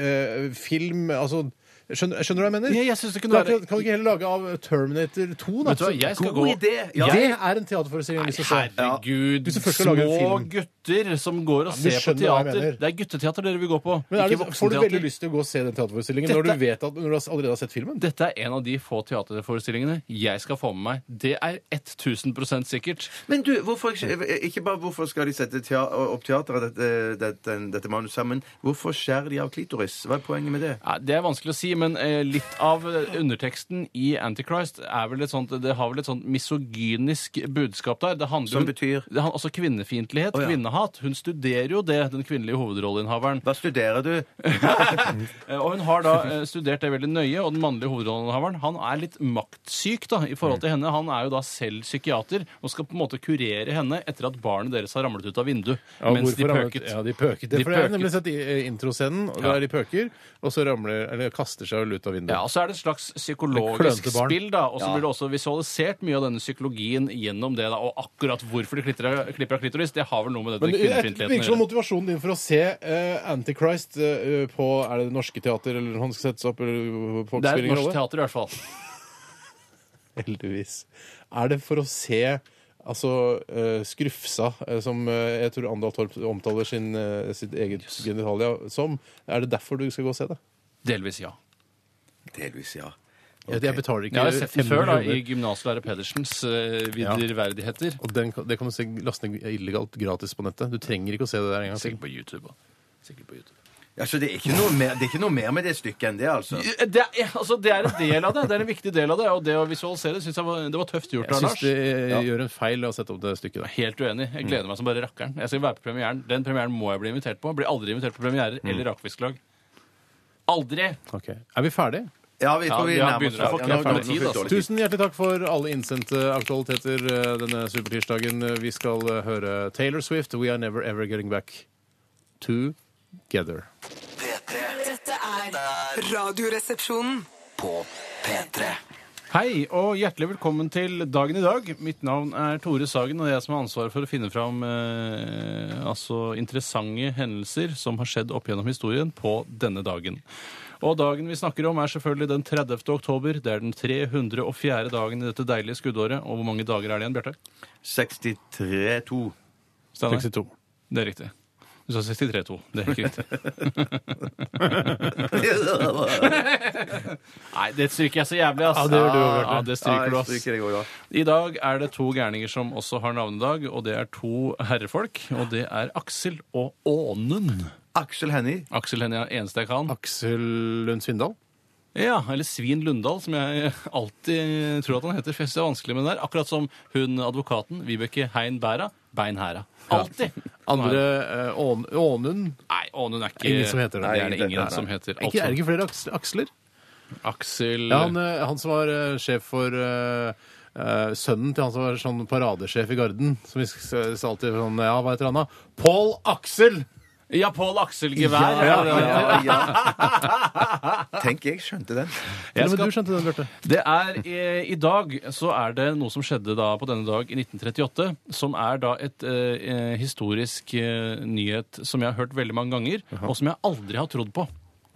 Speaker 1: kunstfilm? altså, skjønner, skjønner du hva jeg mener?
Speaker 2: Ja, jeg synes det kunne
Speaker 1: Da
Speaker 2: være-
Speaker 1: Kan du ikke heller lage av Terminator 2? Da?
Speaker 2: Vet du hva, jeg skal
Speaker 3: God
Speaker 2: gå
Speaker 3: idé! Ja.
Speaker 1: Det er en teaterforestilling jeg har lyst til å se.
Speaker 2: Herregud,
Speaker 1: Hvis du først skal lage en
Speaker 2: små
Speaker 1: film.
Speaker 2: gutter som går og
Speaker 1: men du
Speaker 2: ser på
Speaker 1: skjønner hva jeg
Speaker 2: teater.
Speaker 1: mener.
Speaker 2: Det er gutteteater dere vil gå på,
Speaker 1: Men er
Speaker 2: ikke
Speaker 1: det, får du veldig
Speaker 2: voksenteater.
Speaker 1: lyst til å gå og se den teaterforestillingen når
Speaker 2: Dette-
Speaker 1: du vet at når du har- allerede har sett filmen?
Speaker 2: Dette er en av de få teaterforestillingene jeg skal få med meg. Det er 1000 sikkert.
Speaker 3: Men du, hvorfor ikke, ikke bare hvorfor skal de sette tea opp teateret, dette, dette, dette manuset sammen, hvorfor skjærer de av klitoris? Hva er poenget med det?
Speaker 2: Nei, det er vanskelig å si, men eh, litt av eh, underteksten i Antichrist er vel et sånt, det har vel et sånt misogynisk budskap der. Det handler,
Speaker 3: Som
Speaker 2: jo-
Speaker 3: betyr?
Speaker 2: Det han- altså kvinnefiendtlighet,
Speaker 3: Å, ja.
Speaker 2: kvinnehat. Hun studerer jo det, den kvinnelige hovedrolleinnehaveren.
Speaker 3: Hva studerer du?
Speaker 2: Eh, Og hun har da eh, studert det veldig nøye, og den mannlige hovedrollenhaveren han er litt maktsyk da, i forhold til henne. Han er jo da selv psykiater og skal på en måte kurere henne etter at barnet deres har ramlet ut av vinduet
Speaker 1: Ja,
Speaker 2: mens de
Speaker 1: hvorfor ramlet-
Speaker 2: pøket.
Speaker 1: Ja, de pøket. Det,
Speaker 2: De
Speaker 1: for jeg har
Speaker 2: pøket.
Speaker 1: nemlig sett i- eh, introscenen, og der de pøker, og så ramler, eller kaster seg vel ut av vinduet.
Speaker 2: Ja, og så er det et slags psykologisk
Speaker 1: Klønete barn.
Speaker 2: spill, da. Og så blir det også visualisert mye av denne psykologien gjennom det, da. Og akkurat hvorfor de klipper av- klipper av klitoris, det har vel noe med dette
Speaker 1: Men det det virker
Speaker 2: kvinnefiendtligheten å
Speaker 1: som
Speaker 2: gjøre.
Speaker 1: motivasjonen din for å se eh, Antichrist eh, på Er det Det Norske Teater, eller han skal settes opp? Eller, folk
Speaker 2: Det er
Speaker 1: spiller
Speaker 2: et
Speaker 1: ingen
Speaker 2: norsk
Speaker 1: rolle?
Speaker 2: teater, i hvert fall.
Speaker 1: Heldigvis. Er det for å se altså eh, Skrufsa, eh, som eh, jeg tror Andal Torp omtaler sin, eh, sitt eget genitalia som? Er det derfor du skal gå og se det?
Speaker 2: Delvis, ja.
Speaker 3: Delvis, ja.
Speaker 1: Jeg- Jeg betaler
Speaker 2: Jeg
Speaker 1: ikke
Speaker 2: har sett den før,
Speaker 1: 500
Speaker 2: da,
Speaker 1: kroner.
Speaker 2: i gymnaslærer Pedersens eh, vidderverdigheter.
Speaker 1: Og den, kan- det kan du se laste ned illegalt gratis på nettet. Du trenger ikke å se det der en gang til.
Speaker 2: Sikkert på YouTube. da. Sikkert på YouTube.
Speaker 3: Ja, så Altså, det er, ikke noe mer, det er ikke noe mer med det stykket enn det, altså.
Speaker 2: Det er, ja, altså, det er en del av det. Det er en viktig del av det. Og det å visualisere synes jeg var, det var tøft gjort
Speaker 1: Jeg
Speaker 2: av
Speaker 1: syns
Speaker 2: Lars.
Speaker 1: det eh, gjør en feil å sette opp det stykket. der.
Speaker 2: Helt uenig. Jeg gleder meg som bare rakkeren. Jeg skal være på premieren. Den premieren må jeg bli invitert på. Blir aldri invitert på premierer eller rakfisklag. Aldri!
Speaker 1: Ok. Er vi ferdige?
Speaker 3: Ja, vi tror vi
Speaker 2: Ja,
Speaker 3: nærmer oss
Speaker 2: begynner å få
Speaker 3: Ja,
Speaker 2: knapt
Speaker 3: nå- nå
Speaker 2: med tid,
Speaker 3: fikk
Speaker 2: altså.
Speaker 3: dårlig tid.
Speaker 1: Tusen hjertelig takk for alle innsendte aktualiteter eh, denne supertirsdagen. Vi skal eh, høre Taylor Swift, 'We Are Never Ever Getting Back Together'.
Speaker 7: Dette er Radioresepsjonen.
Speaker 2: Hei, og hjertelig velkommen til dagen i dag. Mitt navn er Tore Sagen, og jeg som har ansvaret for å finne fram eh, altså interessante hendelser som har skjedd opp gjennom historien på denne dagen. Og dagen vi snakker om, er selvfølgelig den 30. oktober. Det er den 304. dagen i dette deilige skuddåret. Og hvor mange dager er det igjen, Bjarte?
Speaker 3: 63-2.
Speaker 2: Steinar?
Speaker 1: 62.
Speaker 2: Det er riktig. Du sa 63-2. Det er ikke riktig. Nei, det stryker jeg så jævlig, ass.
Speaker 1: Ja, det gjør du også, Bjarte.
Speaker 2: Ja, det
Speaker 3: Ja,
Speaker 2: stryker du,
Speaker 3: jeg
Speaker 2: ass.
Speaker 3: stryker deg også, da.
Speaker 2: I dag er det to gærninger som også har navnedag, og det er to herrefolk. Og det er Aksel og Ånen.
Speaker 3: Aksel Hennie.
Speaker 2: Aksel Hennie er den eneste jeg kan.
Speaker 1: Aksel Lund Svindal.
Speaker 2: Ja, Eller Svin Lundahl, som jeg alltid tror at han heter. for jeg synes Det er vanskelig med den der. Akkurat som hun advokaten, Vibeke Hein Bæra. Bein hæra. Alltid.
Speaker 1: Andre eh, Ån- Ånund.
Speaker 2: Nei, Ånen er ikke
Speaker 1: Ingen som heter det.
Speaker 2: Nei, det er det
Speaker 3: Nei,
Speaker 2: ingen
Speaker 3: nei.
Speaker 2: som heter.
Speaker 1: Ikke, er det ikke flere aks- aksler?
Speaker 2: Aksel
Speaker 1: Ja, han, eh, han som var eh, sjef for eh, eh, sønnen til han som var sånn paradesjef i Garden. Som vi s- s- alltid sånn Ja, hva heter han da? Pål Aksel!
Speaker 2: Ja, Pål Aksel Gevær.
Speaker 3: Ja, ja, ja. Tenk, jeg skjønte den.
Speaker 1: Til
Speaker 2: Jeg
Speaker 1: og med
Speaker 2: skal-
Speaker 1: du skjønte den, Bjarte.
Speaker 2: Det er eh, I dag så er det noe som skjedde da på denne dag i 1938, som er da et eh, eh, historisk eh, nyhet som jeg har hørt veldig mange ganger, og som jeg aldri har trodd på.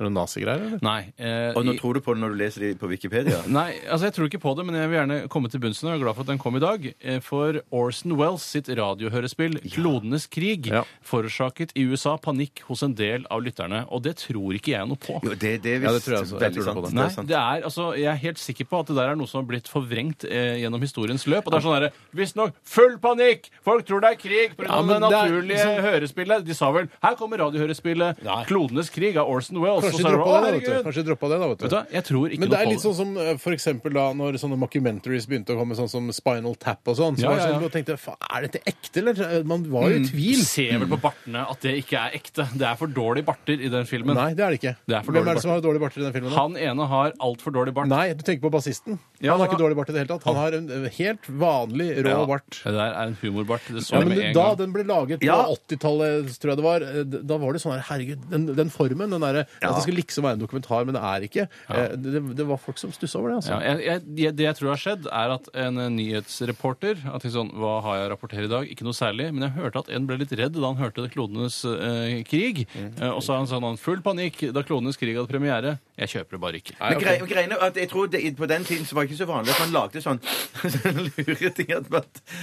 Speaker 1: Er det noen nazigreier, eller?
Speaker 2: Nei. eh,
Speaker 3: Og nå
Speaker 2: i-
Speaker 3: tror du på det når du leser det på Wikipedia?
Speaker 2: Nei, altså jeg tror ikke på det, men jeg vil gjerne komme til bunns i det. og Jeg er glad for at den kom i dag. Eh, For Orson Wells sitt radiohørespill 'Klodenes krig'
Speaker 1: Ja.
Speaker 2: forårsaket i USA panikk hos en del av lytterne. Og det tror ikke jeg noe på.
Speaker 3: Jo, det, det er
Speaker 1: Ja, det
Speaker 3: visst
Speaker 1: tror jeg også. Jeg
Speaker 3: veldig
Speaker 1: tror det på
Speaker 3: sant. Det
Speaker 1: det.
Speaker 2: Nei,
Speaker 3: er sant.
Speaker 2: det er, altså, jeg er helt sikker på at det der er noe som har blitt forvrengt eh, gjennom historiens løp. Og det er sånn derre Visstnok full panikk! Folk tror det er krig pga.
Speaker 1: Ja,
Speaker 2: det
Speaker 1: men det er
Speaker 2: naturlige
Speaker 1: liksom-
Speaker 2: hørespillet. De sa vel Her kommer radiohørespillet 'Klodenes krig' av Orson Wells.
Speaker 1: Kanskje
Speaker 2: Og så er det,
Speaker 1: droppa
Speaker 2: «Å,
Speaker 1: det, da, vet du.
Speaker 2: herregud!»
Speaker 1: Kanskje droppa det, da, vet du.
Speaker 2: Vet du hva, jeg tror ikke
Speaker 1: Men det
Speaker 2: noe
Speaker 1: er
Speaker 2: på
Speaker 1: litt
Speaker 2: det.
Speaker 1: sånn som eh, for eksempel da når sånne mockumentaries begynte å komme, sånn som Spinal Tap og sånn. Så
Speaker 2: Ja,
Speaker 1: var det
Speaker 2: ja,
Speaker 1: sånn,
Speaker 2: ja.
Speaker 1: du
Speaker 2: Mm.
Speaker 1: tenkte faen, er dette ekte, eller? Eh, Man var jo i tvil.
Speaker 2: Ser vel på bartene at det ikke er ekte. Det er for dårlige barter i den filmen.
Speaker 1: Nei, det er det ikke.
Speaker 2: Det er for
Speaker 1: Hvem
Speaker 2: dårlig
Speaker 1: er det som har dårlige barter i den filmen? da?
Speaker 2: Han ene har altfor dårlig bart.
Speaker 1: Nei, du tenker på bassisten.
Speaker 2: Ja,
Speaker 1: han har
Speaker 2: han-
Speaker 1: ikke dårlig bart i det hele tatt. Han har en eh, helt vanlig rå
Speaker 2: Ja,
Speaker 1: bart.
Speaker 2: Det der er en humorbart. Det så
Speaker 1: Ja,
Speaker 2: jeg
Speaker 1: men
Speaker 2: med en
Speaker 1: Da
Speaker 2: gang.
Speaker 1: den ble laget
Speaker 3: Ja.
Speaker 1: på 80-tallet, tror jeg det var, eh, da var det sånn her Herregud, den, den formen, den derre At det skulle liksom være en dokumentar, men det er ikke. Eh, Det, det var folk som stussa over det, altså.
Speaker 2: Ja, jeg, jeg, jeg- det jeg tror har skjedd, er at en eh, nyhetsreporter at det er sånn, Hva har jeg å rapportere i dag? Ikke noe særlig. Men jeg hørte at en ble litt redd da han hørte Klodenes eh, krig.
Speaker 1: Mhm.
Speaker 2: Eh, og så han sa han full panikk da Klodenes krig hadde premiere. Jeg kjøper det bare ikke.
Speaker 3: Men grei- greiene er at jeg tror det, På den tiden så var det ikke så vanlig at man lagde sånn lure ting. At man,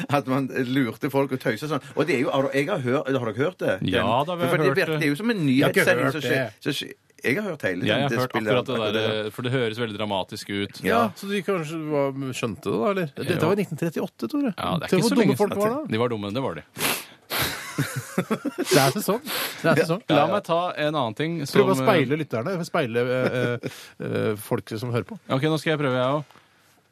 Speaker 3: at man lurte folk og tøysa sånn. Og det er jo, har, du- jeg har, hørt, har dere hørt det? Den-
Speaker 2: Ja da, vi har
Speaker 3: for det,
Speaker 2: hørt
Speaker 3: virker-
Speaker 2: det.
Speaker 3: det er jo som en
Speaker 1: har ikke
Speaker 3: nyhetssending som
Speaker 1: hørt
Speaker 3: skjer. så skjer- Jeg har hørt hele
Speaker 2: Jeg har hørt
Speaker 3: spillet,
Speaker 2: akkurat det
Speaker 3: akkurat
Speaker 2: der, eh, for det høres veldig dramatisk ut.
Speaker 3: Ja.
Speaker 1: Ja, Så de kanskje var, skjønte det, da? eller? Dette var i 1938, Tore.
Speaker 2: Ja, det er
Speaker 1: Tenk hvor
Speaker 2: ikke så
Speaker 1: dumme
Speaker 2: lenge
Speaker 1: folk var da.
Speaker 2: De var dumme, det var de.
Speaker 1: Det er sesong. Det er sesong.
Speaker 2: La meg ta en annen ting. som- eh,
Speaker 1: Prøv å speile lytterne. Speile eh, eh, folk som hører på.
Speaker 2: Ok, nå skal jeg prøve, jeg òg.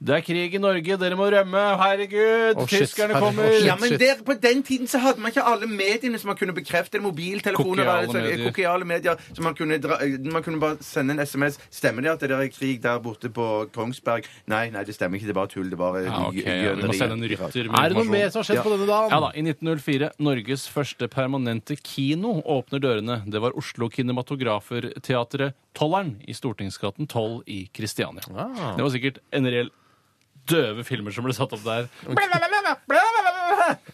Speaker 2: Det er krig i Norge, dere må rømme! Herregud!
Speaker 1: Å, shit.
Speaker 2: Tyskerne
Speaker 1: Herregud.
Speaker 2: kommer!
Speaker 1: Å, shit.
Speaker 3: Ja, men der, På den tiden så hadde man ikke alle mediene som man kunne bekrefte. det, Mobiltelefoner
Speaker 2: Kokiale
Speaker 3: altså, eh,
Speaker 2: medier.
Speaker 3: kokiale medier. Så man kunne, dra, eh, man kunne bare sende en SMS. Stemmer det at det der er krig der borte på Kongsberg? Nei, nei, det stemmer ikke. Det er bare tull. Det er bare
Speaker 2: Ja, ok, ja, vi må
Speaker 3: gjøneri.
Speaker 2: sende en rytter med
Speaker 1: Er det noe
Speaker 2: informasjon.
Speaker 1: mer som har skjedd på denne dagen?
Speaker 2: Ja da, I 1904, Norges første permanente kino åpner dørene. Det var Oslo Kinematograferteatret Tolleren i Stortingsgaten 12 i Kristiania.
Speaker 1: Ah.
Speaker 2: Det var sikkert en reell døve filmer som ble satt opp der.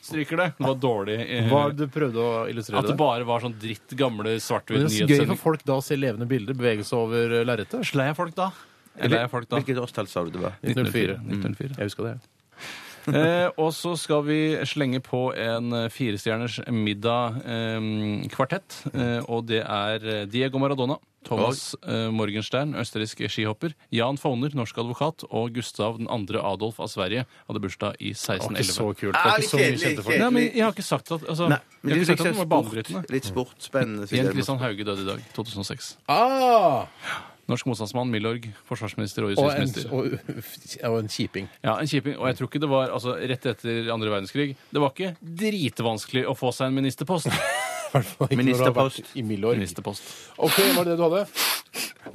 Speaker 2: Stryker det. Det var dårlig. eh,
Speaker 1: Hva er det du prøvde å illustrere
Speaker 2: At det
Speaker 1: der?
Speaker 2: bare var sånn dritt gamle
Speaker 1: Men
Speaker 2: svart-hvitt
Speaker 1: Det er så gøy for
Speaker 2: nyhetssendinger.
Speaker 1: folk da å se levende bilder bevege seg over eh, lerretet.
Speaker 2: Slei jeg folk da? Eller er folk da?
Speaker 3: Hvilket årstall sa du det var?
Speaker 1: 1904.
Speaker 2: 1904.
Speaker 1: Jeg Mm. husker det.
Speaker 2: Eh, og så skal vi slenge på en eh, firestjerners middag-kvartett. Eh, og det er eh, Diego Maradona, Thomas eh, Morgenstern, østerriksk skihopper, Jan Fauner, norsk advokat, og Gustav 2. Adolf av Sverige hadde bursdag i
Speaker 1: Det var ikke
Speaker 2: 1611.
Speaker 1: så kult. Det
Speaker 3: Ah,
Speaker 1: var ikke så mye
Speaker 3: kjedelig,
Speaker 1: kjente folk.
Speaker 3: kjedelig.
Speaker 2: Nei, men jeg har ikke sagt at
Speaker 3: Nei, men
Speaker 2: altså, Jeg har
Speaker 3: det
Speaker 2: ikke sagt
Speaker 3: er sånn
Speaker 2: at den sånn. var banebrytende.
Speaker 3: sport, litt sportsspennende. synes
Speaker 2: Jan
Speaker 3: jeg.
Speaker 2: Christian Hauge døde i dag, 2006.
Speaker 1: Ah,
Speaker 2: Norsk motstandsmann, Milorg, forsvarsminister og
Speaker 1: og, en,
Speaker 2: justisminister.
Speaker 1: og, og en kjiping.
Speaker 2: Ja, en kjiping. Og jeg tror ikke det var altså, rett etter andre verdenskrig. Det var ikke dritvanskelig å få seg en ministerpost.
Speaker 1: Hvertfall ikke når du har vært
Speaker 3: Ministerpost.
Speaker 1: I Milorg.
Speaker 2: ministerpost.
Speaker 1: OK, var det det du hadde?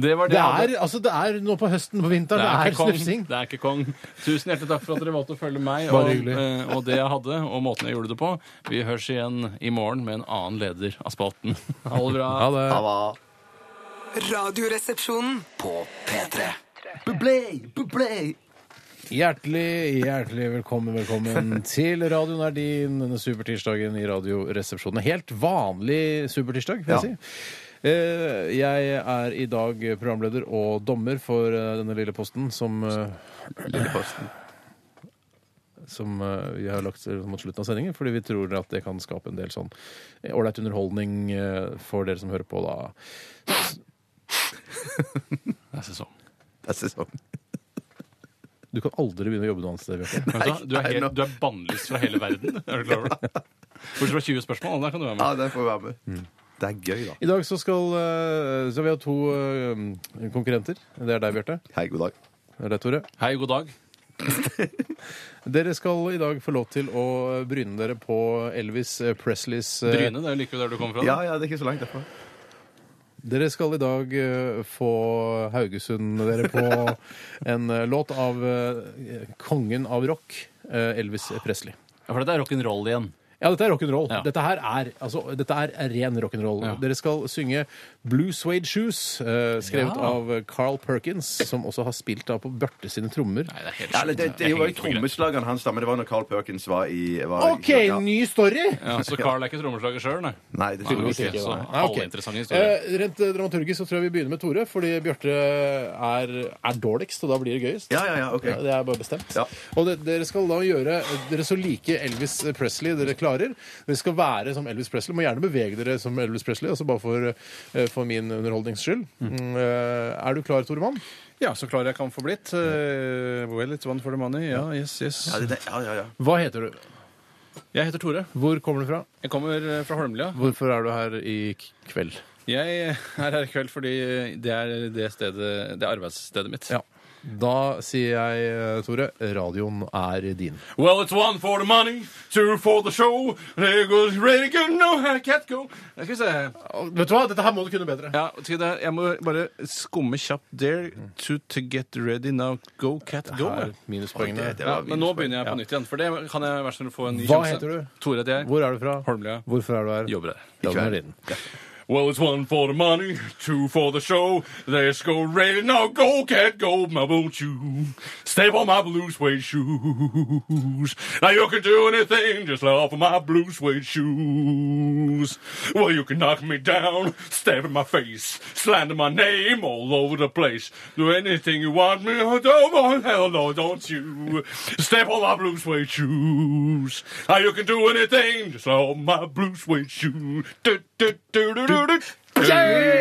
Speaker 2: Det var
Speaker 1: Det
Speaker 2: det, jeg hadde.
Speaker 1: er, altså, det er nå på høsten, på vinteren, det er,
Speaker 2: ikke kong.
Speaker 1: snufsing.
Speaker 2: Det er ikke kong. Tusen hjertelig takk for at dere valgte å følge meg
Speaker 1: Bare
Speaker 2: og,
Speaker 1: hyggelig.
Speaker 2: eh, og det jeg hadde, og måten jeg gjorde det på. Vi høres igjen i morgen med en annen leder av spalten. Ha det bra.
Speaker 1: Ha det.
Speaker 7: Radioresepsjonen.
Speaker 5: På P3.
Speaker 3: Bublé, bublé.
Speaker 1: Hjertelig, hjertelig velkommen, velkommen til radioen er din denne supertirsdagen i Radioresepsjonen. Helt vanlig supertirsdag, vil jeg
Speaker 3: Ja.
Speaker 1: si. Eh, Jeg er i dag programleder og dommer for eh, denne lille posten som eh, Som eh, vi har lagt til mot slutten av sendingen, fordi vi tror at det kan skape en del sånn eh, ålreit underholdning eh, for dere som hører på, da.
Speaker 2: Det er sesong.
Speaker 3: Det er sesong.
Speaker 1: Du kan aldri begynne å jobbe noe annet sted, Bjarte.
Speaker 2: Vet du hva? Du er,
Speaker 3: nei,
Speaker 2: helt-
Speaker 3: nå-
Speaker 2: du er bannlyst fra hele verden. Er du klar over det? Bortsett fra 20 spørsmål. Der kan du være med.
Speaker 3: Ja, den får være med. Det er gøy, da.
Speaker 1: I dag så skal eh, så vi ha to eh, konkurrenter. Det er deg, Bjarte.
Speaker 3: Hei, god dag.
Speaker 1: Det er deg, Tore.
Speaker 2: Hei, god dag.
Speaker 1: Dere skal i dag få lov til å bryne dere på Elvis Presleys eh,
Speaker 2: Bryne, det er jo like ved der du kommer fra.
Speaker 3: Ja, ja, det er ikke så langt derfra.
Speaker 1: Dere skal i dag eh, få Haugesund dere på en eh, låt av eh, kongen av rock, eh, Elvis Presley.
Speaker 2: Ja, For dette er rock'n'roll igjen.
Speaker 1: Ja, dette er rock'n'roll.
Speaker 2: Ja.
Speaker 1: Dette her er, altså, dette er ren rock'n'roll.
Speaker 2: Ja.
Speaker 1: Dere skal synge Blue Suede Shoes, eh, skrevet
Speaker 2: Ja.
Speaker 1: av Carl Perkins, som også har spilt da på Børte sine trommer.
Speaker 2: Nei, det er helt
Speaker 3: Ja, eller
Speaker 2: sjukt.
Speaker 3: det, det var
Speaker 2: Jeg henger
Speaker 3: jo
Speaker 2: ikke på grep.
Speaker 3: trommeslageren hans, da, men det var når Carl Perkins var i var,
Speaker 1: OK,
Speaker 3: ja.
Speaker 1: ny story!
Speaker 2: Ja, så Carl er ikke trommeslager sjøl, nei?
Speaker 3: Nei, det tror jeg
Speaker 2: Ok,
Speaker 3: ikke.
Speaker 2: så
Speaker 1: Nei, ok.
Speaker 2: halvinteressant historie.
Speaker 1: Eh, rent eh, dramaturgisk så tror jeg vi begynner med Tore, fordi Bjarte er, er dårligst, og da blir det gøyest.
Speaker 3: Ja, ja, ja, ok.
Speaker 1: det er bare bestemt.
Speaker 3: Ja.
Speaker 1: Og det, dere skal da gjøre dere så like Elvis Presley dere klarer. Dere skal være som Elvis Presley. Må gjerne bevege dere som Elvis Presley, altså bare for, eh, for min underholdnings skyld. Mm, eh, er du klar, Tore Mann?
Speaker 2: Ja, så klar jeg kan få blitt. Eh, well, it's one for the money. Ja, yes, yes.
Speaker 3: Ja, det, det- ja, ja, ja.
Speaker 1: Hva heter du?
Speaker 2: Jeg heter Tore.
Speaker 1: Hvor kommer du fra?
Speaker 2: Jeg kommer eh, fra Holmlia.
Speaker 1: Hvorfor er du her i k- kveld?
Speaker 2: Jeg er her i kveld fordi det er det stedet, det er arbeidsstedet mitt.
Speaker 1: Da sier jeg, eh, Tore, radioen er din.
Speaker 2: Well, it's one for the money, two for the show. There goes ready go, no, I can't go. Skal vi se.
Speaker 1: Vet du hva? Dette her må du kunne bedre.
Speaker 2: Ja, skal jeg- jeg må bare skumme kjapt. There to, to get ready now. Go, cat, go.
Speaker 1: Her, minuspoengene.
Speaker 3: Det
Speaker 2: Ja,
Speaker 3: var
Speaker 2: men nå begynner jeg på nytt igjen, for det kan jeg være snill å få en ny
Speaker 1: Hva
Speaker 2: sjanse.
Speaker 1: heter du?
Speaker 2: Tore heter jeg.
Speaker 1: Hvor er du fra?
Speaker 2: Holmlia.
Speaker 1: Hvorfor er du her?
Speaker 2: Jobber her.
Speaker 1: Da må du
Speaker 3: Ikke
Speaker 1: inn.
Speaker 2: Well, it's one for the money, two for the show. Let's go ready now. Go, cat, go, my boat you. Step on my blue suede shoes. Now you can do anything, just love my blue suede shoes. Well, you can knock me down, stab in my face, slander my name all over the place. Do anything you want me to do, but hell no, don't you. Step on my blue suede shoes. Now you can do anything, just love my blue suede shoes. Do, do, do, do, do, do.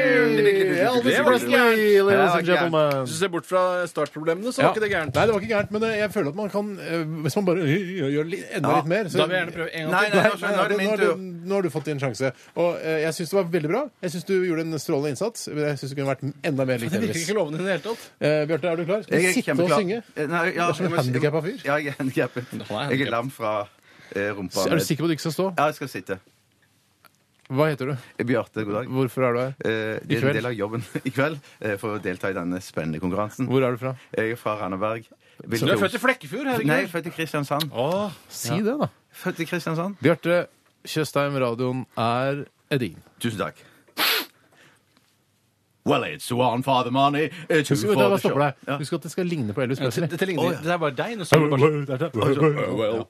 Speaker 1: Elvis Presley,
Speaker 3: Det
Speaker 1: ladies
Speaker 3: var
Speaker 1: and gentlemen.
Speaker 2: Hvis du ser bort fra startproblemene, så
Speaker 1: Ja.
Speaker 2: var ikke det gærent.
Speaker 1: Nei, det var ikke gærent, men eh, jeg føler at man kan eh, Hvis man bare øh, øh, gjør li- enda
Speaker 3: Ja,
Speaker 1: litt mer så-
Speaker 2: Da vil jeg gjerne prøve en gang
Speaker 3: Nei,
Speaker 2: til.
Speaker 3: nei,
Speaker 1: Nei,
Speaker 3: altså,
Speaker 1: nei,
Speaker 3: nå er det
Speaker 1: nå,
Speaker 3: min
Speaker 1: har du,
Speaker 3: tur.
Speaker 1: nå har du fått din sjanse. Og eh, jeg syns det var veldig bra. Jeg syns du gjorde en strålende innsats. men Jeg syns du kunne vært enda mer lik
Speaker 2: Det virker
Speaker 1: Elvis.
Speaker 2: ikke lovende i det hele tatt.
Speaker 1: Eh, Bjarte, er du klar? Skal
Speaker 3: Jeg
Speaker 1: vi
Speaker 3: er
Speaker 1: sitte og
Speaker 3: kjempeklar.
Speaker 1: synge?
Speaker 3: Eh, Nei, ja,
Speaker 1: Du er som en
Speaker 3: jeg må si-
Speaker 1: handikappa fyr.
Speaker 3: Ja, jeg er handikappet.
Speaker 2: er
Speaker 3: Jeg er lam fra eh, rumpa.
Speaker 1: Er du sikker på at du ikke skal stå?
Speaker 3: Ja, jeg skal sitte.
Speaker 1: Hva heter du?
Speaker 3: Eh, Bjarte, god dag.
Speaker 1: Hvorfor er du her?
Speaker 3: Eh, Det er
Speaker 1: kveld?
Speaker 3: en del av jobben i kveld eh, for å delta i denne spennende konkurransen.
Speaker 1: Hvor er du fra?
Speaker 3: Jeg er fra Randaberg.
Speaker 2: Du er født i Flekkefjord,
Speaker 3: Nei, jeg er
Speaker 2: herregud.
Speaker 3: født i Kristiansand.
Speaker 1: Si det, da.
Speaker 3: Født i Kristiansand.
Speaker 1: Bjarte Tjøstheim, radioen er er din.
Speaker 3: Tusen takk. Well, it's one for the money, eh, two
Speaker 1: Husk,
Speaker 3: for
Speaker 1: vet du hva,
Speaker 3: the
Speaker 1: da stopper
Speaker 3: show.
Speaker 1: deg. Husk at det skal ligne på Elvis Presley.
Speaker 2: Dette ligner, det er bare deg. Nå står du bare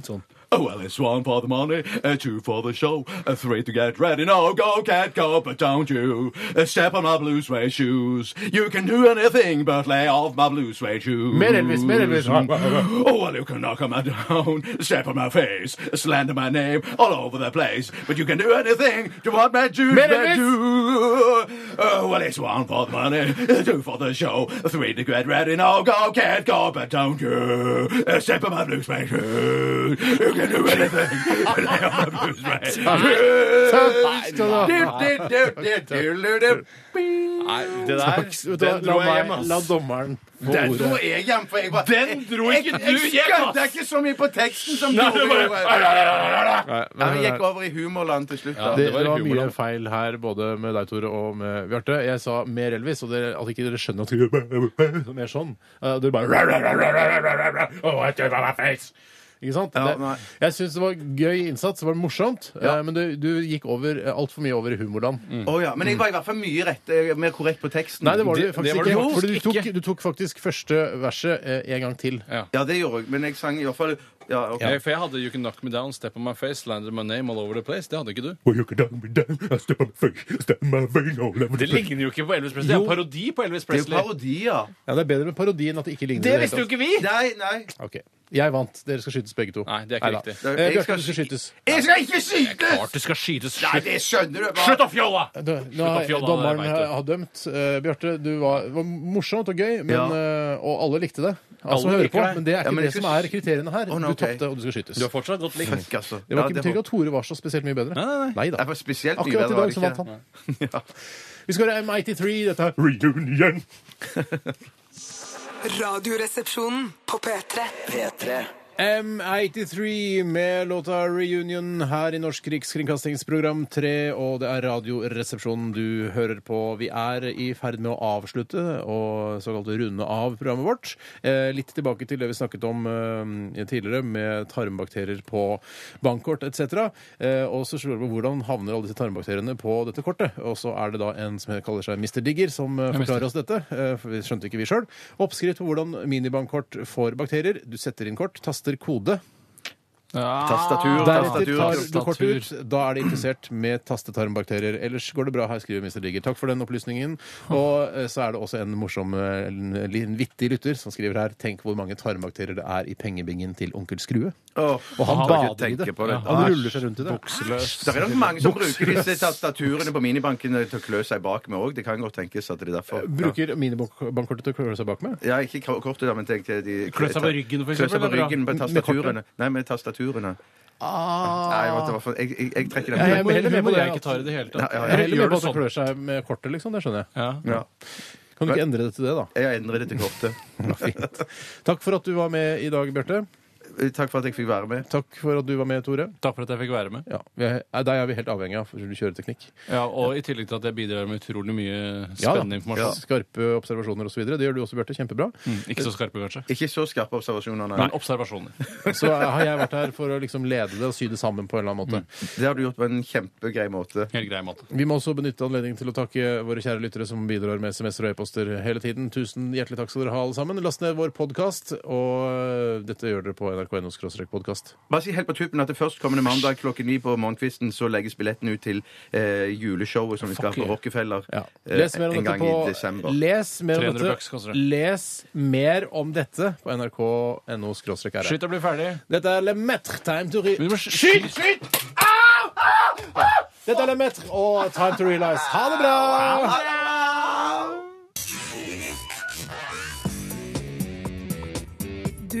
Speaker 1: Sånn.
Speaker 3: Oh, well, it's one for the money, uh, two for the show, uh, three to get ready. No, go, cat, go, but don't you uh, step on my blue suede shoes. You can do anything but lay off my blue suede shoes.
Speaker 1: Mer Elvis, mer Elvis.
Speaker 3: Oh, well, you can knock on my down, step on my face, slander my name all over the place, but you can do anything to what my Jews
Speaker 1: Men
Speaker 3: may
Speaker 1: Elvis!
Speaker 3: do. Oh, well, it's one for the money, two for the show, three to get ready. No, go, can't go, but don't you step on my blue space. You can do anything. but lay off my blue space.
Speaker 1: Takk skal du ha.
Speaker 8: Nei, det der,
Speaker 1: Takk skal du ha.
Speaker 8: den dro jeg
Speaker 1: La
Speaker 8: hjem,
Speaker 1: meg- La
Speaker 8: ass.
Speaker 1: dommeren få
Speaker 3: Den dro
Speaker 1: ordet.
Speaker 3: jeg hjem, for jeg bare
Speaker 8: Den dro ikke
Speaker 3: Jeg-
Speaker 8: du
Speaker 3: Jeg
Speaker 8: hjem,
Speaker 3: skjønte
Speaker 8: ass!
Speaker 3: ikke så mye på teksten som du
Speaker 8: Nei, det
Speaker 3: gjorde.
Speaker 8: Nei,
Speaker 3: Ja,
Speaker 8: nei,
Speaker 3: vi
Speaker 8: nei.
Speaker 3: gikk over i humorland til slutt. da.
Speaker 8: Ja,
Speaker 1: Det,
Speaker 8: det var
Speaker 1: var, mye
Speaker 8: humorland.
Speaker 1: feil her, både med deg, Tore, og med Bjarte. Jeg sa mer Elvis, og dere, at ikke dere skjønner at dere Mer sånn. Eh, Dere bare Oh, I took my face. Ikke sant?
Speaker 3: Ja,
Speaker 1: det,
Speaker 3: nei.
Speaker 1: jeg syns det var gøy innsats, det var morsomt, eh, men du, du gikk over altfor mye over i humorland.
Speaker 3: Å ja, Men jeg var i hvert fall mye rett, eh, mer korrekt på teksten.
Speaker 1: Nei, det var du
Speaker 8: Mm. Det- det
Speaker 1: faktisk
Speaker 8: var du
Speaker 1: ikke.
Speaker 8: faktisk
Speaker 1: Fordi du tok,
Speaker 8: ikke.
Speaker 1: du tok faktisk første verset eh, en gang til.
Speaker 3: Ja, det gjorde jeg, men jeg sang i hvert fall ja, ok.
Speaker 2: Ja, for jeg hadde You Can Knock Me Down, Step On My Face, Landed My Name All Over The Place. Det hadde ikke du.
Speaker 8: Det ligner jo ikke på Elvis Presley. Det er en parodi på Elvis
Speaker 3: Det er jo
Speaker 8: Presley.
Speaker 3: parodier.
Speaker 1: Ja, Det er bedre med parodi enn at det ikke ligner. i
Speaker 8: Det
Speaker 2: er
Speaker 1: hele
Speaker 8: visste jo
Speaker 1: tatt.
Speaker 8: ikke vi!
Speaker 3: Nei, nei.
Speaker 1: Ok. Jeg vant. Dere skal skytes begge to.
Speaker 2: Nei, det er ikke
Speaker 1: Neida. Eh,
Speaker 2: riktig.
Speaker 3: Jeg
Speaker 1: Bjarte,
Speaker 3: skal
Speaker 1: du skal skytes.
Speaker 3: Jeg skal ikke skytes!
Speaker 8: Det skal skytes.
Speaker 3: Nei, det skjønner du. Bare.
Speaker 8: Slutt å fjolla!
Speaker 1: Du, nå har,
Speaker 8: Slutt å fjolle,
Speaker 1: dommeren
Speaker 8: jeg vet
Speaker 1: har,
Speaker 8: det.
Speaker 1: har dømt. Eh, Bjarte, du var, var morsomt og gøy, men,
Speaker 3: Ja.
Speaker 1: eh, og alle likte det. Altså,
Speaker 8: Alle
Speaker 1: hører på,
Speaker 8: liker deg.
Speaker 1: men det er ikke
Speaker 3: men
Speaker 1: det
Speaker 3: jeg skal
Speaker 1: som er kriteriene her.
Speaker 3: Å, nei,
Speaker 1: Du
Speaker 3: ok.
Speaker 1: tapte, og du skal skytes.
Speaker 2: Du har fortsatt godt likt.
Speaker 3: Fuck, altså.
Speaker 1: Det var
Speaker 3: Ja,
Speaker 1: ikke,
Speaker 3: det
Speaker 1: betyr
Speaker 3: var-
Speaker 1: ikke at Tore var så spesielt mye bedre.
Speaker 2: nei,
Speaker 1: da.
Speaker 3: Jeg var spesielt mye
Speaker 1: Akkurat i
Speaker 3: bedre, var
Speaker 1: dag
Speaker 3: det
Speaker 1: så vant
Speaker 3: ikke?
Speaker 1: han. Vi skal høre M83. Dette er Reunion.
Speaker 7: Radioresepsjonen på P3.
Speaker 5: P3
Speaker 1: M83 med låta Reunion her i Norsk Rikskringkastingsprogram 3, og det er Radioresepsjonen du hører på. Vi er i ferd med å avslutte og såkalt runde av programmet vårt. Eh, litt tilbake til det vi snakket om eh, tidligere, med tarmbakterier på bankkort etc. Eh, og så lurer jeg på hvordan havner alle disse tarmbakteriene på dette kortet? Og så er det da en som kaller seg Mr. Digger, som eh, forklarer oss dette. eh, for Vi skjønte ikke vi sjøl. Oppskrift på hvordan minibankkort får bakterier. Du setter inn kort, taster kode.
Speaker 3: Tastatur,
Speaker 1: Deretter
Speaker 3: tastatur.
Speaker 1: tar du kortet ut. Da er det infisert med tastetarmbakterier. Ellers går det bra. Her skriver Mr. Digger. Takk for den opplysningen. Og eh, så er det også en morsom, eh, en liten vittig lytter som skriver her Tenk hvor mange tarmbakterier det er i pengebingen til onkel Skrue.
Speaker 3: Åh,
Speaker 1: Og han
Speaker 3: jeg kan
Speaker 1: bader i
Speaker 3: tenke
Speaker 1: det.
Speaker 3: på det.
Speaker 1: Han ruller seg rundt i det. Bukseløs.
Speaker 3: Det er nok mange som bruker disse tastaturene på minibanken til å klø seg bak med òg. Det kan godt tenkes at det er derfor. Ja.
Speaker 1: Bruker minibankkortet til å klø seg bak med.
Speaker 3: Ja, ikke k- kortet, da, men tenk til de
Speaker 2: Klø seg på ryggen, for
Speaker 3: Klø seg
Speaker 2: eksempel,
Speaker 3: på
Speaker 2: eller?
Speaker 3: ryggen med
Speaker 1: Med
Speaker 3: tastaturene. Nei, med tastaturene. Nei, jeg, måtte, i hvert fall- jeg, jeg, jeg trekker
Speaker 1: Ja,
Speaker 3: den.
Speaker 1: jeg må heller med på
Speaker 2: Humor
Speaker 1: det,
Speaker 2: jeg ikke tar i det hele tatt.
Speaker 3: Ja, ja, ja.
Speaker 1: Jeg er heller med
Speaker 2: Gjør
Speaker 1: på
Speaker 2: du
Speaker 1: at det
Speaker 2: sånn?
Speaker 1: klør seg med kortet, liksom. Det skjønner jeg.
Speaker 2: Ja.
Speaker 3: Ja.
Speaker 1: Kan du ikke endre det til det, da?
Speaker 3: Jeg har endret det til kortet.
Speaker 1: Ja, fint. Takk for at du var med i dag, Bjarte.
Speaker 3: Takk for at jeg fikk være med.
Speaker 1: Takk for at du var med, Tore.
Speaker 2: Takk for at jeg fikk være med.
Speaker 1: Ja, vi er, nei, Deg er vi helt avhengig av for du kjører teknikk.
Speaker 2: Ja, og i tillegg til at jeg bidrar med utrolig mye
Speaker 1: Ja da. Ja.
Speaker 2: spennende
Speaker 1: Mm.
Speaker 2: informasjon. Mm,
Speaker 1: Skarpe observasjoner osv. Det gjør du også, Bjarte. Kjempebra.
Speaker 2: Ikke så skarpe, kanskje.
Speaker 3: Ikke så skarpe observasjoner, nei.
Speaker 2: Men observasjoner.
Speaker 1: Så har jeg vært her for å liksom lede det og sy det sammen på en eller annen måte.
Speaker 3: Det har du gjort på en kjempegrei måte.
Speaker 2: Helt grei måte.
Speaker 1: Vi må også benytte anledningen til å takke våre kjære lyttere som bidrar med SMS-er og e-poster hele tiden. Tusen hjertelig takk skal dere ha, alle sammen. Last ned vår podkast, og dette gjør dere på nrk.no-podkast.
Speaker 3: Bare si helt på tuppen at det førstkommende mandag klokken ni på morgenkvisten så legges billetten ut til eh, juleshowet som vi skal ha på Rockefeller
Speaker 1: Ja.
Speaker 3: eh,
Speaker 1: Les mer om
Speaker 3: en
Speaker 1: dette
Speaker 3: gang
Speaker 1: på
Speaker 3: i desember.
Speaker 1: Les mer om
Speaker 2: 300 bucks
Speaker 1: dette,
Speaker 2: koster det.
Speaker 1: les mer om dette på nrk.no-rr.
Speaker 2: Skyt og bli ferdig.
Speaker 1: Dette er Le Maître, Time to Re...
Speaker 2: Vi må sk-
Speaker 1: Skyt! Skyt! Au! Au! Au! Dette er Le Maître og Time to Realize. Ha det bra!
Speaker 4: Du